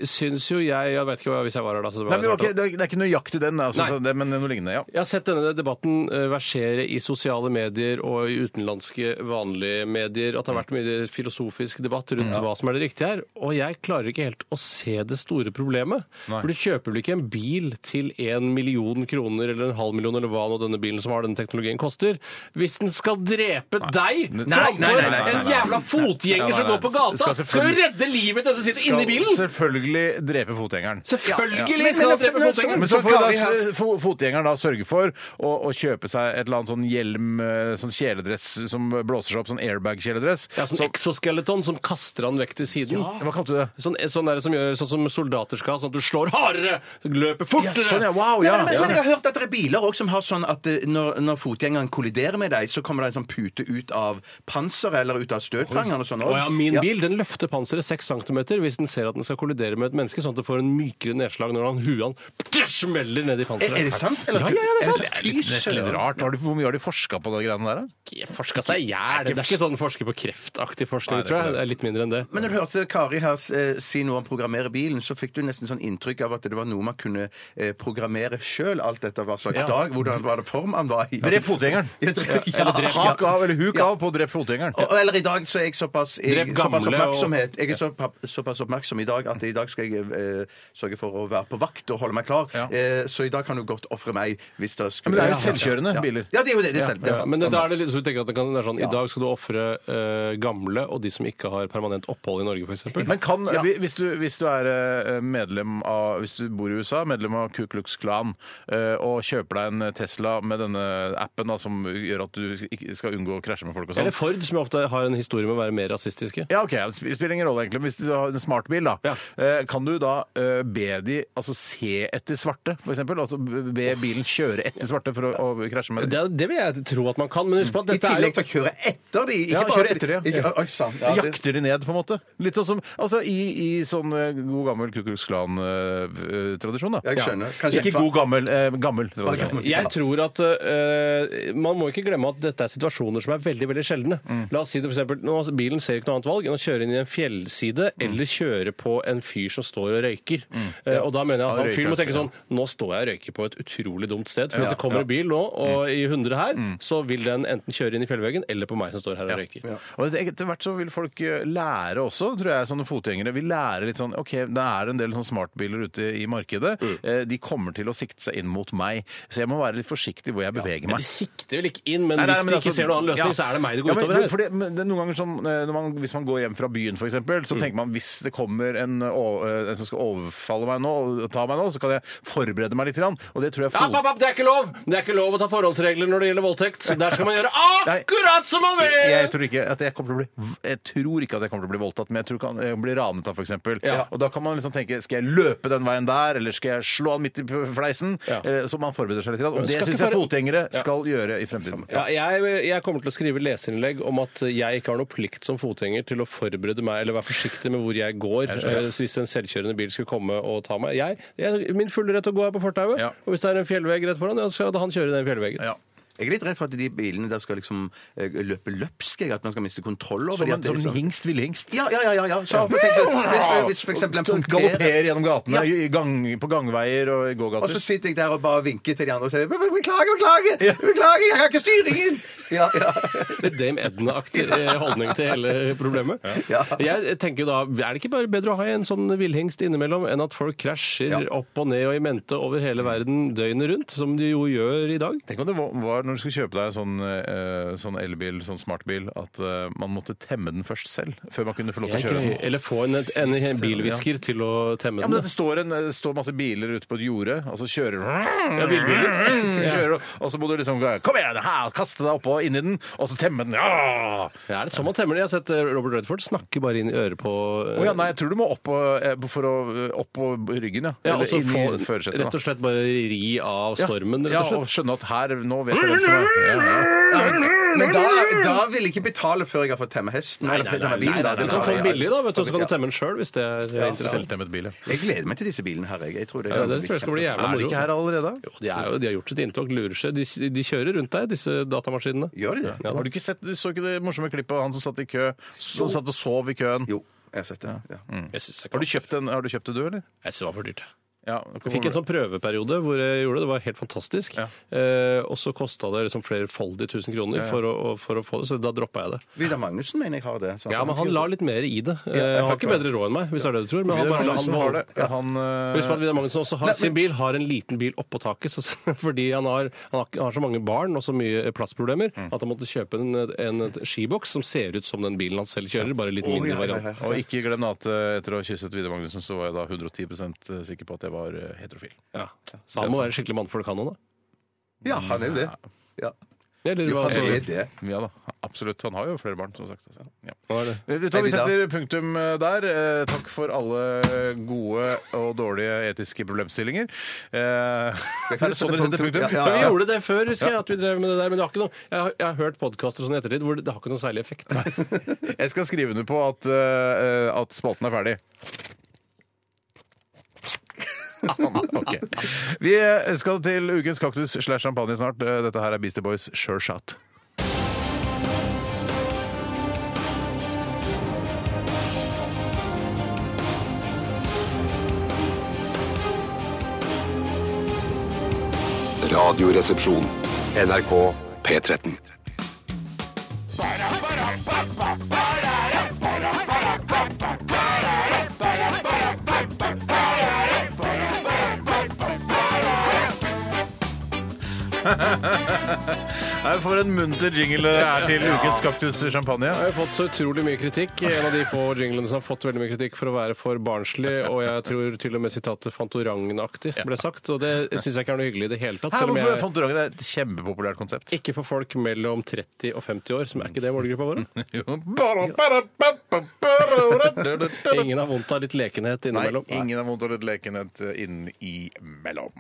øh, syns jo jeg Jeg vet ikke hva- hvis jeg var her da. Så det var
Nei, men det,
jeg
var
snart,
ikke, det er- det er ikke nøyaktig den, altså,
Nei.
så det, men noe lignende. ja.
jeg har sett denne debatten eh, versere i sosiale medier og i utenlandske vanlige medier. At det har vært mye filosofisk debatt rundt hva som er det riktige her. Og jeg klarer ikke helt å se det store problemet. For du kjøper vel ikke en bil til en million kroner eller en halv million eller hva nå denne bilen som har denne teknologien koster, hvis den skal drepe deg
Nei,
framfor
nei, nei,
nei, nei, nei,
En
nei.
jævla
Ja, nei,
fotgjenger som
nei.
går på gata!
Skal
Skal
selvfølgelig-
jo redde livet til den som sitter
Skal
inne i bilen!
selvfølgelig drepe fotgjengeren.
Selvfølgelig
Ja.
skal han drepe fotgjengeren.
Men så får da, fo- fotgjengeren da sørge for å, å kjøpe seg et eller annet sånn hjelm, eh, sånn kjeledress som blåser seg opp, sånn airbag-kjeledress.
Ja, sånn exoskeleton som kaster han vekk til siden.
Hva kalte du det?
Sånn, sånn, der, som gjør, sånn som soldater skal, sånn at du slår hardere, løper fortere.
Ja, sånn, ja. Nei, men- men Jeg har hørt at det er biler også som har sånn at eh, når, når fotgjengeren kolliderer med deg, så kommer det en sånn pute ut av panseret eller ut av støtfangeren og sånn. også.
Å ja, min bil den løfter panseret 6 cm hvis den ser at den skal kollidere med et menneske, sånn at det får en mykere nedslag når han huet han ptsch, smeller ned i panseret.
Er- er det sant, eller?
Ja, ja, ja, det er sant.
Det er litt, nesten litt rart. Har du, hvor mye har de forska på de greiene der? da?
Jeg forska seg i hjel. Det er ikke sånn forsker på kreftaktig
Nei,
forskning,
det er
tror jeg.
ikke det.
Det er litt mindre enn det.
Men når du hørte Kari her eh, si noe om programmere bilen, så fikk du nesten sånn inntrykk av at det var noe man kunne eh, programmere sjøl, alt etter hva slags
Ja.
dag, hvordan var det form han var i.
Drep fotgjengeren.
Ja, drep, ja.
Eller drep, hak av, eller huk av på å drepe fotgjengeren.
Og, og- eller i dag så er jeg såpass, jeg,
Drep
såpass
gamle og-
oppmerksomhet Jeg er såpapp, såpass oppmerksom i dag at i dag skal jeg eh, sørge for å være på vakt og holde meg klar.
Ja.
Eh, så i dag kan du godt ofre meg hvis det skulle
Men det er jo selvkjørende
ja.
biler.
Ja, det er jo det. det, er sant, det er
Ja,
sant.
men det, da er det litt, så du tenker at det kan være sånn,
Ja.
I dag skal du ofre eh, gamle og de som ikke har permanent opphold i Norge, f.eks.
Men kan,
Ja.
hvi- hvis, du, hvis du er eh, medlem av Hvis du bor i USA, medlem av Ku Klux Klan, eh, og kjøper deg en Tesla med denne appen da, som gjør at du ikke skal unngå å krasje med folk og sånn
Eller Ford, som jo ofte har en historie med å være mer rasistiske.
Ja, ok, Det sp- spiller ingen rolle, egentlig. Men hvis du har en smartbil, da,
Ja.
eh, kan du da eh, be de altså se etter svarte, f.eks.? Altså b- be bilen kjøre etter svarte for å, å krasje med dem?
Det, det vil jeg tro at man kan, men husk på
Mm.
at
I
dette er
tillegg
jo
til å kjøre etter de.
Ja,
bare-
kjøre etter de, ja.
Ikke, oi, sant, ja, det-
Jakter de ned, på en måte? Litt sånn som, altså I, i sånn eh, god gammel Ku Klux Klan-tradisjon, da.
Jeg skjønner. Kanskje-
Ikke god gammel, eh, gammel
Bare gammel.
tradisjon.
jeg tror at eh, Man må ikke glemme at dette er situasjoner som er veldig veldig sjeldne.
Mm.
La oss si det for eksempel, nå, Bilen ser ikke noe annet valg enn å kjøre inn i en fjellside
Mm.
eller kjøre på en fyr som står og røyker. Eh, og da mener jeg at
Ja,
han fyren må
røyker,
tenke sånn Nå står jeg og røyker på et utrolig dumt sted. For hvis det kommer en bil nå
Mm.
og i 100 her, så vil den enten kjøre inn i fjellveggen eller på meg som står her og røyker.
Og etter hvert så vil folk eh, lære også, tror jeg, sånne fotgjengere. vil lære litt sånn OK, det er en del sånn smartbiler ute i markedet.
Mm.
Eh, De kommer til å sikte seg inn mot meg, så jeg må være litt forsiktig hvor jeg beveger
Men
meg.
de sikter vel ikke inn, men
Nei, nei,
hvis
men
de
altså-
ikke ser noen annen løsning,
Ja.
så er det meg det
Ja,
går
men
utover her.
for det- men det er noen ganger sånn, eh, når man, Hvis man går hjem fra byen, for eksempel,
Mm.
så tenker man hvis det kommer en, eh, o- eh, en som skal overfalle meg nå, og ta meg nå, så kan jeg forberede meg litt. Grann, og det tror jeg
Ja,
fot-
papp, papp, det er ikke lov! Det er ikke lov å ta forholdsregler når det gjelder voldtekt. Der skal man gjøre akkurat som man vil!
jeg tror ikke at jeg kommer til å bli Jeg tror ikke at jeg kommer til å bli voldtatt, men jeg tror kan, jeg blir ranet av, f.eks.
Ja.
Og da kan man liksom tenke Skal jeg løpe den veien der, eller skal jeg slå han midt i p- fleisen?
Ja.
Eh, Så man forbereder seg litt. grann,
Men
Og det
skal
syns
ikke
jeg
bare-
fotgjengere skal gjøre i fremtiden.
Ja, jeg, jeg kommer til å skrive leserinnlegg om at jeg ikke har noe plikt som fotgjenger til å forberede meg eller være forsiktig med hvor jeg går eh, hvis en selvkjørende bil skulle komme og ta meg. Jeg, jeg er min fulle rett til å gå her på fortauet,
Ja.
og hvis det er en fjellvegg rett foran, ja, så skal han kjøre i den fjellveggen.
Ja.
Jeg er litt redd for at de bilene der skal liksom eh, løpe løpsk, jeg, at man skal miste kontroll over
Som
dem.
en, som en hingst villhingst.
liksom- Ja, ja, ja. ja, ja. Så for eksempel, hvis, hvis for eksempel en punkterer
Galopperer gjennom gatene,
Ja.
i gang, på gangveier og i
og
gågater.
så sitter jeg der og bare vinker til de andre og sier «Be- be- Beklager, beklager! Beklager, jeg har ikke styringen! Ja, ja.
Litt Dame Edna-aktig eh, holdning til hele problemet.
Ja.
Jeg tenker jo da, Er det ikke bare bedre å ha en sånn villhengst innimellom enn at folk krasjer
Ja.
opp og ned og i mente over hele verden døgnet rundt, som de jo gjør i dag?
Tenk om det var- var når du skulle kjøpe deg en sånn, eh, sånn elbil, sånn smartbil, at eh, man måtte temme den først selv, før man kunne få lov til å kjøre den.
Eller få en, en, en bilvisker til å temme
Ja, men
den.
det står, en, det står masse biler ute på et jorde, og så kjører du
Ja, bilbiler.
Kjører, du, Og så må du liksom gå, Kom igjen, her, kaste deg oppå inni den, og så temme den. Ja!
Ja, er det sånn man temmer det? Jeg har sett eh, Robert Redford snakke bare inn i øret på eh,
Å ja, nei, jeg tror du må opp på, eh, for å, opp på ryggen, ja.
ja, og så
Eller inn i
få
førersetet.
rett og slett bare ri av
Ja.
stormen,
ja,
rett og
og
slett.
skjønne at her Nå vet jeg hvem som er ja, ja.
Ja, men- Men da, da vil jeg ikke betale før jeg har fått temme hesten. eller temme bilen, da.
Du kan få den billig, da, vet du, og så kan du temme den sjøl hvis det er eh, interessant.
Selvtemmet bil, ja.
Jeg gleder meg til disse bilene her. Jeg, jeg tror det,
Ja, det tror jeg skal bli jævla
Er de
moro.
ikke her allerede?
Jo, de, er jo, de har gjort sitt inntog, lurer seg. De, de kjører rundt deg, disse datamaskinene.
Gjør de det?
Ja, da.
Har du ikke sett, du så ikke det morsomme klippet av han som satt i kø? Som satt og sov i køen.
Jo, jeg har sett det. Ja. Mm.
Jeg syns det, er
Har du
ganske-
kjøpt en, har du kjøpt det, du, eller?
jeg synes det var for dyrt. Jeg fikk en sånn prøveperiode hvor jeg gjorde det. Det var helt fantastisk. Eh, og så kosta det liksom flerfoldig tusen kroner
Ja, ja.
For, å, for å få det, så da droppa jeg det.
Vidar Magnussen mener jeg har det. så
Ja, men han la litt mer i det. Eh, Han har ikke bedre råd enn meg, hvis det er det du tror. Men han
Vidar
bare la
Magnussen
han
har
holde.
det. Han, eh,
Husk på at Vidar Magnussen også har
Nei,
sin bil, har en liten bil oppå taket. Så, fordi han har, han har ikke- han har så mange barn og så mye plassproblemer at han måtte kjøpe en, en skiboks som ser ut som den bilen han selv kjører, bare en litt mindre variant.
Og ikke glem at eh, etter å ha kysset Vidar Magnussen, så var jeg da 110 sikker på at jeg var eh, heterofil.
Ja. Så han må være skikkelig mannfolk, han òg, da.
Ja, Altså, han er jo det. Ja.
Eller
Jo,
hva
han
sier
er
du?
det.
Ja da, absolutt. Han har jo flere barn, som sagt. altså. Ja.
Hva er det?
Vet du hva, Vi setter punktum der. Eh, Takk for alle gode og dårlige etiske problemstillinger. Eh, Er det sånn dere setter punktum?
Ja,
Men
ja,
vi
ja.
gjorde det før, husker
Ja.
jeg. at vi drev med det der, Men det har ikke noe, jeg, har, jeg har hørt podkaster sånn i ettertid hvor det, det har ikke noe særlig effekt.
Jeg skal skrive under på at, eh, at spalten er ferdig. Ok. Vi eh, skal til ukens kaktus slash champagne snart. Eh, Dette her er Beastie Boys Sure Shot.
Radioresepsjon. NRK P13.
Nei, For en munter jingle det er til ukens kaktus champagne.
Jeg har fått så utrolig mye kritikk. En av de få jinglene som har fått veldig mye kritikk for å være for barnslig, og jeg tror til og med sitatet Fantorangen-aktig ble sagt, og det syns jeg ikke er noe hyggelig i det hele tatt.
Her,
Selv om
hvorfor
jeg
fant du rangen? Det er et kjempepopulært konsept.
ikke for folk mellom 30 og 50 år, som er ikke det målgruppa vår. da. Ingen har vondt av litt lekenhet
Nei,
innimellom.
ingen har vondt av litt lekenhet innimellom.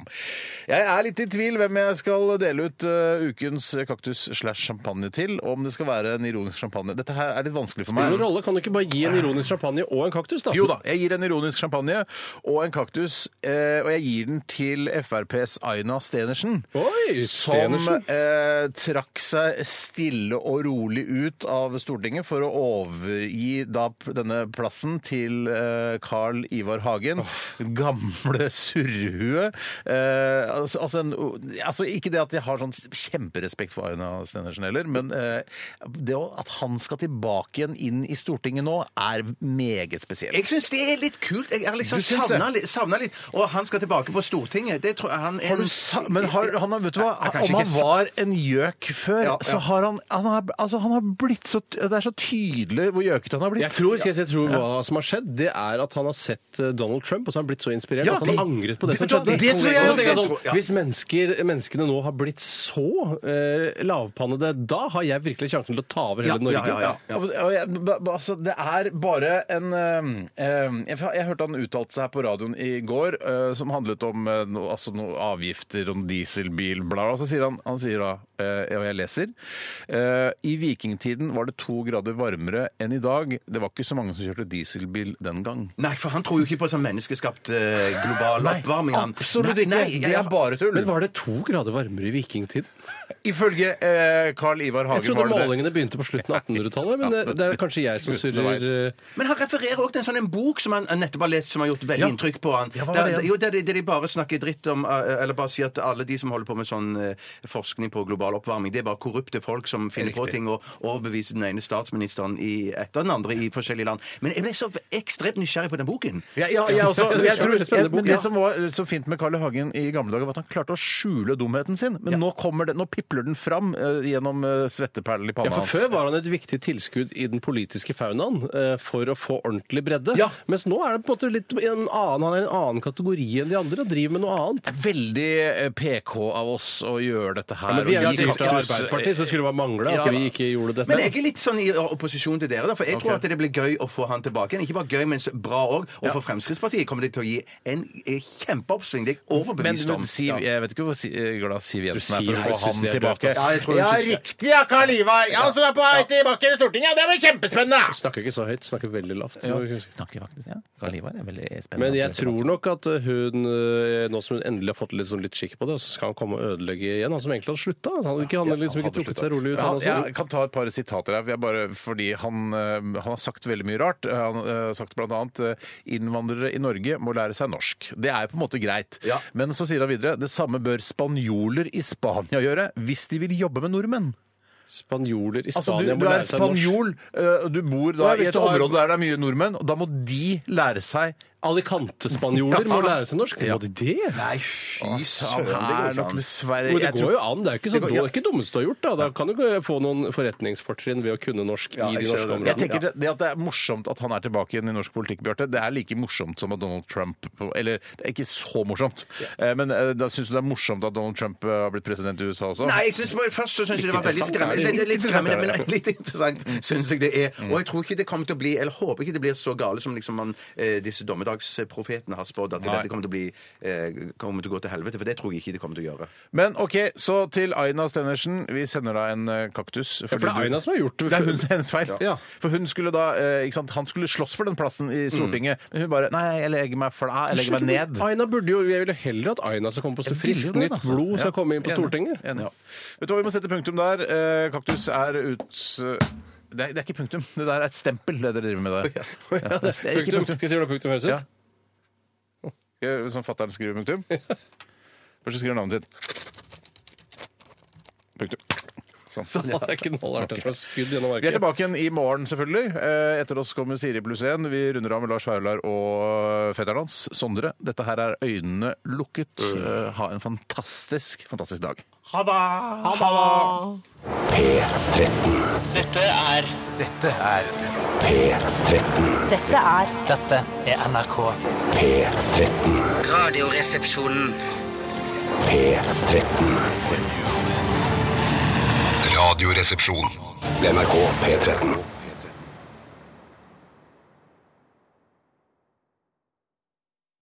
eh, Jeg er litt i tvil hvem jeg skal dele ut eh, ukens kaktus slash champagne til, og om det skal være en ironisk champagne. Dette her er litt vanskelig for
Hvilken
meg.
rolle kan du ikke bare gi en ironisk champagne og en kaktus, da?
Jo da, jeg gir en ironisk champagne og en kaktus, eh, og jeg gir den til FrPs Aina Stenersen.
Oi,
Som
Stenersen.
eh, trakk seg stille og rolig ut av Stortinget for å overgi da p- denne plassen til eh, Carl Ivar Hagen. Gamle surrehue. Eh, altså, altså, en, altså ikke det at jeg har sånn kjemperespekt for Aina Stenersen heller, men eh, det å- at han skal tilbake igjen inn i Stortinget nå, er meget spesielt.
Jeg syns det er litt kult. Jeg har liksom
Du syns det?
savna litt, savna litt. Og han skal tilbake på Stortinget. Det tror jeg han er
Har du
en-
sa men har, han har, vet du hva,
Jeg- jeg kanskje
om han
ikke sa-
var en gjøk før,
Ja, ja.
så har han han har, altså, han har blitt så Det er så tydelig hvor gjøkete han har blitt.
Jeg tror, skal jeg, si, jeg tror hva som har skjedd, det er at han har sett eh, Donald Trump, og så har han blitt så inspirert
Ja,
at han
det-
har angret på det,
det-
som
vet du
skjedde.
hva, det tror jeg
Og
også.
så er det sånn,
Ja.
Hvis mennesker, menneskene nå har blitt så eh, lavpannede, da har jeg virkelig sjansen til å ta over hele Norge.
ja, ja,
Ja, men- og jeg- ba- ba- Altså, det er bare en ehm, ehm, Jeg, jeg hørte han uttalte seg her på radioen i går, eh, som handlet om eh, no, altså, noe avgifter og dieselbil, bla, bla. Så sier han, han sier da, eh, og jeg leser eh, I vikingtiden var det to grader varmere enn i dag. Det var ikke så mange som kjørte dieselbil den gang.
Nei, for han tror jo ikke på sånn menneskeskapt eh, global oppvarming. han.
Absolutt
Nei,
ikke!
Nei,
det er bare tull.
Men var det to grader varmere i vikingtiden?
Ifølge eh, Carl Ivar
Jeg
Hagen
trodde
var det det.
målingene begynte på slutten av 1800-tallet, men det, det er kanskje jeg som surrer eh,
Men han refererer også til en sånn en bok som han nettopp har lest, som har gjort veldig
Ja.
inntrykk på han.
Ja, hva var
der,
det?
jo, der, de- der de bare snakker dritt om eh, Eller bare sier at alle de som holder på med sånn eh, forskning på global oppvarming, det er bare korrupte folk som finner på ting og overbeviser den ene statsministeren i, etter den andre i forskjellige land. Men jeg ble så ekstremt nysgjerrig på den boken.
Ja, ja, jeg også,
Det
men
er
jeg
en veldig
tror,
spennende
jeg, men
bok,
det
ja.
som var så fint med Carl I. Hagen i gamle dager, var at han klarte å skjule dumheten sin. Men nå, kommer det, nå pipler den fram eh, gjennom eh, svetteperlen i
Ja,
panna
for Før var han et viktig tilskudd i den politiske faunaen eh, for å få ordentlig bredde.
Ja.
Mens nå er det på en måte litt en annen, han er i en annen kategori enn de andre og driver med noe annet.
Veldig eh, PK av oss å gjøre dette her.
Ja, men vi
og
er jo
gi
styrt av
kaktus.
Arbeiderpartiet, så skulle det bare mangle at
Ja.
vi ikke gjorde dette.
Men jeg er litt sånn i opposisjon til dere, da, for jeg tror at det blir gøy å få han tilbake igjen. Ikke bare gøy, men så bra òg. Og for Fremskrittspartiet kommer det til å gi en eh, kjempeoppsving. Det er jeg
Men
overbevist om.
men Siv,
ja.
jeg vet ikke hvor si- eh, glad Siv Jensen
Siv,
er for å
jeg
få
synes
han
det er
tilbake.
drøyt, ass. Ja,
jeg tror hun synes det.
riktig, ja, Carl Ivar! Ja, så du er på vei tilbake til Stortinget! Det blir kjempespennende!
snakker ikke så høyt, snakker veldig lavt.
Snakker faktisk, ja. Carl Ivar er veldig spennende.
Men jeg tror nok at hun, eh, nå som hun endelig har fått litt, sånn litt skikk på det, så skal han komme og ødelegge igjen, han som egentlig hadde slutta. Han, ikke, han hadde liksom ikke
hadde
trukket
sluttet.
seg rolig ut,
Ja,
han også.
jeg kan ta et par sitater her, for jeg bare, fordi han, eh, han har sagt veldig mye rart. Eh, Han eh, har sagt bl.a. innvandrere i Norge må lære seg norsk. Det er på en måte greit. Men så sier han videre det samme bør spanjoler i Spania gjøre hvis de vil jobbe med nordmenn.
Spanjoler i
Altså,
Spania
du, du
må
er
lære seg norsk.
spanjol, eh, du bor da
Ja, hvis
i et
du har-
område der det er mye nordmenn, og da må de lære seg
Alicante-spanjoler må lære seg norsk. Må de det?
Nei, fy
søren, det går ikke an. Dessverre,
Jo, det
jeg tror-
går jo an. Det er jo ikke så
Det går-
det er ikke dummeste du har gjort. Da. da kan du få noen forretningsfortrinn ved å kunne norsk i de norske
Jeg
områdene.
tenker det, det at det er morsomt at han er tilbake igjen i norsk politikk, Bjarte, det er like morsomt som at Donald Trump Eller det er ikke så morsomt, Eh, men eh, da syns du det er morsomt at Donald Trump eh, har blitt president i USA også?
Nei, jeg synes, først så syns jeg det var veldig
interessant,
skremmende.
er det?
Det er litt skremmende, men
Interessant, Mm.
litt interessant syns jeg det er. Og jeg tror ikke det kommer til å bli, eller håper ikke det blir så gale som liksom man, eh, disse dommedagsprofetene har spådd, at
Nei.
dette kommer til å bli eh, kommer til å gå til helvete. For det tror jeg ikke det kommer til å gjøre.
Men OK, så til Aina Stenersen. Vi sender deg en eh, kaktus.
for det er
fordi du-
Aina som har gjort det.
det. er hun, hennes feil.
Ja.
For hun skulle da, eh, ikke sant, Han skulle slåss for den plassen i Stortinget,
Mm.
men hun bare Nei, jeg legger meg fla, jeg legger meg ned.
Aina burde jo, Jeg ville heller at Aina skal komme på
Jeg ville jo
friskt
det,
nytt
altså.
blod
Ja.
skal komme inn på
Enig,
Stortinget.
enig. Vet du hva, vi må sette punktum der. Eh, Kaktus er ut... Det er, det er ikke punktum. Det der er et stempel, det dere driver med der. Ja, det er ikke
Punktum. Skal jeg si hvordan punktum høres ut?
Ja. Gjør Eh, Som fatter'n skriver punktum. Først skriver han navnet sitt. Punktum. Sånn.
Så det er knallhardt. Det er skudd gjennom
Vi er
arket.
tilbake igjen i morgen, selvfølgelig. Eh, Etter oss kommer Siri pluss én. Vi runder av med Lars Vaular og fetteren hans, Sondre. Dette her er Øynene lukket. Eh, Ha en fantastisk, fantastisk dag.
Ha det!
Dette er Dette er
Dette er
Dette er NRK.
P13.
Radioresepsjonen.
P13.
Radioresepsjon. NRK P13.